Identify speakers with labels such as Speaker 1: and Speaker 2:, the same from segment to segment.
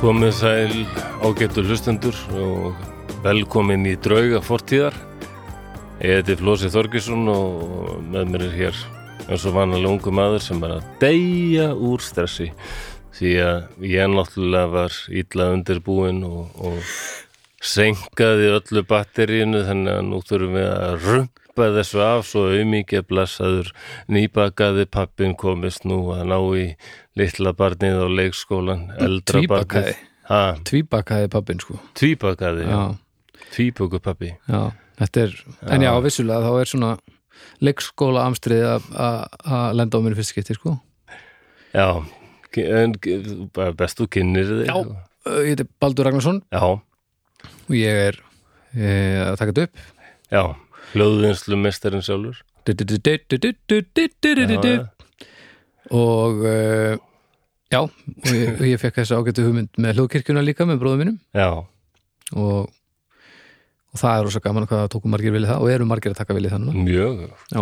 Speaker 1: Komið sæl ágættu hlustendur og velkomin í drauga fortíðar. Ég heiti Flósi Þorgesson og með mér er hér eins og vanalega ungu maður sem er að deyja úr stressi því að ég náttúrulega var illa undirbúin og, og senkaði öllu batterínu þannig að nú þurfum við að rumpa þessu af svo auðmikið blessaður nýbakaði pappin komist nú að ná í litla barnið á leikskólan, eldra barnið.
Speaker 2: Tvíbakaði.
Speaker 1: Ha,
Speaker 2: Tvíbakaði pappin sko
Speaker 1: Tvíbakaði, já.
Speaker 2: já,
Speaker 1: Tvíböku pappi.
Speaker 2: já, þetta er En já, vissulega þá er svona leikskóla amstrið að lenda á mér fyrst skipti sko
Speaker 1: Já, en ge- bara best þú kynir þig.
Speaker 2: Já. Ö, Ég heiti Baldur Ragnarsson
Speaker 1: Já,
Speaker 2: og ég er e, að taka þetta upp
Speaker 1: já, hljóðvinslu mestarinn sjálfur.
Speaker 2: Du-du-du-du-du-du-du-du-du-du-du.
Speaker 1: Já,
Speaker 2: Og e, já, og ég, og ég fekk þessi ágættu hugmynd með hljóðkirkjuna líka með bróðum mínum
Speaker 1: já,
Speaker 2: og, og það er rosa gaman hvað það tóku margir vilja það og eru margir að taka vilja það núna
Speaker 1: mjög
Speaker 2: Já,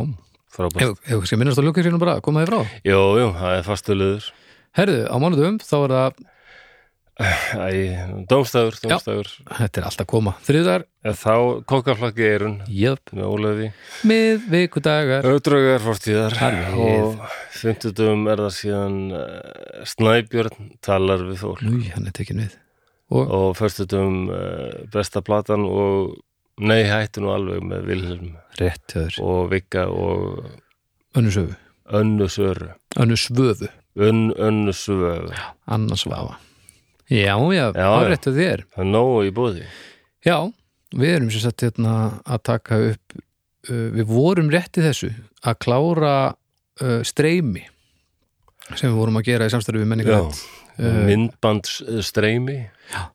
Speaker 1: frábært.
Speaker 2: ef ef kannski minnast á hljóðkirkjuna bara, koma þið frá
Speaker 1: Jú, jú, það er fastulegur.
Speaker 2: Herðu, á mánudum þá er það
Speaker 1: Æ, dómstafur, dómstafur.
Speaker 2: Þetta er alltaf að koma. Þriðar,
Speaker 1: En Þá kokkaflakki eirun
Speaker 2: jöp,
Speaker 1: með Ólaði.
Speaker 2: miðvikudagar.
Speaker 1: Öðdraugar fórtíðar
Speaker 2: Alveg.
Speaker 1: og fimmtudum er það síðan uh, Snæbjörn talar við fólk.
Speaker 2: Nú, hann er tekin við.
Speaker 1: og föstutum uh, besta platan og nei hættu nú alveg með Vilhelm
Speaker 2: Rétt tjóður.
Speaker 1: og Vigga og
Speaker 2: Önnu söfu.
Speaker 1: Önnu Söru
Speaker 2: Önnu svöfu.
Speaker 1: Ön, Önnu Söru
Speaker 2: Anna svafa. Já, já,
Speaker 1: Já,
Speaker 2: það
Speaker 1: já.
Speaker 2: er rétt að þér.
Speaker 1: það er nógu í bóði
Speaker 2: Já, við erum sem sagt hérna að taka upp, uh, við vorum rétt í þessu að klára uh, streymi sem við vorum að gera í samstarfi við menningarætt. Eh.
Speaker 1: uh, myndbandsstreymi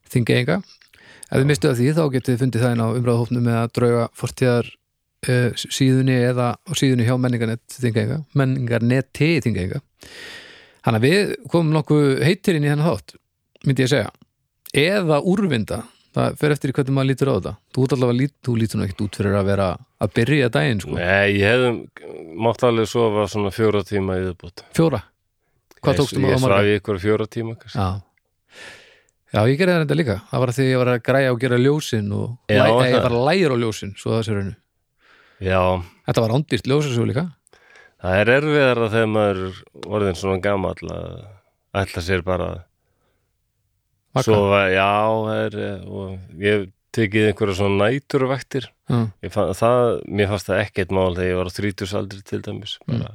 Speaker 2: þingeyinga ef þið mistuð af því þá getið þið fundið það inn á umræðahófnum með að drauga fortíðar uh, síðunni eða á síðunni hjá menningarnett þingeyinga, menningarnetti þingeyinga hann að við komum nokkuð heitir inn í hennar þátt myndi ég segja, eða úrvinda það fer eftir í hvernig maður lítur á þetta þú ert allavega lít, þú lítur nú ekkert út fyrir að vera að byrja daginn sko,
Speaker 1: nei, ég hefði mátt alveg sofa svona fjóra tíma í viðbútt
Speaker 2: fjóra hvað um tókstum
Speaker 1: ég,
Speaker 2: að
Speaker 1: ég
Speaker 2: marga?
Speaker 1: svaf í ykkur fjóra tíma kannski.
Speaker 2: Já. Já, ég gerði það reynda líka. Það var að því að ég var að græja og gera ljósin og
Speaker 1: Já,
Speaker 2: læ,
Speaker 1: var
Speaker 2: eh, ég
Speaker 1: það?
Speaker 2: var að læra á ljósin, svo það sér hennu.
Speaker 1: já,
Speaker 2: Þetta var ándýrt ljósasögu líka.
Speaker 1: það er erfiðara þegar maður er orðin svona gamall að ætla sér bara að
Speaker 2: Vaka.
Speaker 1: Svo var, já, það er, eh, og ég hef tekið einhverja svona næturvektir
Speaker 2: Já.
Speaker 1: Ég fann, það, mér fannst það ekkert mál þegar ég var á þrítusaldri til dæmis bara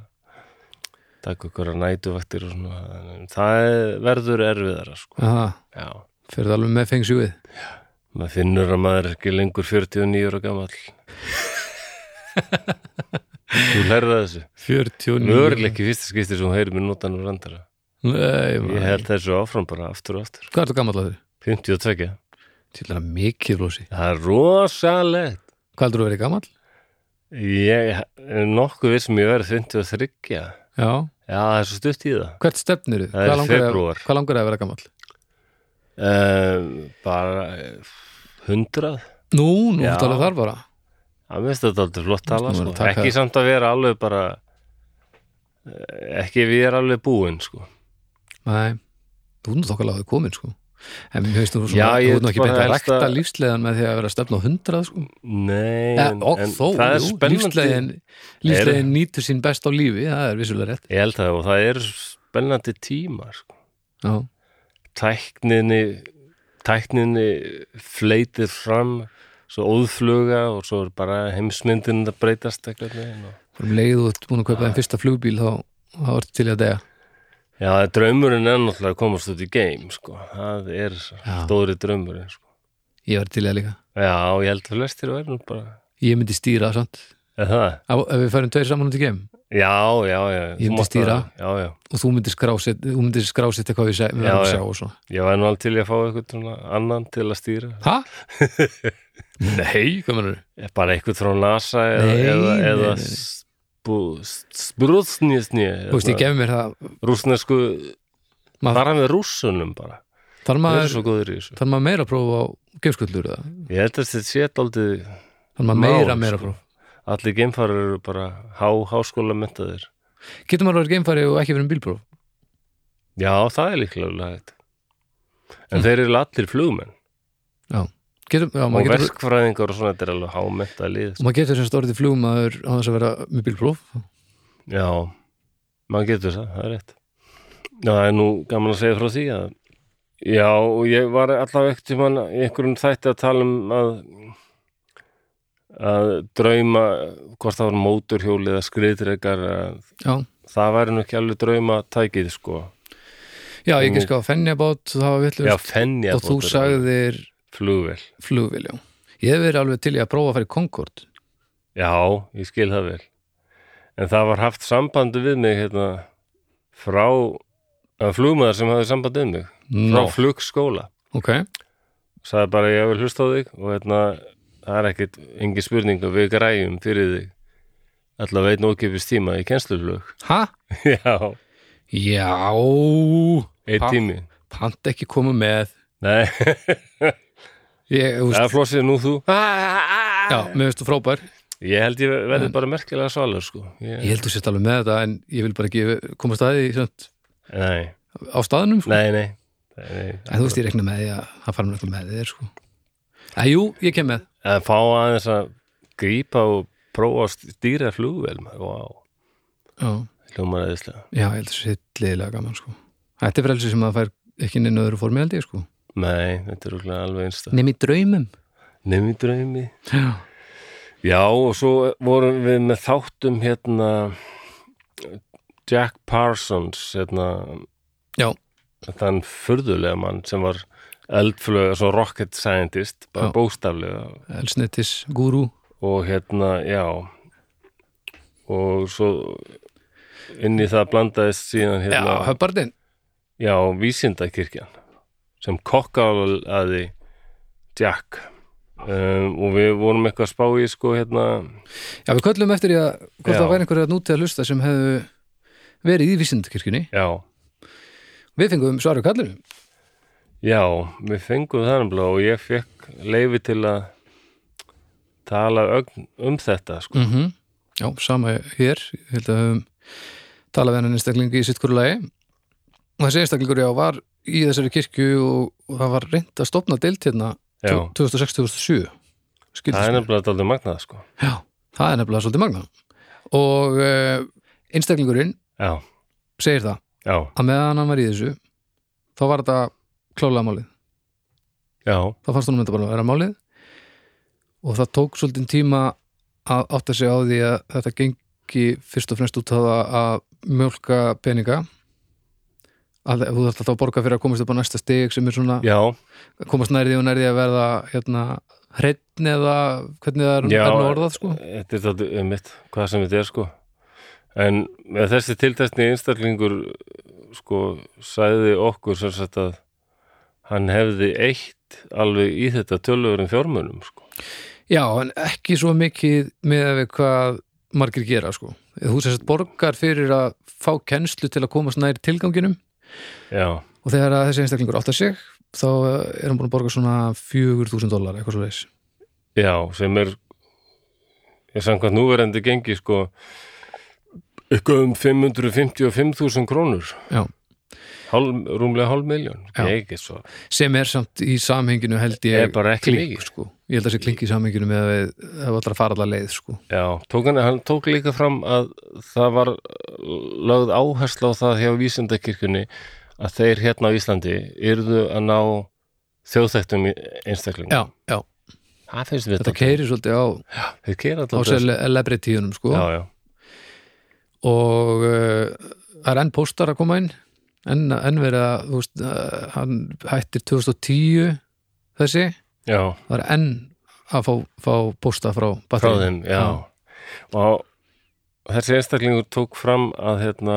Speaker 1: taka einhverja næturvektir og svona En það er, verður erfiðara sko.
Speaker 2: Aha,
Speaker 1: já,
Speaker 2: fyrir það alveg með fengsjúið.
Speaker 1: maður finnur að maður er ekki lengur 49 ára gamall Þú lærða þessu
Speaker 2: 49.
Speaker 1: Mörgleik ekki fyrsta skipti sem hún heyri mér notan og randara
Speaker 2: Nei,
Speaker 1: Ég
Speaker 2: maður.
Speaker 1: held þessu áfram bara aftur og aftur
Speaker 2: Hvað er það gammal að þau?
Speaker 1: 52
Speaker 2: Til að mikið ljósi.
Speaker 1: Það er rosalegt
Speaker 2: Hvað heldur þú að vera gammal?
Speaker 1: Ég er nokkuð við sem ég verið 53 Já,
Speaker 2: Já.
Speaker 1: það er svo stutt í það
Speaker 2: Hvert stefnir þið?
Speaker 1: Það er febrúar.
Speaker 2: Hvað langar þið að vera gammal?
Speaker 1: um, Bara eh, 100
Speaker 2: Nú, nú,
Speaker 1: Já.
Speaker 2: þetta alveg þar bara.
Speaker 1: Það minnst þetta aldrei flott tala
Speaker 2: Nú
Speaker 1: sko.
Speaker 2: erum við að taka-
Speaker 1: Ekki samt að vera alveg bara eh, Ekki ef ég er alveg búinn sko.
Speaker 2: Nei, þú erum þokkar láðið komin, sko. En mér finnst þú svona,
Speaker 1: Já,
Speaker 2: þú
Speaker 1: ég
Speaker 2: erum ekki
Speaker 1: bara
Speaker 2: beint að
Speaker 1: helst
Speaker 2: rækta
Speaker 1: að-
Speaker 2: lífsleðan með því að vera að stefna á hundrað, sko.
Speaker 1: Nei,
Speaker 2: Eh,
Speaker 1: en,
Speaker 2: og
Speaker 1: en
Speaker 2: þó,
Speaker 1: það er
Speaker 2: jú,
Speaker 1: spennandi
Speaker 2: lífslegin, lífslegin nýtur sín best á lífi það er vissulega rétt
Speaker 1: Ég held það og það eru spennandi tímar sko.
Speaker 2: já,
Speaker 1: Tækninni Tækninni fleitir fram Svo óðfluga og svo er bara heimsmyndin að breytast eitthvað og...
Speaker 2: um leið og búin að kaupa þeim fyrsta flugbíl þá, þá er til í að dega
Speaker 1: Já, draumurinn er náttúrulega að komast út í game, sko. Það er
Speaker 2: Já.
Speaker 1: stóri draumurinn, sko.
Speaker 2: ég var til í að líka,
Speaker 1: Já, ég held að flestir verður nú bara...
Speaker 2: ég myndi stýra sant?
Speaker 1: Er það?
Speaker 2: ef, ef við færum tveir saman út í geim
Speaker 1: Já, já, já.
Speaker 2: Ég
Speaker 1: Þú
Speaker 2: myndi
Speaker 1: mátt
Speaker 2: stýra.
Speaker 1: að- Já, já.
Speaker 2: og þú myndir skrásett, þú myndir skrásett eitthvað við, seg, við
Speaker 1: Já,
Speaker 2: verðum að
Speaker 1: já.
Speaker 2: sjá og svona
Speaker 1: Ég væri nú alveg til í að fá eitthvað svona annan til að stýra.
Speaker 2: ha? nei, hvað mennur
Speaker 1: Eh, Bara eitthvað frá NASA eða,
Speaker 2: Nei,
Speaker 1: eða,
Speaker 2: nei,
Speaker 1: eða
Speaker 2: nei, nei.
Speaker 1: spú- sprúðsnýsnýja.
Speaker 2: þú veist, ég gef mér það
Speaker 1: Rúsnesku...
Speaker 2: Maður-
Speaker 1: Bara með rússunum bara.
Speaker 2: þarf
Speaker 1: Það er
Speaker 2: maður,
Speaker 1: svo góður í þessu.
Speaker 2: þarf maður meira að prófa á geimskullur eða,
Speaker 1: Ég held að þetta sé aldrei...
Speaker 2: þarf maður
Speaker 1: Má,
Speaker 2: meira
Speaker 1: sko.
Speaker 2: meira að prófa
Speaker 1: Allir geimfarar eru bara há, háskóla myndaðir.
Speaker 2: getur maður að vera geimfari og ekki verið um bílpróf
Speaker 1: Já, það er líklega hægt. en þeir eru allir flugmenn
Speaker 2: getur, Mm. já,
Speaker 1: og
Speaker 2: maður getur,
Speaker 1: verkfræðingar og svona, þetta er alveg hámetta lið
Speaker 2: og maður getur semst orðið flugmaður á þess að vera með bílpróf
Speaker 1: Já, maður getur það, það er rétt Já, það er nú gaman að segja frá því að Já, og ég var allavega ekkert tímann í einhverjum þætti að tala um að að drauma hvort það var móturhjóli eða skriðdrekar að
Speaker 2: já,
Speaker 1: það væri nú ekki alveg drauma tækið sko
Speaker 2: já ég gíska á fennjabát það var
Speaker 1: Já,
Speaker 2: villust
Speaker 1: fennja
Speaker 2: og þú sagðir
Speaker 1: flugvel
Speaker 2: flugvél, já ég hef verið alveg til í að prófa að fara í Concorde
Speaker 1: Já, ég skil það vel En það var haft sambandi við mig hérna, frá að flugmaður sem hafði sambandi við mig frá
Speaker 2: Nó,
Speaker 1: flugskóla
Speaker 2: ok,
Speaker 1: sagði bara ég vil hlusta á þig og hérna, það er ekkit engin spurning og við græjum fyrir þig allavega einn ókipis tíma í kennsluflug
Speaker 2: ha?
Speaker 1: Já,
Speaker 2: Já
Speaker 1: einn
Speaker 2: Pa-
Speaker 1: tími
Speaker 2: Pant ekki koma með
Speaker 1: Nei,
Speaker 2: Ég, þú
Speaker 1: það
Speaker 2: veist,
Speaker 1: er flossið nú þú
Speaker 2: já, mér veistu frábær
Speaker 1: Ég held ég verði bara merkilega svalur sko
Speaker 2: Ég
Speaker 1: ég,
Speaker 2: held þú sért alveg með þetta en ég vil bara ekki koma staði svart,
Speaker 1: Nei,
Speaker 2: á staðnum sko.
Speaker 1: nei, nei, nei.
Speaker 2: En þú veist, ég rekna með því að hann fara með með þér sko. að, Jú, ég kem með
Speaker 1: að fá aðeins að grípa og prófa að stýra flugvel maður, wow,
Speaker 2: Já,
Speaker 1: hljómar eðislega
Speaker 2: já ég held þú sért liðlega gaman sko. Þetta er frelsi sem að fær ekki neina öðru formi held ég sko.
Speaker 1: nei, þetta er örugglega alveg einsta
Speaker 2: Nefn í draumum
Speaker 1: nefnir draumi
Speaker 2: Já,
Speaker 1: já, og svo vorum við með þáttum hérna Jack Parsons hérna,
Speaker 2: Já.
Speaker 1: þann furðulega mann sem var eldflöga, svo rocket scientist bara
Speaker 2: Já.
Speaker 1: bóstaflega
Speaker 2: elsnettis gúrú
Speaker 1: og hérna, já og svo inn í það blandaðist síðan
Speaker 2: Já,
Speaker 1: hérna
Speaker 2: höfbardin
Speaker 1: Já, vísindakirkjan sem kokkaði Jack um, og við vorum eitthvað að spá í sko hérna
Speaker 2: Já, við köllum eftir því að hvort
Speaker 1: Já.
Speaker 2: það væri einhverja nútið að hlusta sem hefðu verið í vísindakirkjunni
Speaker 1: já,
Speaker 2: Við fengum svaru kallinu
Speaker 1: já, við fengum það nefnilega og ég fekk leifi til að tala ögn um þetta sko
Speaker 2: mm Já, sama hér ég held að um, tala við hennan einstaklingi í sitt hverju lagi og þessi einstaklingur já var í þessari kirkju og, og það var reynd að stopna deilt hérna
Speaker 1: Já,
Speaker 2: 2006-2007
Speaker 1: það er
Speaker 2: skildist
Speaker 1: nefnilega daldið magnað sko
Speaker 2: Já, það er nefnilega svolítið magna og uh, einstaklingurinn
Speaker 1: Já,
Speaker 2: segir það
Speaker 1: já,
Speaker 2: að meðan hann var í þessu þá var þetta klálega málið
Speaker 1: já,
Speaker 2: þá fannst honum þetta bara að vera málið og það tók svolítið tíma að átta sig á því að þetta gengi fyrst og fremst út á það að mjölka peninga að þú þarft alltaf að borga fyrir að komast upp á næsta stig sem er svona,
Speaker 1: já,
Speaker 2: komast nærði og nærði að verða hérna hreitn eða hvernig það er,
Speaker 1: Já,
Speaker 2: er nú orðað sko
Speaker 1: þetta er þáttu um mitt, hvað sem þetta er sko en með þessi tiltæstni einstaklingur sko sæði okkur sem sagt að hann hefði eitt alveg í þetta töluverum fjármunum sko
Speaker 2: Já, en ekki svo mikið með við hvað margir gera sko þú sérst borgar fyrir að fá kennslu til að komast nær tilganginum
Speaker 1: já,
Speaker 2: og þegar að þessi einstaklingur áttar sig þá eh, er hann búin að borga svona 4.000 dólar eitthvað svo leis
Speaker 1: já, sem er ég samkvæmt núverandi gengi sko eitthvað um 555.000 krónur
Speaker 2: Já.
Speaker 1: hálf, rúmlega hálf miljón
Speaker 2: Já.
Speaker 1: ekki svo,
Speaker 2: sem er samt í samhenginu held
Speaker 1: ég
Speaker 2: ég
Speaker 1: er bara ekki
Speaker 2: klink
Speaker 1: líka
Speaker 2: sko. ég held að þessi klink í samhenginu með að við það var allra að fara allar leið sko.
Speaker 1: Já, tók hann, hann tók líka fram að það var lögð áhersla á það hjá vísindakirkjunni að þeir hérna á Íslandi yrðu að ná þjóðþættum í- einstaklingum.
Speaker 2: já, já,
Speaker 1: Það finnst við
Speaker 2: þetta keiri svolítið á,
Speaker 1: Þeir
Speaker 2: á
Speaker 1: keira alltaf
Speaker 2: celebrityunum sko.
Speaker 1: Já, já,
Speaker 2: og uh, það er enn póstar að koma inn enn, enn verið að þú veist, uh, hann hættir 2010 þessi,
Speaker 1: já,
Speaker 2: það er enn að fá, fá pósta frá
Speaker 1: frá
Speaker 2: batterið.
Speaker 1: þeim, já. Og þessi einstaklingur tók fram að hérna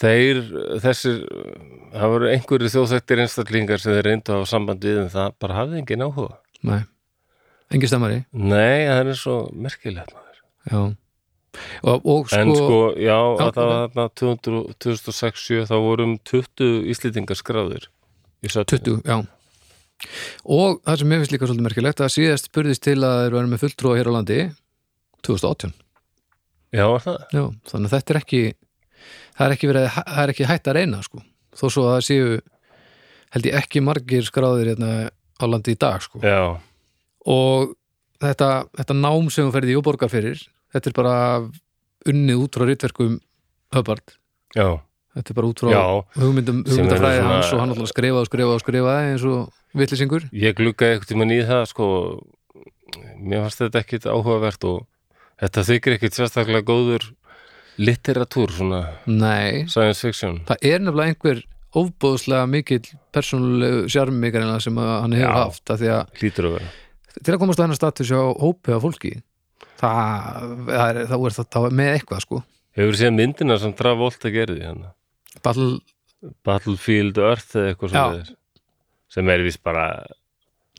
Speaker 1: þeir, þessir, það voru einhverju þjóðþættir einstaklingar sem þeir reyndu að hafa samband við en það bara hafði engin áhuga.
Speaker 2: Nei, engin stemmari
Speaker 1: Nei, það er svo merkilegt maður.
Speaker 2: já og, og
Speaker 1: En sko, já,
Speaker 2: Já,
Speaker 1: þetta var þarna 200 2006-7, þá um vorum 20 Íslendingar skráðir. Í söfnum.
Speaker 2: 20, já og það sem mér finnst líka svolítið merkilegt að síðast spurðist til að þeir verðum með fulltrúa hér á landi 2018
Speaker 1: Já, var það?
Speaker 2: já, þannig að þetta er ekki það er ekki, verið, það er ekki hætt að reyna sko. þó svo að það séu held ég ekki margir skráðir hérna á landi í dag sko.
Speaker 1: já,
Speaker 2: og þetta, þetta nám sem hún ferði í og borgar fyrir þetta er bara unnið út frá rítverkum Hubbard
Speaker 1: já,
Speaker 2: þetta er bara út frá
Speaker 1: já
Speaker 2: hugmyndum,
Speaker 1: Sem
Speaker 2: hugmyndafræði
Speaker 1: verður svona-
Speaker 2: hans og hann alltaf skrifa og skrifa og skrifa eins og vitlisingur
Speaker 1: ég gluggaði eitthvað tímann í það sko, mér fannst þetta ekkit áhugavert og þetta þykir ekkit sérstaklega góður litteratúr svona
Speaker 2: Nei,
Speaker 1: science fiction
Speaker 2: það er nefnilega einhver ofbóðslega mikill persónulegu sjarmíkarina sem að hann hefur
Speaker 1: Já.
Speaker 2: haft að því að
Speaker 1: hlýtur að vera
Speaker 2: til að komast á hennar status hjá hópi af fólki það, það er, þá er þetta með eitthvað sko
Speaker 1: hefur séð myndina sem Travolta gerði hérna
Speaker 2: Ball,
Speaker 1: Battlefield Earth eða eitthvað
Speaker 2: Já.
Speaker 1: sem sem er vist bara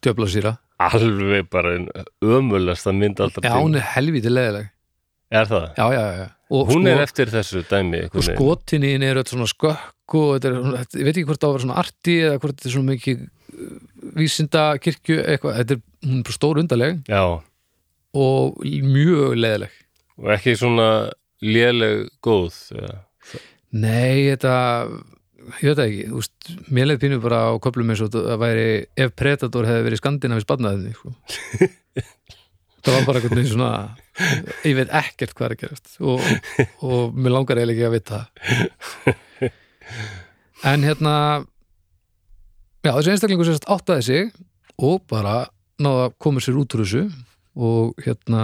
Speaker 2: djöflasýra
Speaker 1: alveg bara einn ömulasta mynd alltaf
Speaker 2: Já, hún er helvítið leðileg
Speaker 1: er það?
Speaker 2: Já, já, já, já og,
Speaker 1: hún
Speaker 2: sko,
Speaker 1: er eftir þessu dæmi einhvern
Speaker 2: og
Speaker 1: veginn.
Speaker 2: skotin í henni eru öll svona skökk og þetta er, svona- þetta- ég veit ekki hvort það var svona arti eða hvort þetta er svona mikið vísinda kirkju eitthvað, þetta er, hún er bara stór undarleg
Speaker 1: já,
Speaker 2: og mjög leðileg
Speaker 1: og ekki svona léleg góð já,
Speaker 2: Nei, þetta ég veit það ekki, úst, mér leið pínu bara á köflum eins og það væri ef Predator hefði verið skandinavís badnaðinni sko. það var bara einhvern veginn svona ég veit ekkert hvað er að gerast og, og mér langar eiginlega ekki að vita það en hérna já, þessi einstaklingur sérst áttaði sig og bara náða að koma sér út úr þessu og hérna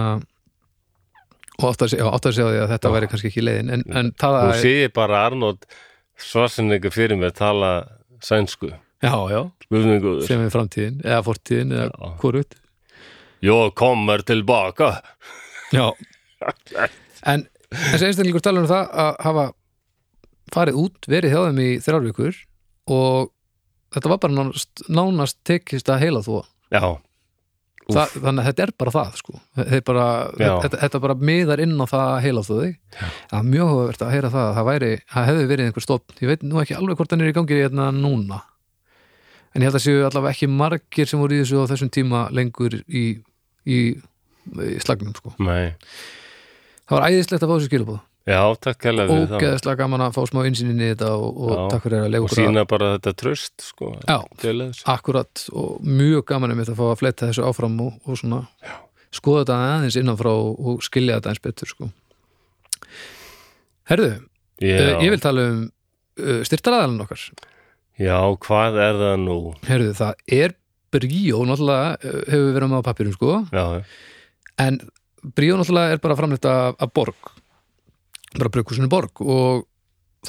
Speaker 2: og áttaði sig, já, áttaði sig á því að þetta væri kannski ekki leiðin en, en það
Speaker 1: Nú sé ég bara Arnold Svarsenegger fyrir mig tala sænsku,
Speaker 2: já, já,
Speaker 1: guðminguður
Speaker 2: sem er framtíðin eða fortíðin eða
Speaker 1: Já.
Speaker 2: hvorut
Speaker 1: Jó, kommer tilbaka
Speaker 2: já. en þessi einstaklingur talar um það að hafa farið út, verið hjá þeim í þrjár vikur og þetta var bara nánast, nánast tekist að heila þú
Speaker 1: Já, Úff.
Speaker 2: Þa, þannig að þetta er bara það sko. Þeir bara,
Speaker 1: Já.
Speaker 2: þetta, þetta bara miðar inn á það að heila þú þig það er mjög hóðvert að heyra það að það, væri, það hefði verið einhver stofn ég veit nú ekki alveg hvort hann er í gangi hérna núna en ég held að séu allavega ekki margir sem voru í þessu á þessum tíma lengur í, í, í slagnum sko.
Speaker 1: nei
Speaker 2: það var æðislegt að fá þessu skilabóð
Speaker 1: Já, takk hella fyrir það
Speaker 2: ógeðslega gaman að fá smá insinni í þetta og, og Ah,
Speaker 1: Já.
Speaker 2: takk fyrir að
Speaker 1: og
Speaker 2: leikur
Speaker 1: sína bara þetta tröst sko,
Speaker 2: Já,
Speaker 1: til þess.
Speaker 2: akkurat og mjög gaman um þetta að fá að fletta þessu áfram og, og svona skoða þetta aðeins innanfrá og, og skilja þetta aðeins betur sko. Herðu,
Speaker 1: Já.
Speaker 2: uh, ég vil tala um uh, styrtaraðalinn okkar
Speaker 1: Já, hvað er það nú?
Speaker 2: Herðu, það er Bríó náttúrulega uh, hefur verið með á pappirum sko
Speaker 1: Já,
Speaker 2: en Bríó náttúrulega er bara framleitt af, af borg bara brugghúsinu borg og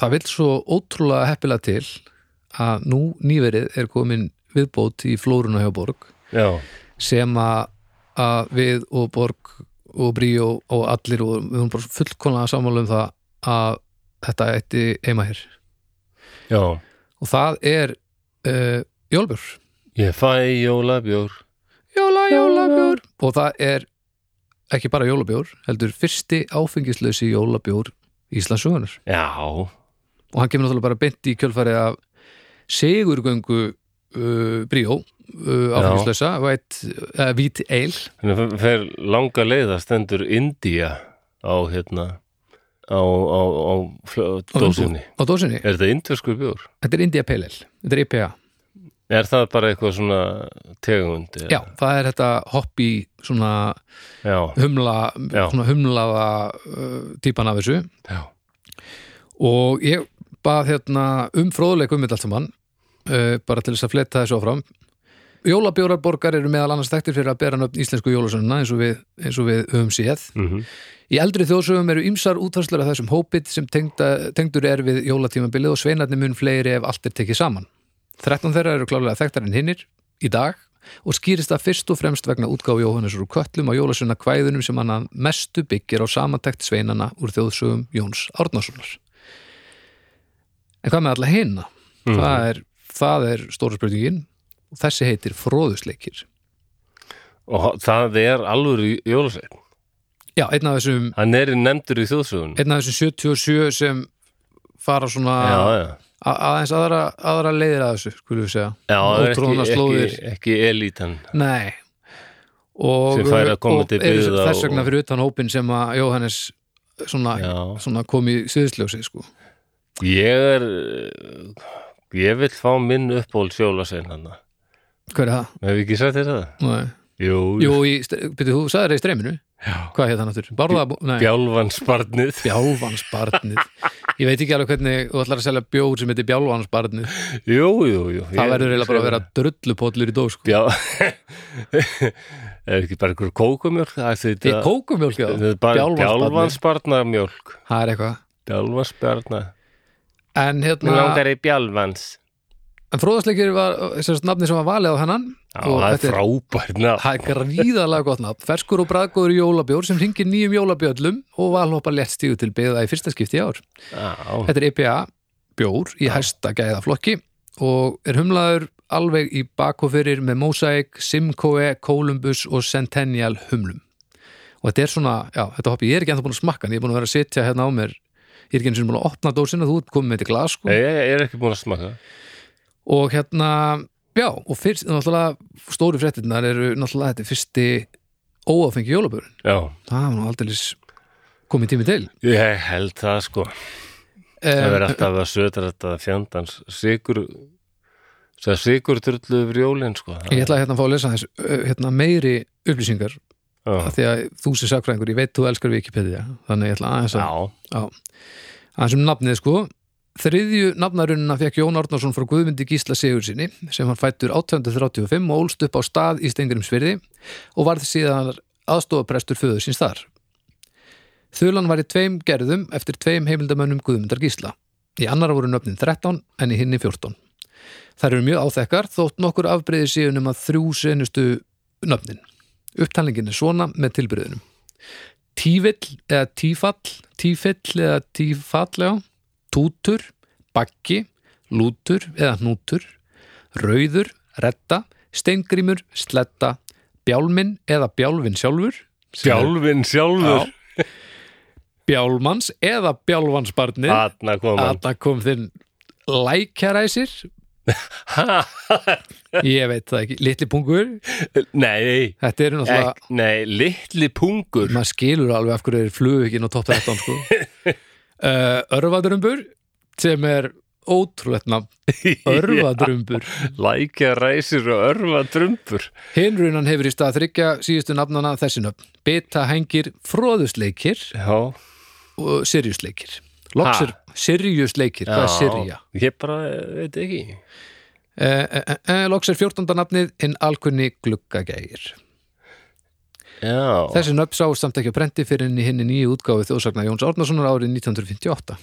Speaker 2: það vil svo ótrúlega heppilega til að nú nýverið er komin viðbót í flóruna hjá borg
Speaker 1: já,
Speaker 2: sem að, að við og Borg og Bríó og allir og við erum bara fullkomlega sammála um það að þetta ætti heima hér
Speaker 1: já
Speaker 2: og það er uh, Jólbjör
Speaker 1: Ég fæ jólabjór
Speaker 2: Jóla, jólabjór og það er ekki bara jólabjór heldur fyrsti áfengislausi jólabjór Íslandsugunar
Speaker 1: Já,
Speaker 2: og hann kemur náttúrulega bara beint í kjölfarið af segurgöngu uh, Bríó uh, áfengislausa White, uh, Vít Eil
Speaker 1: þannig að fer langa leiða stendur India á hérna á, á, á, fl-
Speaker 2: Á
Speaker 1: dósinni
Speaker 2: á dósinni,
Speaker 1: Er þetta indverskur bjór?
Speaker 2: þetta er India Pale Ale þetta er IPA
Speaker 1: Er það bara eitthvað svona tegundi?
Speaker 2: Já, það er þetta hopp í svona
Speaker 1: Já,
Speaker 2: humla,
Speaker 1: Já.
Speaker 2: svona humlaða uh, típan af þessu
Speaker 1: já,
Speaker 2: og ég bað hérna um fróðleik um þetta allt saman uh, bara til þess að fletta þessu áfram Jólabjórarborgar eru meðal annars þekktir fyrir að bera nöfn íslensku jólasönuna eins og við, eins og við höfum séð
Speaker 1: mm
Speaker 2: Í eldri þjóðsögum eru ymsar útvarslur af þessum hópit sem tengda, tengdur er við jólatímabilið og sveinarnir mun fleiri ef allt er tekið saman. 13 þeirra eru klálega þekktar en hinnir í dag og skýrist það fyrst og fremst vegna útgáfu Jóhannesur úr köllum á jólasunna kvæðunum sem hann að mestu byggir á samantekt sveinana úr þjóðsögum Jóns Árnasonar. En hvað með alla hinna? Það, er, það er stóra spurningin og þessi heitir fróðusleikir.
Speaker 1: og það er alveg jólasveinn
Speaker 2: Já, einn af þessum,
Speaker 1: Hann er nefndur í þjóðsögun
Speaker 2: einn af þessum 77 sem fara svona
Speaker 1: Já, já,
Speaker 2: A- aðeins aðra, aðra leiðir að þessu skulum við segja
Speaker 1: já það er
Speaker 2: Ótrúna
Speaker 1: ekki,
Speaker 2: slóðir.
Speaker 1: ekki, ekki elítan
Speaker 2: nei og, uh,
Speaker 1: Sem fær að koma til
Speaker 2: og eru
Speaker 1: byggða
Speaker 2: þess vegna
Speaker 1: og-
Speaker 2: fyrir utan hópin sem að Jóhannes svona,
Speaker 1: Já,
Speaker 2: svona kom í sviðsljósi sko.
Speaker 1: ég er eh, Ég vil fá minn uppból sjólasvein hann
Speaker 2: Hvað er það?
Speaker 1: Hef ég ekki sagt þér það?
Speaker 2: Nei.
Speaker 1: Jú,
Speaker 2: Jú, byrju, þú sagði það í streyminu
Speaker 1: Já.
Speaker 2: Hvað hefði það náttúr? Bárða, nei,
Speaker 1: Bjálfansbarnið
Speaker 2: bjálfansbarnið Ég veit ekki alveg hvernig þú ætlar að selja bjór sem heitir bjálfansbarnið
Speaker 1: Jú, jú, jú
Speaker 2: Það
Speaker 1: ég-
Speaker 2: verður eiginlega bara að vera drullupollur í dós sko.
Speaker 1: Bjál Ef ekki bara einhver kókumjólk Það er
Speaker 2: Í
Speaker 1: þetta
Speaker 2: kókumjólk, já,
Speaker 1: þetta er bara
Speaker 2: bjálfansbarnið
Speaker 1: Bjálfansbarnarmjólk
Speaker 2: Það er eitthvað
Speaker 1: Bjálfansbarnar
Speaker 2: En
Speaker 1: Mér
Speaker 2: hérna,
Speaker 1: langar í bjálfans
Speaker 2: en fróðasleikir var þessi nafni sem var valið á hennan
Speaker 1: Já,
Speaker 2: og
Speaker 1: það er
Speaker 2: þetta er-
Speaker 1: frábært nafn
Speaker 2: Það er gríðarlega gott nafn, ferskur og bræðgóður jólabjór sem hringir nýjum jólabjöllum og valhópa létt stígu til byggða í fyrsta skipti í ár.
Speaker 1: Já,
Speaker 2: Þetta er EPA bjór í hæsta gæðaflokki og er humlaður alveg í bakofirir með Mosaic, Simcoe, Columbus og Centennial humlum. Og þetta er svona, já, þetta hoppi, ég er ekki ennþá búin að smakka en ég er búin að vera að sitja hérna á mér ég er ekki eins og búin að opna dósina, þú ert komið með þetta glas sko.
Speaker 1: Ég- ég er ekki búin að smaka
Speaker 2: og hérna, já, og fyrst náttúrulega stóru fréttirnar eru náttúrulega þetta er fyrsti óáfengi jólabjörn
Speaker 1: Já,
Speaker 2: Það var nú aldeilis komið tími til
Speaker 1: ég held það sko Það
Speaker 2: um,
Speaker 1: verður alltaf að sötra þetta fjandans sigur það sigur drullu yfir jólin sko
Speaker 2: Ég ætla að hérna fá að lesa þess uh, hérna, meiri upplýsingar af
Speaker 1: Já,
Speaker 2: því að þú sem sakfræðingur, ég veit þú elskar Wikipedia þannig ég ætla aðeins að
Speaker 1: já,
Speaker 2: aðeins um nafnið sko Þriðju nafnarunina fekk Jón Árnarsson frá Guðmundi Gísla Sigursinni sem hann fættur 1835 og ólst upp á stað í Stengrimsfyrði og varð síðan aðstofaprestur föður síns þar. Þulan var í tveim gerðum eftir tveim heimildamönnum Guðmundar Gísla. Í annara voru nöfnin 13 en í hinni 14. Þær eru mjög áþekkar þótt nokkur afbreyði síðan um að þrjú senustu nöfnin. Upptalningin er svona með tilbreyðunum. Tívill eða tífall, tífill eða tífall, já, tútur, bakki, lútur eða hnútur, rauður, retta, steingrímur, sletta, bjálminn eða bjálfinn sjálfur, sem er-
Speaker 1: Sjálfinn sjálfur
Speaker 2: bjálmans eða bjálfansbarnið,
Speaker 1: Þarna kom hann
Speaker 2: þarna kom þinn lækjaræsir,
Speaker 1: Ha,
Speaker 2: ég veit það ekki, litli pungur,
Speaker 1: Nei,
Speaker 2: þetta eru náttúrulega...
Speaker 1: ek, nei, litli pungur
Speaker 2: maður skilur alveg af hverju þeir flugu ekki inn á topp 13 sko. uh, Örvadrumbur sem er ótrúlegt nafn Örvadrumbur
Speaker 1: Lækja ræsir og örfa drumbur
Speaker 2: Hinrunan hefur í stað þryggja síðustu nafnana þessi nöfn Beta hengir fróðusleikir
Speaker 1: Já,
Speaker 2: og sirjusleikir Loks
Speaker 1: Ha?
Speaker 2: er sirjusleikir, hvað er sirja?
Speaker 1: Ég bara eh, veit ekki
Speaker 2: Uh, uh, uh, uh, loks er 14. nafnið en alkunni gluggagægir
Speaker 1: Já,
Speaker 2: Þessi nöfn sá samt ekki að prenti fyrir henni henni nýju útgáfi þjóðsagna Jóns Árnasonar árið 1958.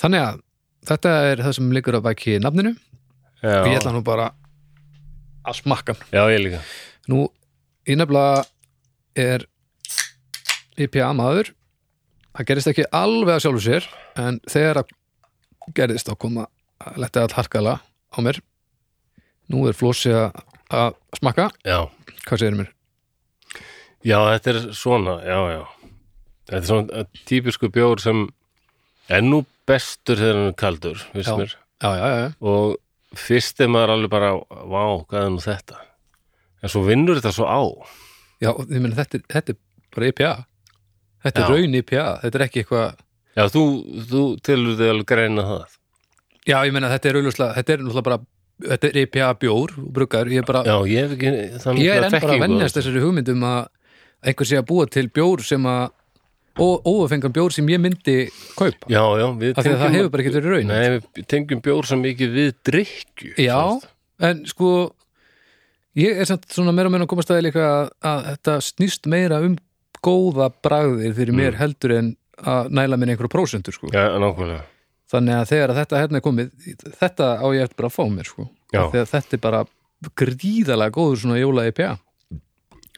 Speaker 2: Þannig að þetta er það sem liggur að baki nafninu og ég
Speaker 1: já,
Speaker 2: ætla nú bara að smakka. hann.
Speaker 1: já, ég líka
Speaker 2: Nú, ég nefnilega er IPA maður. Það gerist ekki alveg að sjálfu sér en þegar að gerðist þá kom að letta að harkala á mér. Nú er flósi að að smakka.
Speaker 1: Já
Speaker 2: Hvað segir mér?
Speaker 1: Já, þetta er svona, já, já. Þetta er svona eh, típisku bjór sem er nú bestur þegar hann er kaldur,
Speaker 2: Já.
Speaker 1: veist mér.
Speaker 2: Já, já, já, já.
Speaker 1: Og fyrst er maður alveg bara, vá, hvað er nú þetta? En svo vinnur þetta svo á.
Speaker 2: Já, og ég meina þetta, er- þetta er bara IPA Þetta er
Speaker 1: Já.
Speaker 2: raun IPA, þetta er ekki eitthvað
Speaker 1: Já, þú, þú tilur þig alveg greina það.
Speaker 2: Já, ég meina þetta er auðvitað, þetta er náttúrulega bara þetta er IPA bjór og bruggar ég er, bara,
Speaker 1: Já, ég hef ekki þannig
Speaker 2: ég er enn bara
Speaker 1: mikla
Speaker 2: að
Speaker 1: þekkingu á
Speaker 2: vennjast
Speaker 1: þessu.
Speaker 2: þessari hugmyndum að einhver sé að búa til bjór sem að óafengan bjór sem ég myndi kaupa,
Speaker 1: Já, já, við
Speaker 2: af því að það hefur bara ekki verið raun
Speaker 1: Nei, við tengjum bjór svo mikið við drykju.
Speaker 2: Já, en sko ég er samt svona meira og meira að komast að því líka að, að þetta snýst meira um góða bragðir fyrir
Speaker 1: Mm.
Speaker 2: mér heldur en að næla mér einhverju prósentur sko.
Speaker 1: Já, nákvæmlega.
Speaker 2: þannig að þegar að þetta hérna er komið þetta á ég eftir bara að fá mér sko.
Speaker 1: Já.
Speaker 2: þegar þetta er bara gríðalega góður svona jóla IPA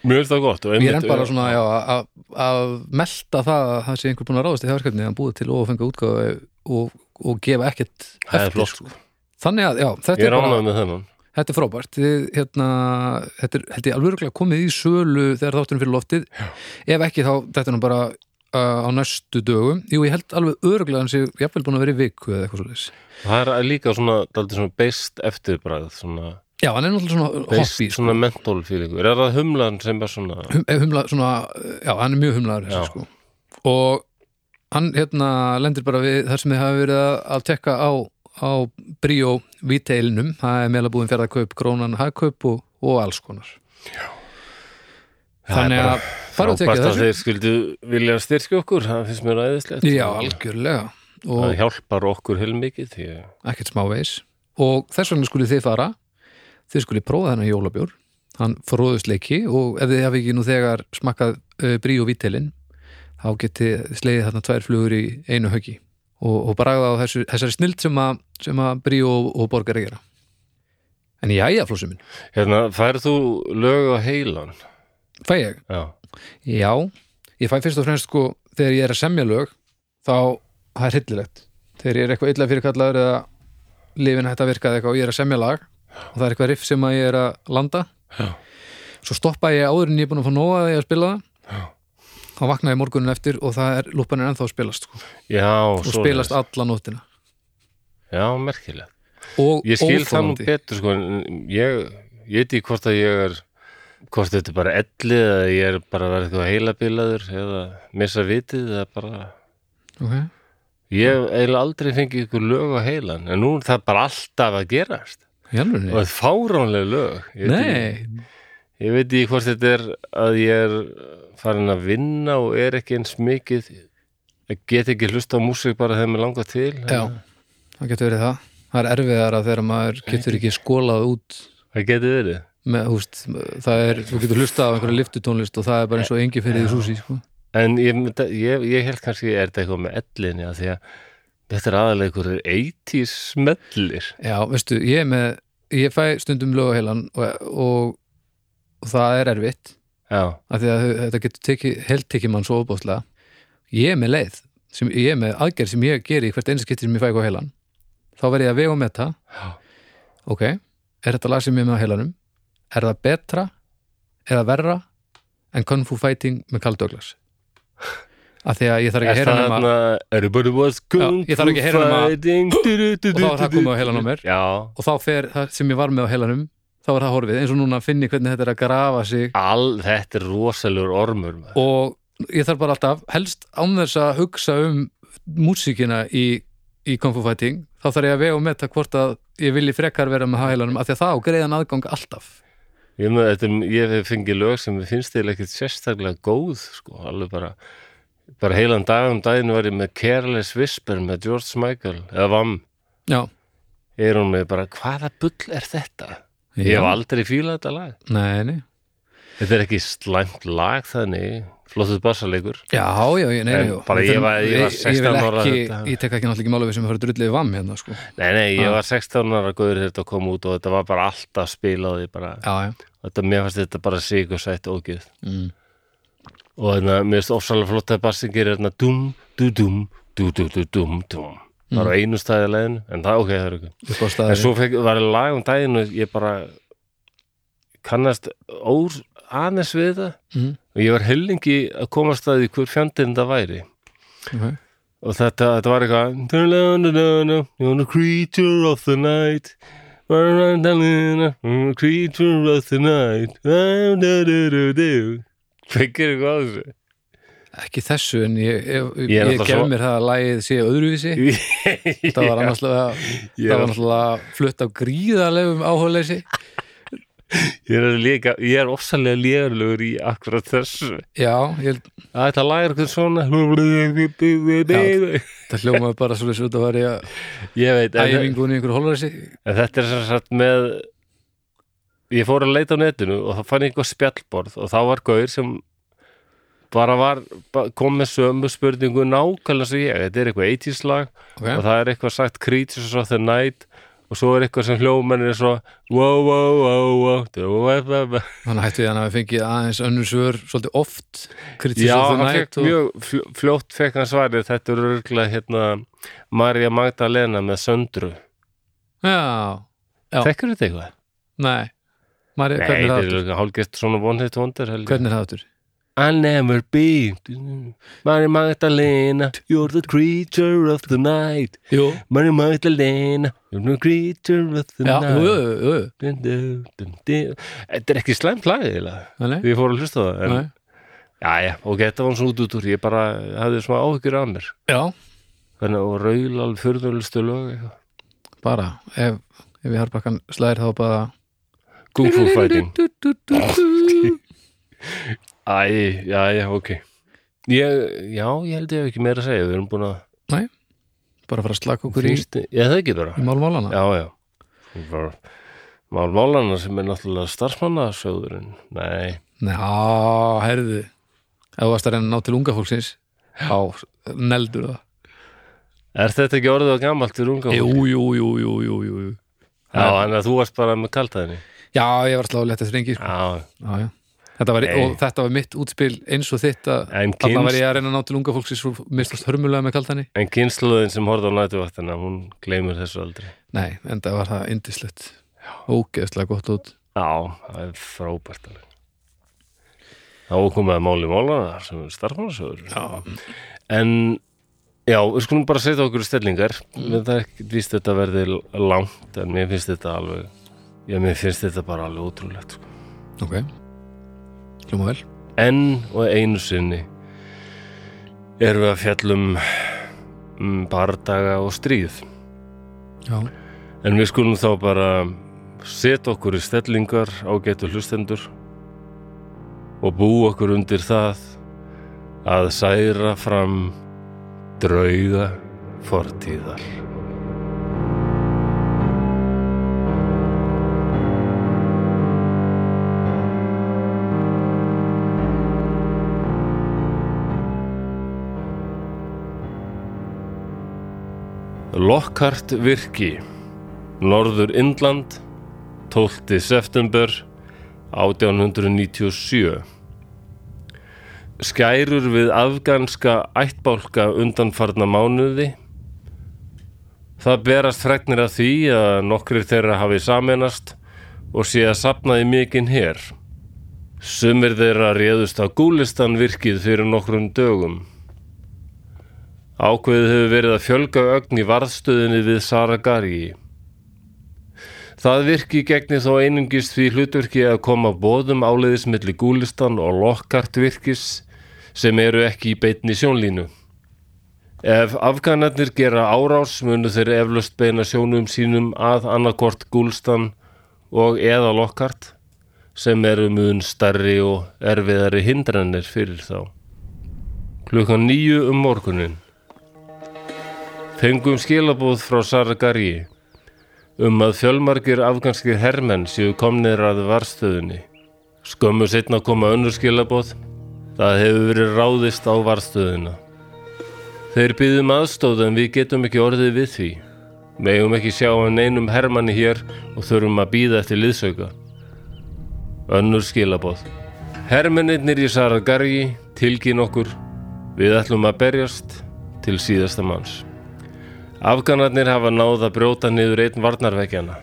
Speaker 1: Mjög er það gott. og
Speaker 2: ég er
Speaker 1: einmitt-
Speaker 2: enn bara svona já, að- að melta það að það sé einhver búin að ráðast í það verkefni að búið til ofenga útgáðu og, og gefa ekkert
Speaker 1: Það er
Speaker 2: eftir
Speaker 1: flott,
Speaker 2: sko.
Speaker 1: sko.
Speaker 2: þannig að já, þetta
Speaker 1: Ég
Speaker 2: er, bara,
Speaker 1: ránaði með þennan.
Speaker 2: þetta er frábært Þið, hérna, þetta er held ég alveg örugglega komið í sölu þegar þátturinn fyrir loftið já. ef ekki þá þetta er nú bara uh, á næstu dögum jú ég held alveg öruglega hans ég er búin að vera í viku eða eitthvað svo
Speaker 1: Það er líka svona, daldið svona beist eftirbræð, svona
Speaker 2: Já, hann er náttúrulega svona
Speaker 1: beist,
Speaker 2: hoppi
Speaker 1: svona mentól fílingur. Er það humlan sem er svona,
Speaker 2: hum, eh, humla, svona, Já, hann er mjög humlaður
Speaker 1: Já.
Speaker 2: þessi, sko. Og hann hérna lendir bara við þar sem þið hafa verið að- að tekka á á Brio Víteilnum, það er meðlabúðin fjörðarkaup, grónan hagkaup og, og alls konar
Speaker 1: Það er
Speaker 2: Þannig
Speaker 1: bara
Speaker 2: að fara að tekja
Speaker 1: Frábært að
Speaker 2: þessu
Speaker 1: þeir skildu vilja styrkja okkur, það finnst mér æðislegt. sko.
Speaker 2: Já, algjörlega og
Speaker 1: Það hjálpar okkur heilmikið því að
Speaker 2: ekkert smávegis og þess vegna skulle þið fara þið skulle prófa þennan jólabjór hann fróðusleiki og ef þið hafi ekki nú þegar smakkað uh, brí og vítelin þá geti slegið þarna tvær flugur í einu höggi og, og bragða á þessu, þessari snild sem að, sem að brí og, og borgar að gera en jæja flósum minn,
Speaker 1: Hérna, færð þú lög á heilan?
Speaker 2: fæ ég
Speaker 1: Já.
Speaker 2: já, ég fæ fyrst og fremst sko þegar ég er að semja lög þá það er hryllilegt þegar ég er eitthvað illa fyrirkallaður eða lifin hætt að virka eða eitthvað og ég er að semja lag og það er eitthvað riff sem að ég er að landa
Speaker 1: Já.
Speaker 2: svo stoppa ég áður en ég er búin að fá nóga þegar ég að spila það
Speaker 1: Já.
Speaker 2: þá vakna ég morgunin eftir og það er lúpan er ennþá að spilast sko,
Speaker 1: Já,
Speaker 2: og
Speaker 1: svoleiðis.
Speaker 2: spilast alla nóttina
Speaker 1: Já, merkilegt.
Speaker 2: og
Speaker 1: Ég skil það nú
Speaker 2: óþolandi.
Speaker 1: betur, sko, en ég, ég veit í hvort að ég er, hvort þetta er bara ellið eða ég er bara að vera eitthvað heilabilaður eða missa vitið eða bara...
Speaker 2: Ok.
Speaker 1: Ég hef eiginlega aldrei fengið ykkur lög á heilan, en nú er það bara alltaf að gerast.
Speaker 2: Í alvörunni?
Speaker 1: Og það er fáránlega lög. Ég veit ekki-
Speaker 2: Nei,
Speaker 1: Ég veit ekki hvort þetta er að ég er farin að vinna og er ekki eins mikið ég get ekki hlusta á músík bara þegar mér langar til
Speaker 2: já, það getur verið það það er erfiðara þegar maður getur ekki skólað út
Speaker 1: það geti verið
Speaker 2: með, húst, það er, þú getur hlustað á einhverja liftutónlist og það er bara eins og engi fyrir því súsi sko.
Speaker 1: en ég, myndi- ég, ég held kannski er þetta eitthvað með ellinni að því að þetta er aðalega ykkur 80s smellir
Speaker 2: já, veistu, ég er með ég fæ stundum lögaheilan og, og, og það er erfitt
Speaker 1: já,
Speaker 2: af því að þau- þetta getur tekið, held tekið mann svo opáslega ég er með leið, sem, ég er með aðgerð sem ég geri í hvert eins getur sem ég fæ eitthvað á heilan þá verð ég að vega og metta
Speaker 1: já,
Speaker 2: ok, er þetta lag sem ég er með á heilanum er það betra eða verra en Kung Fu Fighting með Carl Douglas af því að ég þarf ekki að
Speaker 1: er
Speaker 2: heyra
Speaker 1: það
Speaker 2: nema-
Speaker 1: hérna everybody was kung
Speaker 2: ég þarf ekki að heyra hana-
Speaker 1: fighting og
Speaker 2: og þá er það komið á heilann á mér.
Speaker 1: já,
Speaker 2: og þá fer það sem ég var með á heilanum þá er það horfið, eins og núna finn ég hvernig þetta er að grafa sig
Speaker 1: all þetta er rosalur ormur maður.
Speaker 2: og ég þarf bara alltaf helst án þess að hugsa um músíkina í, í Kung Fu Fighting þá þarf ég að vega og metta hvort að ég vilji frekar vera með á heilanum af því að þá greiðan aðgang alltaf
Speaker 1: Ég, með, þetta, er- ég hef fengið lög sem mér finnst þeir ekkert sérstaklega góð sko, alveg bara bara heilan dag um daginn var ég með Careless Whisper með George Michael eða Vam,
Speaker 2: já,
Speaker 1: er hún með bara hvaða bull er þetta? Ég
Speaker 2: Já.
Speaker 1: hef aldrei fílað þetta lag
Speaker 2: nei, nei
Speaker 1: Þetta er ekki slæmt lag þannig flottuð bassaleikur
Speaker 2: já, já, ég, nei, nei,
Speaker 1: En
Speaker 2: já.
Speaker 1: bara ég var- ég var 16 ára
Speaker 2: ég vil ekki,
Speaker 1: þetta.
Speaker 2: ég tek ekki náttúrulega ekki mála við sem að fara að drullið vam hérna, sko já,
Speaker 1: Nei, nei, ég
Speaker 2: Ah.
Speaker 1: var 16 ára góður þegar þetta kom út og þetta var bara alltaf spilaði bara,
Speaker 2: já,
Speaker 1: þetta, mér fannst þetta bara sigur sætt ógjöð
Speaker 2: mm.
Speaker 1: og þannig að mér finnst ofsalega flott að bassin gerir þarna dum, du dum, du du du dum, dum það
Speaker 2: Mm.
Speaker 1: er á einu staði að leiðinu, en það ok, það er ok
Speaker 2: ég fór
Speaker 1: en
Speaker 2: staðar
Speaker 1: svo fekk, var lag um daginn og ég bara kannast ór aðeins við þetta
Speaker 2: Mhm.
Speaker 1: og ég var hellingi að komast að því hver fjandinn það væri
Speaker 2: Ok.
Speaker 1: og þetta, þetta var eitthvað "Dun, dun, dun, dun, dun, You're a creature of the night Dun, dun, dun, dun, dun, You're a creature of the night Dun, dun, dun, dun, dun. Fekir eitthvað að þessu
Speaker 2: ekki þessu en ég, ég, ég,
Speaker 1: Ég
Speaker 2: ég
Speaker 1: er náttúrulega
Speaker 2: gef
Speaker 1: svo-
Speaker 2: mér það að lagið sé öðruvísi það var annars það
Speaker 1: Ég er-
Speaker 2: var náttúrulega flutt af gríðarlegum áhugaleysi
Speaker 1: Ég er, líka, ég er ofsalega léðurlegur í akkurat þessu.
Speaker 2: já, ég,
Speaker 1: Að þetta lagar eitthvað svona.
Speaker 2: það hljómaði bara svo þessu út að vera
Speaker 1: Ég veit,
Speaker 2: í
Speaker 1: en,
Speaker 2: æfingun í einhverju hólversi
Speaker 1: en þetta er sem sagt með... Ég fór að leita á netinu og þá fann ég eitthvað spjallborð og þá var gaur sem bara var, ba- kom með sömu spurningu nákvæmlega svo ég. Þetta er eitthvað 80s lag og
Speaker 2: okay.
Speaker 1: það er eitthvað sagt Creatures of the Night og svo er eitthvað sem hljómennir er svo wow, wow, wow, wow, wow, wow, wow.
Speaker 2: þannig hættu ég hann að við fengið aðeins önnur svör svolítið oft kritis
Speaker 1: Já,
Speaker 2: of the
Speaker 1: hann fekk
Speaker 2: night og,
Speaker 1: mjög fl- fljótt fekk hann svarið þetta eru örgulega hérna Marja Magdalena með Söndru
Speaker 2: já, Já.
Speaker 1: Þekkur þetta eitthvað?
Speaker 2: nei Mari,
Speaker 1: Nei,
Speaker 2: hvernig, er
Speaker 1: þetta
Speaker 2: það
Speaker 1: er
Speaker 2: aftur?
Speaker 1: líka hálfgist svona vonheit vondur
Speaker 2: hvernig er það aftur?
Speaker 1: I'll never be Marja Magdalena You're the creature of the night
Speaker 2: Jú,
Speaker 1: Marja Magdalena You're the creature of the
Speaker 2: já, jú,
Speaker 1: night
Speaker 2: jú, jú, jú.
Speaker 1: Dun, dun, dun, dun. Þetta er ekki slæmt lagið eiginlega.
Speaker 2: Nei, nei.
Speaker 1: Við fórum að hlusta á það en,
Speaker 2: Nei.
Speaker 1: Jæja, ok, þetta var svona út út úr Ég bara hafði svona áhyggjur af mér
Speaker 2: já,
Speaker 1: Þannig að raula alveg furðulegustu lög eitthvað.
Speaker 2: bara ef, ef við harpakkan slæðir þá bara
Speaker 1: Kung Fu Fighting Æ, já, já, ok ég, Já, ég held ég hef ekki meira að segja Við erum búin að
Speaker 2: bara fara að slaka okkur í,
Speaker 1: Þýst, ég það ekki bara
Speaker 2: í málmálana
Speaker 1: Já, já Við bara- Mál málana sem er náttúrulega starfsmannasjóðurinn Nei,
Speaker 2: Ná, herðu ef þú varst að reyna að ná til unga fólksins á, neldur það
Speaker 1: er þetta ekki orðið að gamalt fyrir unga?
Speaker 2: jú,
Speaker 1: fólk?
Speaker 2: jú, jú, jú, jú, jú, jú
Speaker 1: Já, en að þú varst bara með kaltaðinni
Speaker 2: Já, ég var sláðilegt eftir engi sko.
Speaker 1: Já,
Speaker 2: Já, já. þetta var,
Speaker 1: Nei.
Speaker 2: og þetta var mitt útspil eins og þitt að
Speaker 1: En
Speaker 2: þarna
Speaker 1: kynst-
Speaker 2: var ég að reyna að ná til unga fólksins og mistast hörmulega með kaltani
Speaker 1: en kynnslóðin sem horfði á nætuvaktina Hún gleymur þessu aldrei
Speaker 2: Nei, en það var það indislegt Ógeðslega gott út
Speaker 1: Já, það er frábært alveg Þá er komið að máli málana sem er starfmannasjóður
Speaker 2: Já.
Speaker 1: En já, við skulum bara setja okkur í stellingar mm. það er ekki víst þetta verði l- langt en mér finnst þetta alveg já, mér finnst þetta bara alveg ótrúlegt sko.
Speaker 2: Ok, hljóma vel
Speaker 1: Enn og einu sinni erum við að fjallum um bardaga og stríð
Speaker 2: Já,
Speaker 1: En við skulum þá bara setja okkur í stellingar á getur hlustendur og búa okkur undir það að særa fram drauga fortíðar. Lockhart virki Norður Indland 12. september 1897 Skærur við afganska ættbálka undanfarna mánuði Það berast fregnir af því að nokkrir þeirra hafi sameinast og sé að sapnaði mikinn hér Sumir þeirra réðust á gúlistan virkið fyrir nokkrum dögum Ákveðið hefur verið að fjölga ögn í varðstöðinni við Saragari. Það virki gegni þó einungis því hlutverki að koma bóðum áleiðis milli gúlistan og lokkart virkis sem eru ekki í beitni sjónlínu. Ef afganarnir gera árás munu þeir eflaust beina sjónum sínum að annarkort gúlistan og eða lokkart sem eru mun starri og erfiðari hindranir fyrir þá. Klukkan nýju um morgunin. Fengum skilabóð frá Saragari um að fjölmargir afganskir hermenn séu komnir að varstöðunni. Skömmu setna koma önnur skilabóð. Það hefur verið ráðist á varstöðuna. Þeir býðum aðstóð en við getum ekki orðið við því. Megum ekki sjá hann einum hermanni hér og þurfum að býða eftir liðsauka. Önnur skilabóð. Hermennir í Saragari tilgin okkur. Við ætlum að berjast til síðasta manns. Afganarnir hafa náð að brjóta niður einn varnarvekkjana.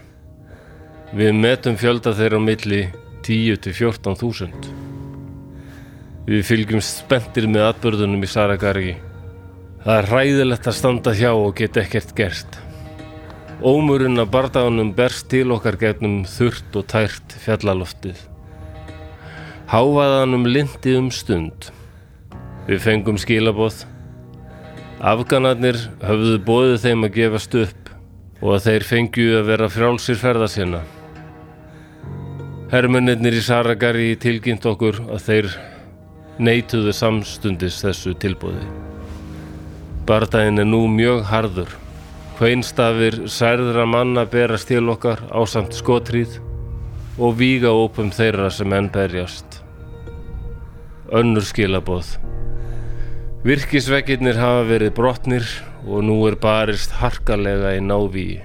Speaker 1: Við metum fjölda þeirra á milli 10-14.000. Við fylgjum spenntir með atbörðunum í Saragari. Það er hræðilegt að standa hjá og geta ekkert gerst. Ómurinn af bardagunum berst til okkar gegnum þurrt og tært fjallaloftið. Hávaðanum lindi um stund. Við fengum skilaboð. Afganarnir höfðu bóðið þeim að gefast upp og að þeir fengju að vera frjálsir ferða sinna. Hermennirnir í Saragari tilkynnt okkur að þeir neituðu samstundis þessu tilbúði. Bardaginn er nú mjög harður. Kveinstafir særðra manna berast til okkar ásamt skotrýð og víga ópum þeirra sem enn berjast. Önnur skilabóð. Virkisveggirnir hafa verið brotnir og nú er barist harkalega í návíi.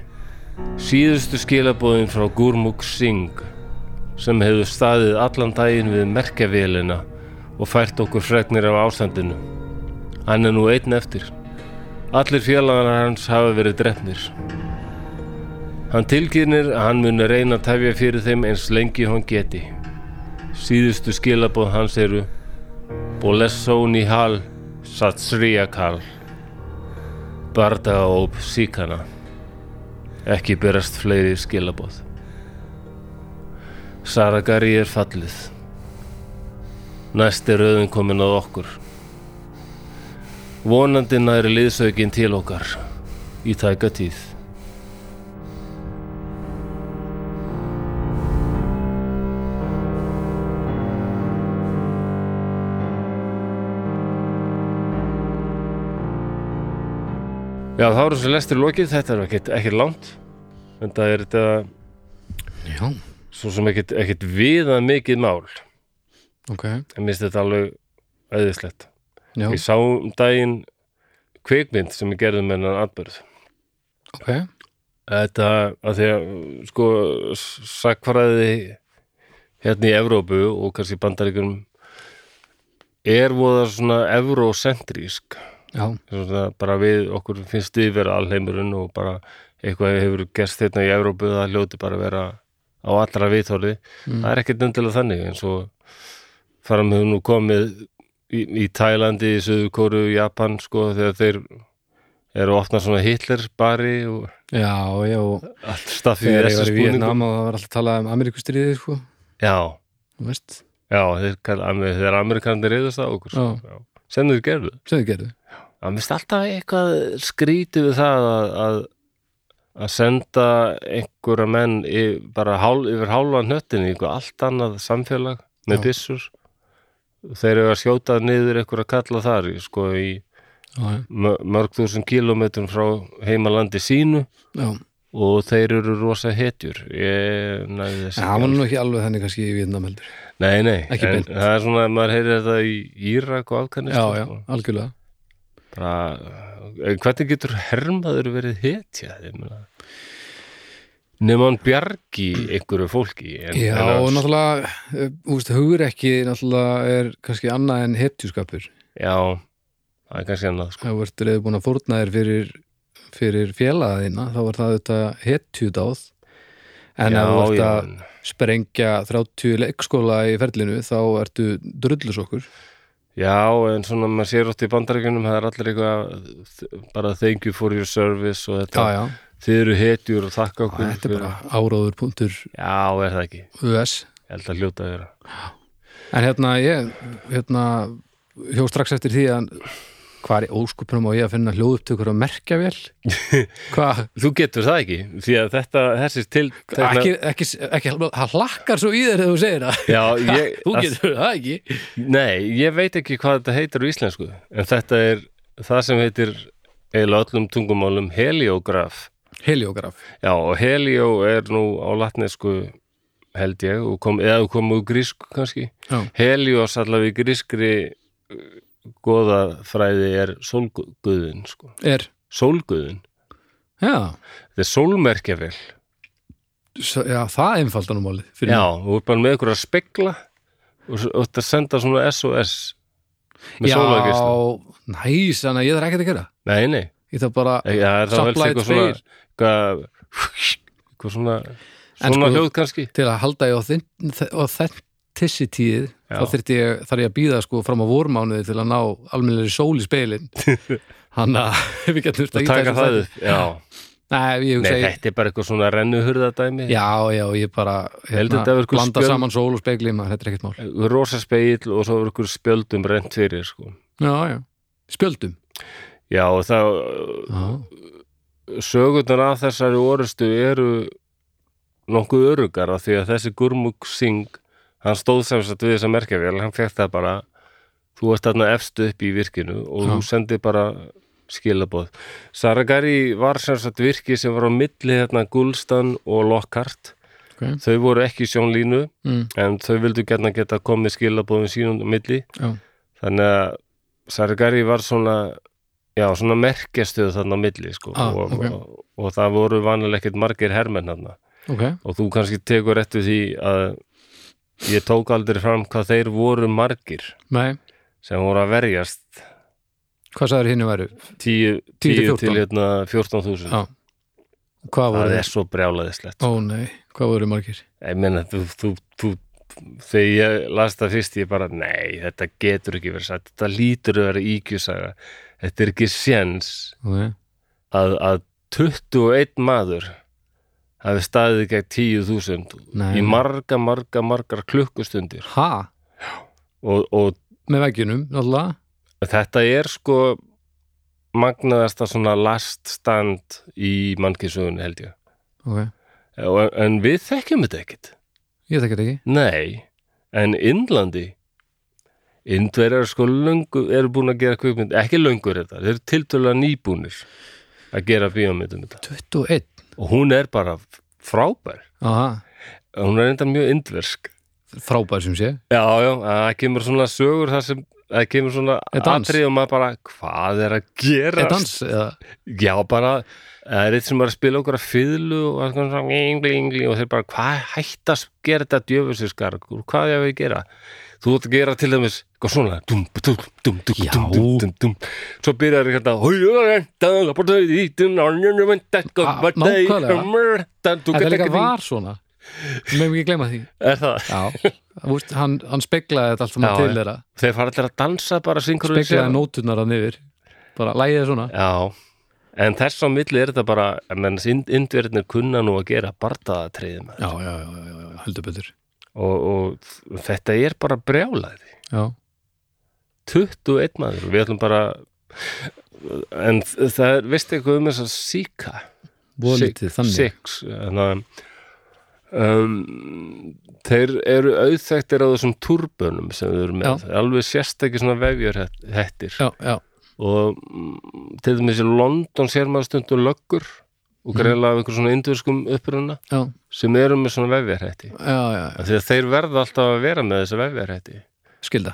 Speaker 1: Síðustu skilabóðin frá Gurmuk Singh sem hefur staðið allan daginn við merkjavélina og fært okkur fregnir af ástandinu. Hann er nú einn eftir. Allir félagar hans hafa verið drefnir. Hann tilkynir að hann muni reyna að tefja fyrir þeim eins lengi hann geti. Síðustu skilabóð hans eru Bolesso Nihal Satsriyakal Bardaóp Síkana Ekki berast fleiri skilabóð Saragari er fallið Næst er rauðin komin að okkur Vonandi næri liðsaukinn til okkar Í tæka tíð Já, þá eru þessi lestur lokið, þetta er ekkit, ekkit langt en það er þetta
Speaker 2: Já,
Speaker 1: svo sem ekkit, ekkit viða mikið mál en
Speaker 2: ok
Speaker 1: minnst þetta alveg æðislegt
Speaker 2: Já,
Speaker 1: Ég sá um daginn kvikmynd sem ég gerði með hennan atbörð
Speaker 2: ok
Speaker 1: Þetta, að því að sko sakfræði hérna í Evrópu og kannski bandaríkjum er voða svona evrósentrísk
Speaker 2: Já,
Speaker 1: svona, bara við okkur finnst við vera alheimurinn og bara eitthvað hefur gerst hérna í Evrópu það hljóti bara að vera á allra viðhorði
Speaker 2: Mm.
Speaker 1: það er ekkert endilega þannig eins og farum hefur nú komið í, í Tælandi, í Suðurkóru, Japan sko þegar þeir eru að opna svona Hitler bari og
Speaker 2: já, já og
Speaker 1: allt staffið í
Speaker 2: Þegar ég
Speaker 1: þessu
Speaker 2: var í
Speaker 1: spúningum
Speaker 2: Vietnam og það var alltaf að tala um Ameríkustriði sko,
Speaker 1: Já,
Speaker 2: þú veist
Speaker 1: já, þeir, kall- Amer- þeir Amerikanir reyðast á okkur sko. já. sem þeir gerðu
Speaker 2: sem þið gerðu
Speaker 1: Það minnst alltaf eitthvað skrítið við það að, að, að senda einhverja menn í, bara hál, yfir hálfan hnöttin í einhver allt annað samfélag með
Speaker 2: Já.
Speaker 1: byssur. Þeir eru að skjóta niður einhverja kalla þar í, sko, í
Speaker 2: Já,
Speaker 1: mö- mörg þúsund kílómetrum frá heimalandi sínu
Speaker 2: já,
Speaker 1: og þeir eru rosa hetjur. Ég næði
Speaker 2: Já,
Speaker 1: þessi.
Speaker 2: það var nú ekki alveg þannig kannski í Vietnam heldur
Speaker 1: Nei, nei.
Speaker 2: Ekki
Speaker 1: en
Speaker 2: beint.
Speaker 1: Það er svona að maður heyrir þetta í Írak og
Speaker 2: Já,
Speaker 1: Afganistan.
Speaker 2: já,
Speaker 1: sko.
Speaker 2: algjörlega
Speaker 1: bara, en hvernig getur hermaður verið hetja ég meina? nema hann bjargi einhverju fólki en,
Speaker 2: Já,
Speaker 1: en
Speaker 2: og
Speaker 1: að-
Speaker 2: náttúrulega, eh, þú veist, hugur ekki náttúrulega er kannski annað en hetjuskapur
Speaker 1: já, það er kannski annað sko.
Speaker 2: Það vart reyðu búin að fórna þér fyrir, fyrir félagaðina þá var það auðvitað hetjudáð en
Speaker 1: já,
Speaker 2: ef þú vart
Speaker 1: já,
Speaker 2: að
Speaker 1: en-
Speaker 2: sprengja 30 leikskóla í ferlinu þá ertu drullusokkur
Speaker 1: já, en svona maður sér ótt í bandaríkunum það er allir eitthvað bara thank you for your service og
Speaker 2: Já,
Speaker 1: þetta,
Speaker 2: já,
Speaker 1: þið eru hetjur og þakka okkur
Speaker 2: þetta er
Speaker 1: fyrir-
Speaker 2: bara áróður.us
Speaker 1: já, er það ekki, ég held að hljóta að vera
Speaker 2: En hérna ég hérna, hjó strax eftir því að hvað er í óskupunum og ég að finna hljóðuptökur og merkja vel hvað,
Speaker 1: þú getur það ekki, því að þetta þessi til
Speaker 2: ekki, ekki, ekki hann hlakkar svo í þér þegar þú segir það
Speaker 1: já, ég,
Speaker 2: þú getur það ekki
Speaker 1: Nei, ég veit ekki hvað þetta heitir á íslensku en þetta er það sem heitir eiginlega á öllum tungumálum heliograf.
Speaker 2: heliograf,
Speaker 1: Já, og helio er nú á latnesku held ég, og kom, eða þú kom úr grísku kannski.
Speaker 2: Já.
Speaker 1: Helios allavega í grískri uh, goðafræði er sólguðin, sko.
Speaker 2: er
Speaker 1: Sólguðin.
Speaker 2: já,
Speaker 1: Þetta er sólmerkjavél.
Speaker 2: svo, já það einfaldan um málið fyrir
Speaker 1: Já,
Speaker 2: mig.
Speaker 1: og þú er bara með ykkur að spegla og svo- og þetta senda svona SOS með
Speaker 2: já,
Speaker 1: sólagisla.
Speaker 2: næs, þannig að ég þarf ekkert að gera
Speaker 1: Nei, nei.
Speaker 2: ég þarf bara,
Speaker 1: Ekki, það er þá helst
Speaker 2: Supply
Speaker 1: eitthvað svona
Speaker 2: tveir.
Speaker 1: eitthvað eitthvað svona
Speaker 2: En
Speaker 1: svona
Speaker 2: sko-
Speaker 1: hljóð kannski
Speaker 2: til að halda í authentic- authenticity þá þyrfti ég, þarf ég að býða sko fram á vormánuði til að ná almennir sól í speilin hann að við getum þurft að
Speaker 1: og
Speaker 2: ýta
Speaker 1: taka
Speaker 2: þessu
Speaker 1: það
Speaker 2: þætti.
Speaker 1: upp já.
Speaker 2: Nei, ég
Speaker 1: Nei,
Speaker 2: hugsa ég
Speaker 1: þetta er bara eitthvað svona rennuhurðadæmi
Speaker 2: Já, já, ég bara hérna,
Speaker 1: Heldur þetta að vera eitthvað
Speaker 2: blanda
Speaker 1: spjöld?
Speaker 2: saman sól og speigli maður, þetta er ekkert mál
Speaker 1: rosa spegil og svo er ykkur spjöldum rent fyrir sko.
Speaker 2: Já, já, spjöldum
Speaker 1: já og það
Speaker 2: Já,
Speaker 1: sögurnar af þessari orustu eru nokkuð örugar af því að þessi Gurmuk Singh hann stóð sem sagt við þessa merkjavél hann fekk það bara þú ert þarna efst upp í virkinu og
Speaker 2: Já.
Speaker 1: þú sendir bara skilabóð Saragari var sem sagt virki sem var á milli hérna Gulstan og Lockhart
Speaker 2: ok
Speaker 1: þau voru ekki í sjónlínu
Speaker 2: mm,
Speaker 1: en þau vildu gætna geta komið skilabóðum sínum á milli
Speaker 2: Já,
Speaker 1: þannig að Sargari var svona já, svona merkjastuð þarna á milli sko,
Speaker 2: Ah,
Speaker 1: og,
Speaker 2: ok.
Speaker 1: og, og það voru vanalega ekkert margir hermenn þarna
Speaker 2: ok,
Speaker 1: og þú kannski tekur eftir því að ég tók aldrei fram hvað þeir voru margir
Speaker 2: nei,
Speaker 1: sem voru að verjast
Speaker 2: hvað sagður hinni væru?
Speaker 1: 10,
Speaker 2: 10 til Ah,
Speaker 1: 10 til
Speaker 2: 14.
Speaker 1: hérna,
Speaker 2: Já.
Speaker 1: 14.000
Speaker 2: Hvað
Speaker 1: það
Speaker 2: voru?
Speaker 1: er svo sko. brjálaðislegt
Speaker 2: Ó nei, hvað voru margir?
Speaker 1: ég meina þú, þú, þú þegar ég las það fyrst ég bara nei, þetta getur ekki verið satt þetta lítur að vera íkjusaga þetta er ekki séns
Speaker 2: Okay.
Speaker 1: að, að 21 maður hafi staðið gegn 10.000
Speaker 2: Nei.
Speaker 1: í marga, marga, margar klukkustundir
Speaker 2: Ha?
Speaker 1: og, og
Speaker 2: Með veggjunum, náttúrulega
Speaker 1: þetta er sko magnaðasta svona last stand í mannkisugunni held ég
Speaker 2: Ok,
Speaker 1: en, en við þekkjum þetta ekkit
Speaker 2: ég þekki þetta ekki
Speaker 1: Nei, en Indlandi Indverjar sko löngu, eru búin að gera kvikmynd, ekki löngur þetta, þeir eru tiltölulega nýbúnir að gera bíómynd um þetta
Speaker 2: 21
Speaker 1: og hún er bara frábær
Speaker 2: Aha,
Speaker 1: hún er enda mjög indversk
Speaker 2: frábær sem sé
Speaker 1: já, já, það kemur svona sögur þar sem það kemur svona
Speaker 2: Er dans?
Speaker 1: atrið og maður bara, hvað er að gera
Speaker 2: Er dans? Eða,
Speaker 1: já, bara, það er eitt sem er að spila okkur að fiðlu og alls konar svona engli, engli, og þeir bara, hvað hætt að gera þetta djöfusiskar, hvað er að við gera þú ert að gera til dæmis eitthvað svona, dum, dum, dum, dum,
Speaker 2: Já.
Speaker 1: dum, dum, dum, dum. svo byrjar þetta
Speaker 2: Ah, nákvæmlega.
Speaker 1: þetta
Speaker 2: þetta líka var svona Mögum ekki gleyma því
Speaker 1: er það
Speaker 2: Já, Vist, hann, hann speklaði þetta alltaf
Speaker 1: Já,
Speaker 2: maður
Speaker 1: já.
Speaker 2: til þeirra
Speaker 1: Þeir fara allir að dansa bara synkronisera
Speaker 2: Speklaði nóturnar hann yfir Bara lægið svona
Speaker 1: Já, en þess á milli er þetta bara menn indverðnir kunna nú að gera bardaðatriðum
Speaker 2: Já, já, já, já, já, já, heldur betur
Speaker 1: og, og þetta er bara brjálæði
Speaker 2: Já,
Speaker 1: 21 maður, við ætlum bara en það er veistu eitthvað um þess að síka
Speaker 2: voða lítið þannig
Speaker 1: six þannig að hérna, um, þeir eru auðþæktir á þessum turbunum sem þeir eru með, alveg sérstakir svona vefjur hettir
Speaker 2: Já, já,
Speaker 1: og mm, til dæmis í London sér maður stundum löggur
Speaker 2: Mhm.
Speaker 1: og greiðlega af einhver svona indverskum uppruna
Speaker 2: já,
Speaker 1: sem eru með svona vefjarhætti
Speaker 2: já, já, já.
Speaker 1: af því að þeir verða alltaf að vera með þessi vefjarhætti
Speaker 2: skilda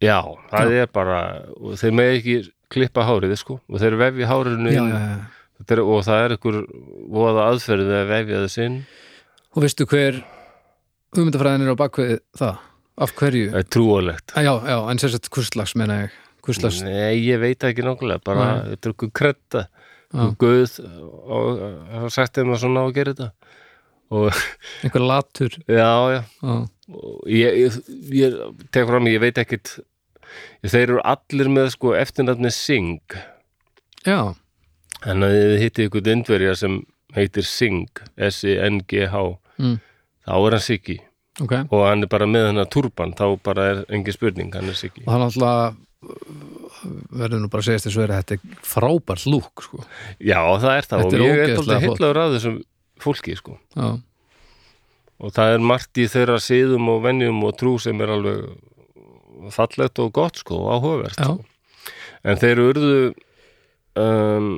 Speaker 1: já, það er bara og þeir með ekki klippa hárið sko, og þeir vefja hárinu
Speaker 2: já,
Speaker 1: inn,
Speaker 2: já, já.
Speaker 1: Þetta er, og það er einhver voða aðferðið að vefja þess inn
Speaker 2: Og veistu hver hugmyndafræðin er á bakvið það? Af hverju?
Speaker 1: það er trúalegt
Speaker 2: Já, já, en sér sett kurslags menna ég Kurslags,
Speaker 1: Nei, ég veit það ekki nákvæmlega, bara þetta er einhver kretta og guð og það sagt þeim að svona á að gera þetta og
Speaker 2: einhver latur
Speaker 1: já, já
Speaker 2: Já,
Speaker 1: Og ég, ég, ég tek fram, ég veit ekkit þeir eru allir með sko eftirnafni Singh
Speaker 2: já,
Speaker 1: en að þið hitti ykkur indverja sem heitir Singh S-I-N-G-H
Speaker 2: Mm.
Speaker 1: þá er hann Siggi
Speaker 2: ok Og
Speaker 1: og hann er bara með hennar turban þá bara er engin spurning, hann er Siggi
Speaker 2: hann alltaf uh, verður nú bara að segja þess að vera þetta er frábært lúk sko.
Speaker 1: já, það er það
Speaker 2: Þetta
Speaker 1: og
Speaker 2: er
Speaker 1: ég er
Speaker 2: ógeðslega
Speaker 1: alltaf
Speaker 2: flott.
Speaker 1: hellaður að þessum fólki sko
Speaker 2: Já,
Speaker 1: og það er margt í þeirra siðum og venjum og trú sem er alveg fallegt og gott sko, og áhugavert
Speaker 2: já,
Speaker 1: sko. En þeir urðu um,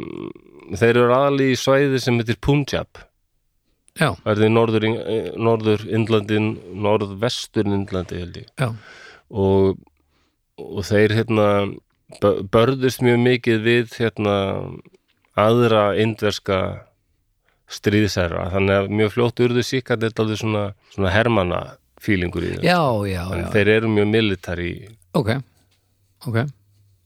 Speaker 1: þeir eru aðli í svæði sem heitir Punjab
Speaker 2: já,
Speaker 1: það er því norður, eh, norður Indlandin, norðvestur Indlandi held ég
Speaker 2: já,
Speaker 1: og, og þeir hérna bö- börðust mjög mikið við hérna aðra indverska stríðsæra þannig að mjög fljótt urðu síkart þetta alveg svona, svona hermana fílingur í þeim
Speaker 2: já, já,
Speaker 1: En
Speaker 2: já.
Speaker 1: þeir eru mjög militari
Speaker 2: Ok, ok,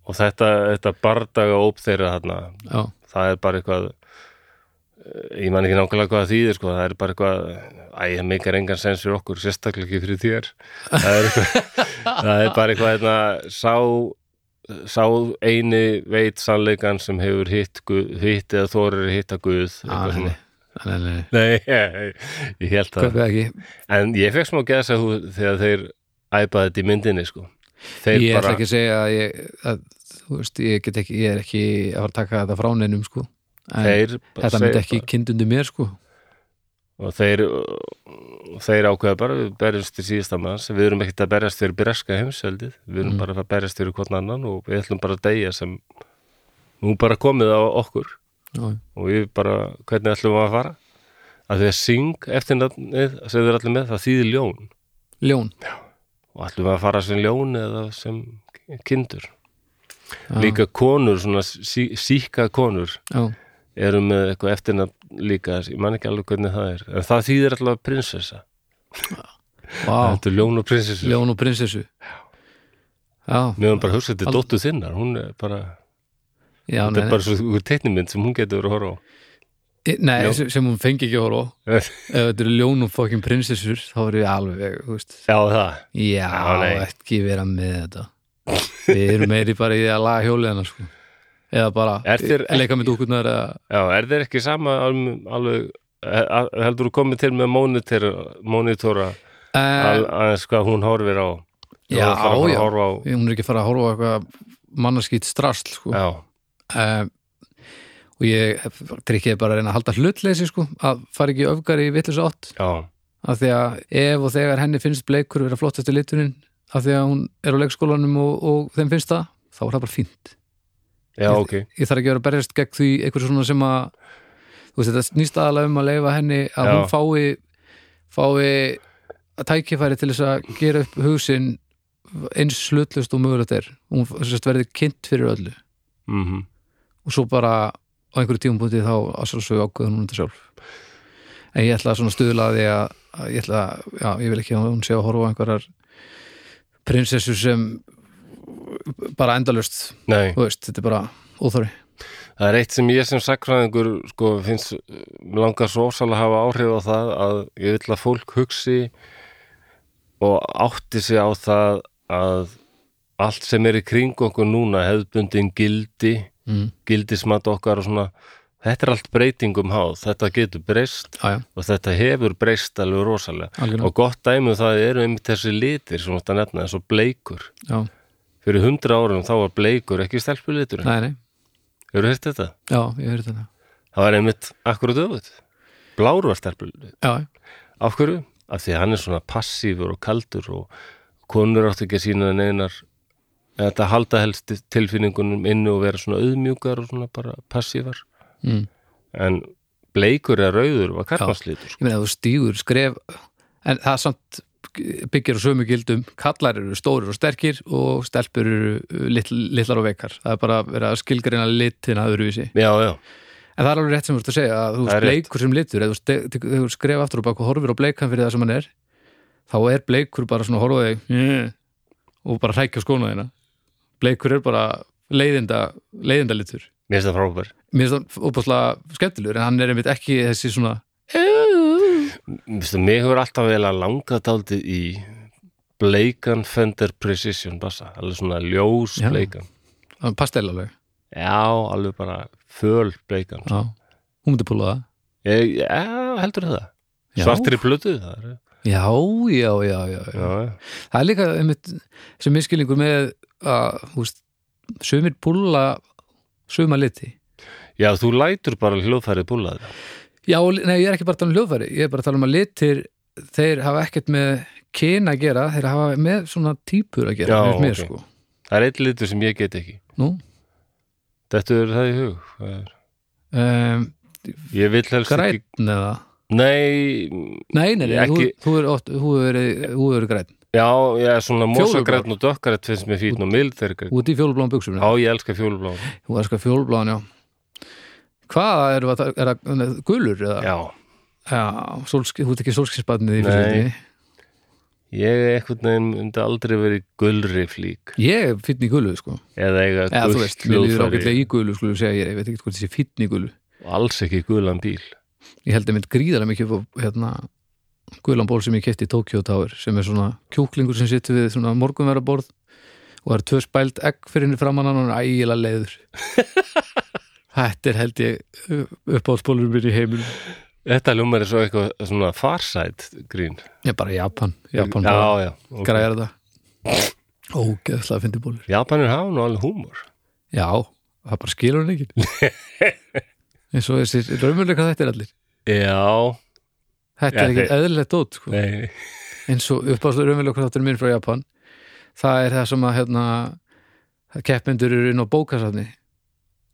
Speaker 1: og þetta, þetta bardaga óp þeirra þarna
Speaker 2: já,
Speaker 1: það er bara eitthvað eh, ég man ekki nákvæmlega hvað það þýðir sko, það er bara eitthvað, æ, það meikar engan sens fyrir okkur, sérstaklega ekki fyrir þér það er, eitthvað, það er bara eitthvað hérna, sá sá eini veit sannleikan sem hefur hitt, guð, hitt eða þorir hitta guð eitthvað
Speaker 2: Ah, nei,
Speaker 1: svona.
Speaker 2: nei, nei
Speaker 1: nei, ég, ég held það
Speaker 2: Kaupið ekki,
Speaker 1: en ég fekk smá geðs að þú þegar þeir æpaði þetta í myndinni sko þeir
Speaker 2: ég ætla
Speaker 1: bara,
Speaker 2: ekki að segja að ég, að, þú veist, ég get ekki, ég er ekki að fara að taka þetta frá neinum sko En
Speaker 1: þeir
Speaker 2: Þetta myndi ekki kindundi mér sko
Speaker 1: og þeir og þeir ákveða bara við berjumst til síðasta manns við erum ekkert að berjast fyrir breska heimsveldið
Speaker 2: Mm.
Speaker 1: við erum bara að berjast fyrir hvort annan og við ætlum bara að deyja sem nú bara komið á okkur
Speaker 2: Já,
Speaker 1: og við bara, hvernig ætlum við að fara að því að syng eftir nafnið sem þeir allir með, það þýðir ljón
Speaker 2: Ljón,
Speaker 1: og ætlum við að fara sem ljón eða sem kindur
Speaker 2: Já.
Speaker 1: líka konur, svona sí, síka konur
Speaker 2: já,
Speaker 1: eru með eitthvað eftirnafn líka ég man ekki alveg hvernig það er en það þýðir allavega prinsessa
Speaker 2: vá,
Speaker 1: þetta er ljón og prinsessa
Speaker 2: ljón og prinsessu Já,
Speaker 1: Mér hann bara hugsað þetta er
Speaker 2: Al-
Speaker 1: dóttu þinnar, hún er bara,
Speaker 2: já,
Speaker 1: þetta
Speaker 2: nei,
Speaker 1: er bara svo einhver teiknimynd sem hún getur verið að horfa á.
Speaker 2: nei, nei
Speaker 1: Ljón.
Speaker 2: sem, sem hún fengi ekki að horfa á. Ef þetta eru ljón og fokkin prinsessur þá er ég alveg, þú veist
Speaker 1: Já, það.
Speaker 2: Já,
Speaker 1: Já, nei.
Speaker 2: ekki vera með þetta Við erum meiri bara í að laga hjólið hennar sko Eða bara
Speaker 1: Er þér
Speaker 2: leika með dúkurnar eða
Speaker 1: Já, er þeir ekki sama alveg, alveg eh, heldur þú komið til með monitor, monitora
Speaker 2: uh,
Speaker 1: al, aðeins hvað hún horfir á?
Speaker 2: Já,
Speaker 1: Hún þarf bara að
Speaker 2: já.
Speaker 1: Horfa á,
Speaker 2: Hún er ekki að fara að horfa á eitthvað mannaskýtt strasl sko
Speaker 1: já,
Speaker 2: uh, Og ég trykkiði bara að reyna að halda hlutleysi sko að fara ekki öfgar í vitlis átt
Speaker 1: já,
Speaker 2: af því að ef og þegar henni finnst bleikur vera flottasti liturinn af því að hún er á leikskólanum og, og þeim finnst það, þá er það bara fínt
Speaker 1: já, ok,
Speaker 2: ég þarf ekki að vera að berjast gegn því einhver svona sem að þú veist, þetta snýst aðalega um að leifa henni að
Speaker 1: Já.
Speaker 2: hún fái fái að tækifæri til þess að gera upp hugsin eins slutlust og mögulegt er hún sérst, verði kynnt fyrir öllu
Speaker 1: mhm
Speaker 2: og svo bara á einhverju tímapunkti þá að sjálfsögðu ákveður hún þetta sjálf en ég ætla svona að stuðla að því að, að ég ætla, já, ég vil ekki að hún sé að horfa á einhverjar prinsessu sem bara endalust,
Speaker 1: Nei,
Speaker 2: þú veist, þetta er bara óþóri
Speaker 1: það er eitt sem ég sem sakfræðingur sko finnst eh, langar svo ósal að hafa áhrif á það að ég vil að fólk hugsi og átti sig á það að allt sem er í kring okkur núna hefðbundin gildi
Speaker 2: mm.
Speaker 1: gildismat okkar og svona þetta er allt breytingum háð, þetta getur breyst
Speaker 2: Já, já,
Speaker 1: og þetta hefur breyst alveg rosalega
Speaker 2: algjörlega
Speaker 1: og gott dæmi um það eru einmitt þessi litir sem þetta nefna, eins og bleikur
Speaker 2: Já,
Speaker 1: fyrir hundra árum þá var bleikur ekki stelpulitur,
Speaker 2: nei, nei,
Speaker 1: hefur þetta þetta?
Speaker 2: já, ég hefði þetta
Speaker 1: Það var einmitt akkurat öfut. Blár var stelpulitur.
Speaker 2: Já,
Speaker 1: Af hverju? Af því að hann er svona passífur og kaldur og konur áttu ekki að sína neinar þetta halda helst tilfinningunum inni og vera svona auðmjúkar og svona bara passífar.
Speaker 2: mm.
Speaker 1: En bleikur eða rauður var sko. karmaslítur.
Speaker 2: ég meina þú stígur skref en það samt byggir á sömu gildum, kallar eru stórir og sterkir og stelpur eru uh, litl, litlar og veikar, það er bara verið að skilgreina litina öðruvísi,
Speaker 1: Já, já,
Speaker 2: en það er alveg rétt sem þú ert að segja að þú
Speaker 1: Það er
Speaker 2: veist bleikur sem litur, ef þú ste- tek- þegar þú skref aftur og bak og horfir á bleikan fyrir það sem hann er þá er bleikur bara svona horfaði yeah. "Eh," og bara hrækja skóna þína bleikur er bara leiðinda leiðinda litur
Speaker 1: mér finnst það frábær.
Speaker 2: mér finnst það óbúslega skemmtilegur en hann er einmitt ekki þessi svona já,
Speaker 1: Mér finnst það, mér hefur alltaf vel að langa daldið í bleikan Fender Precision bassa. Alveg svona ljós
Speaker 2: Já.
Speaker 1: bleikan.
Speaker 2: pastel alveg
Speaker 1: Já, alveg bara föl bleikan.
Speaker 2: já. hún myndi púla það
Speaker 1: Ég, já, heldur það
Speaker 2: Já.
Speaker 1: Svartri plötu það er,
Speaker 2: já, já, já, já, já.
Speaker 1: já, já.
Speaker 2: það er líka einmitt sem miskilningur með að þú veist, sumir púla suma liti
Speaker 1: já, þú lætur bara hljóðfærið búlað
Speaker 2: já, og li- nei, ég er ekki bara að tala um hljóðfæri ég er bara að tala um að litir þeir hafa ekkert með kyn að gera þeir hafa með svona típur að gera
Speaker 1: Já,
Speaker 2: finnst mér,
Speaker 1: ok.
Speaker 2: sko.
Speaker 1: Það er eitt litur sem ég get ekki
Speaker 2: Nú,
Speaker 1: Þetta er það í hug Það er-
Speaker 2: um,
Speaker 1: Ég vil helst ekki
Speaker 2: græn eða
Speaker 1: Nei,
Speaker 2: nei, nei, nei,
Speaker 1: Ég
Speaker 2: þú,
Speaker 1: ekki-
Speaker 2: þú er oft- þú hefur verið þú hefur verið græn,
Speaker 1: já, ég er svona
Speaker 2: Fjólublár.
Speaker 1: mosagrætn og dökkar Þetta finnst mér fín og mild þeir ekki
Speaker 2: út í fjólubláum buksum
Speaker 1: Já, ég elska fjólublá
Speaker 2: Þú elskar fjólbláðan, já. Hvað er það, er það gulur? Eða?
Speaker 1: Já,
Speaker 2: Já, sólski, þú ert ekki sólskinsbarnið í
Speaker 1: Nei.
Speaker 2: fyrstöldi.
Speaker 1: ég einhvern veginn myndi aldrei verið gulri flík
Speaker 2: Ég er fýtn í gulu, sko.
Speaker 1: Eða eiga
Speaker 2: Eða þú veist, mér líður
Speaker 1: hljóðfæri
Speaker 2: ágætlega í gulu, sko, segja ég, ég veit ekki hvort þessi fýtn í gulu.
Speaker 1: Alls ekki gulan bíl
Speaker 2: Ég held að mynd gríðarlega mikið upp á, hérna, gulan ból sem ég kefti í Tokyo Tower, sem er svona kjúklingur sem sittur við svona morgunveraborð og það er tvö spæld egg fyrir henni framann hann og hann er ægilega leiður. Þetta er held ég uppáðsbólurinn minn í heiminum.
Speaker 1: Þetta ljómar er svo eitthvað svona farsætt grín
Speaker 2: Ég er bara Japan, Japan bara.
Speaker 1: Já, já, ok.
Speaker 2: græjar þetta ógeðslega fyndi bólur
Speaker 1: Japanir hafa nú alveg húmor
Speaker 2: já, það bara skilur hann ekki eins og þessi raumurleika þetta er allir
Speaker 1: Já,
Speaker 2: þetta
Speaker 1: Já,
Speaker 2: er ekkert
Speaker 1: þeir-
Speaker 2: eðlilegt dót sko.
Speaker 1: nei,
Speaker 2: eins og uppáðslega raumurleika þáttur minn frá Japan það er það sem að hérna, keppindur eru inn á bókasafni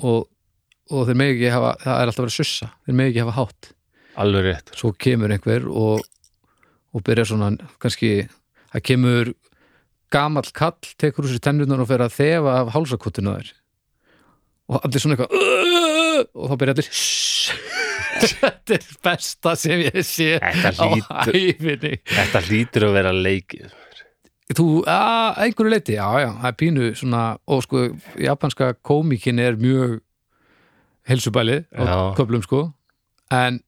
Speaker 2: og, og þeir megi ekki hafa það er alltaf að vera sussa, þeir megi ekki hafa hátt
Speaker 1: alveg rétt
Speaker 2: svo kemur einhver og, og byrja svona kannski, það kemur gamall kall, tekur úr sér tennurnar og fer að þefa af hálsakotinu þær og allir svona eitthvað "Ugh!" og þá byrja allir þetta er besta sem ég sé
Speaker 1: Þetta
Speaker 2: á
Speaker 1: hlýtur,
Speaker 2: æfinni
Speaker 1: þetta hlýtur að vera leikið
Speaker 2: þú, að einhverju leiti, já já það er pínu svona, og sko japanska komíkin er mjög helsubælið á
Speaker 1: Já.
Speaker 2: köflum sko, en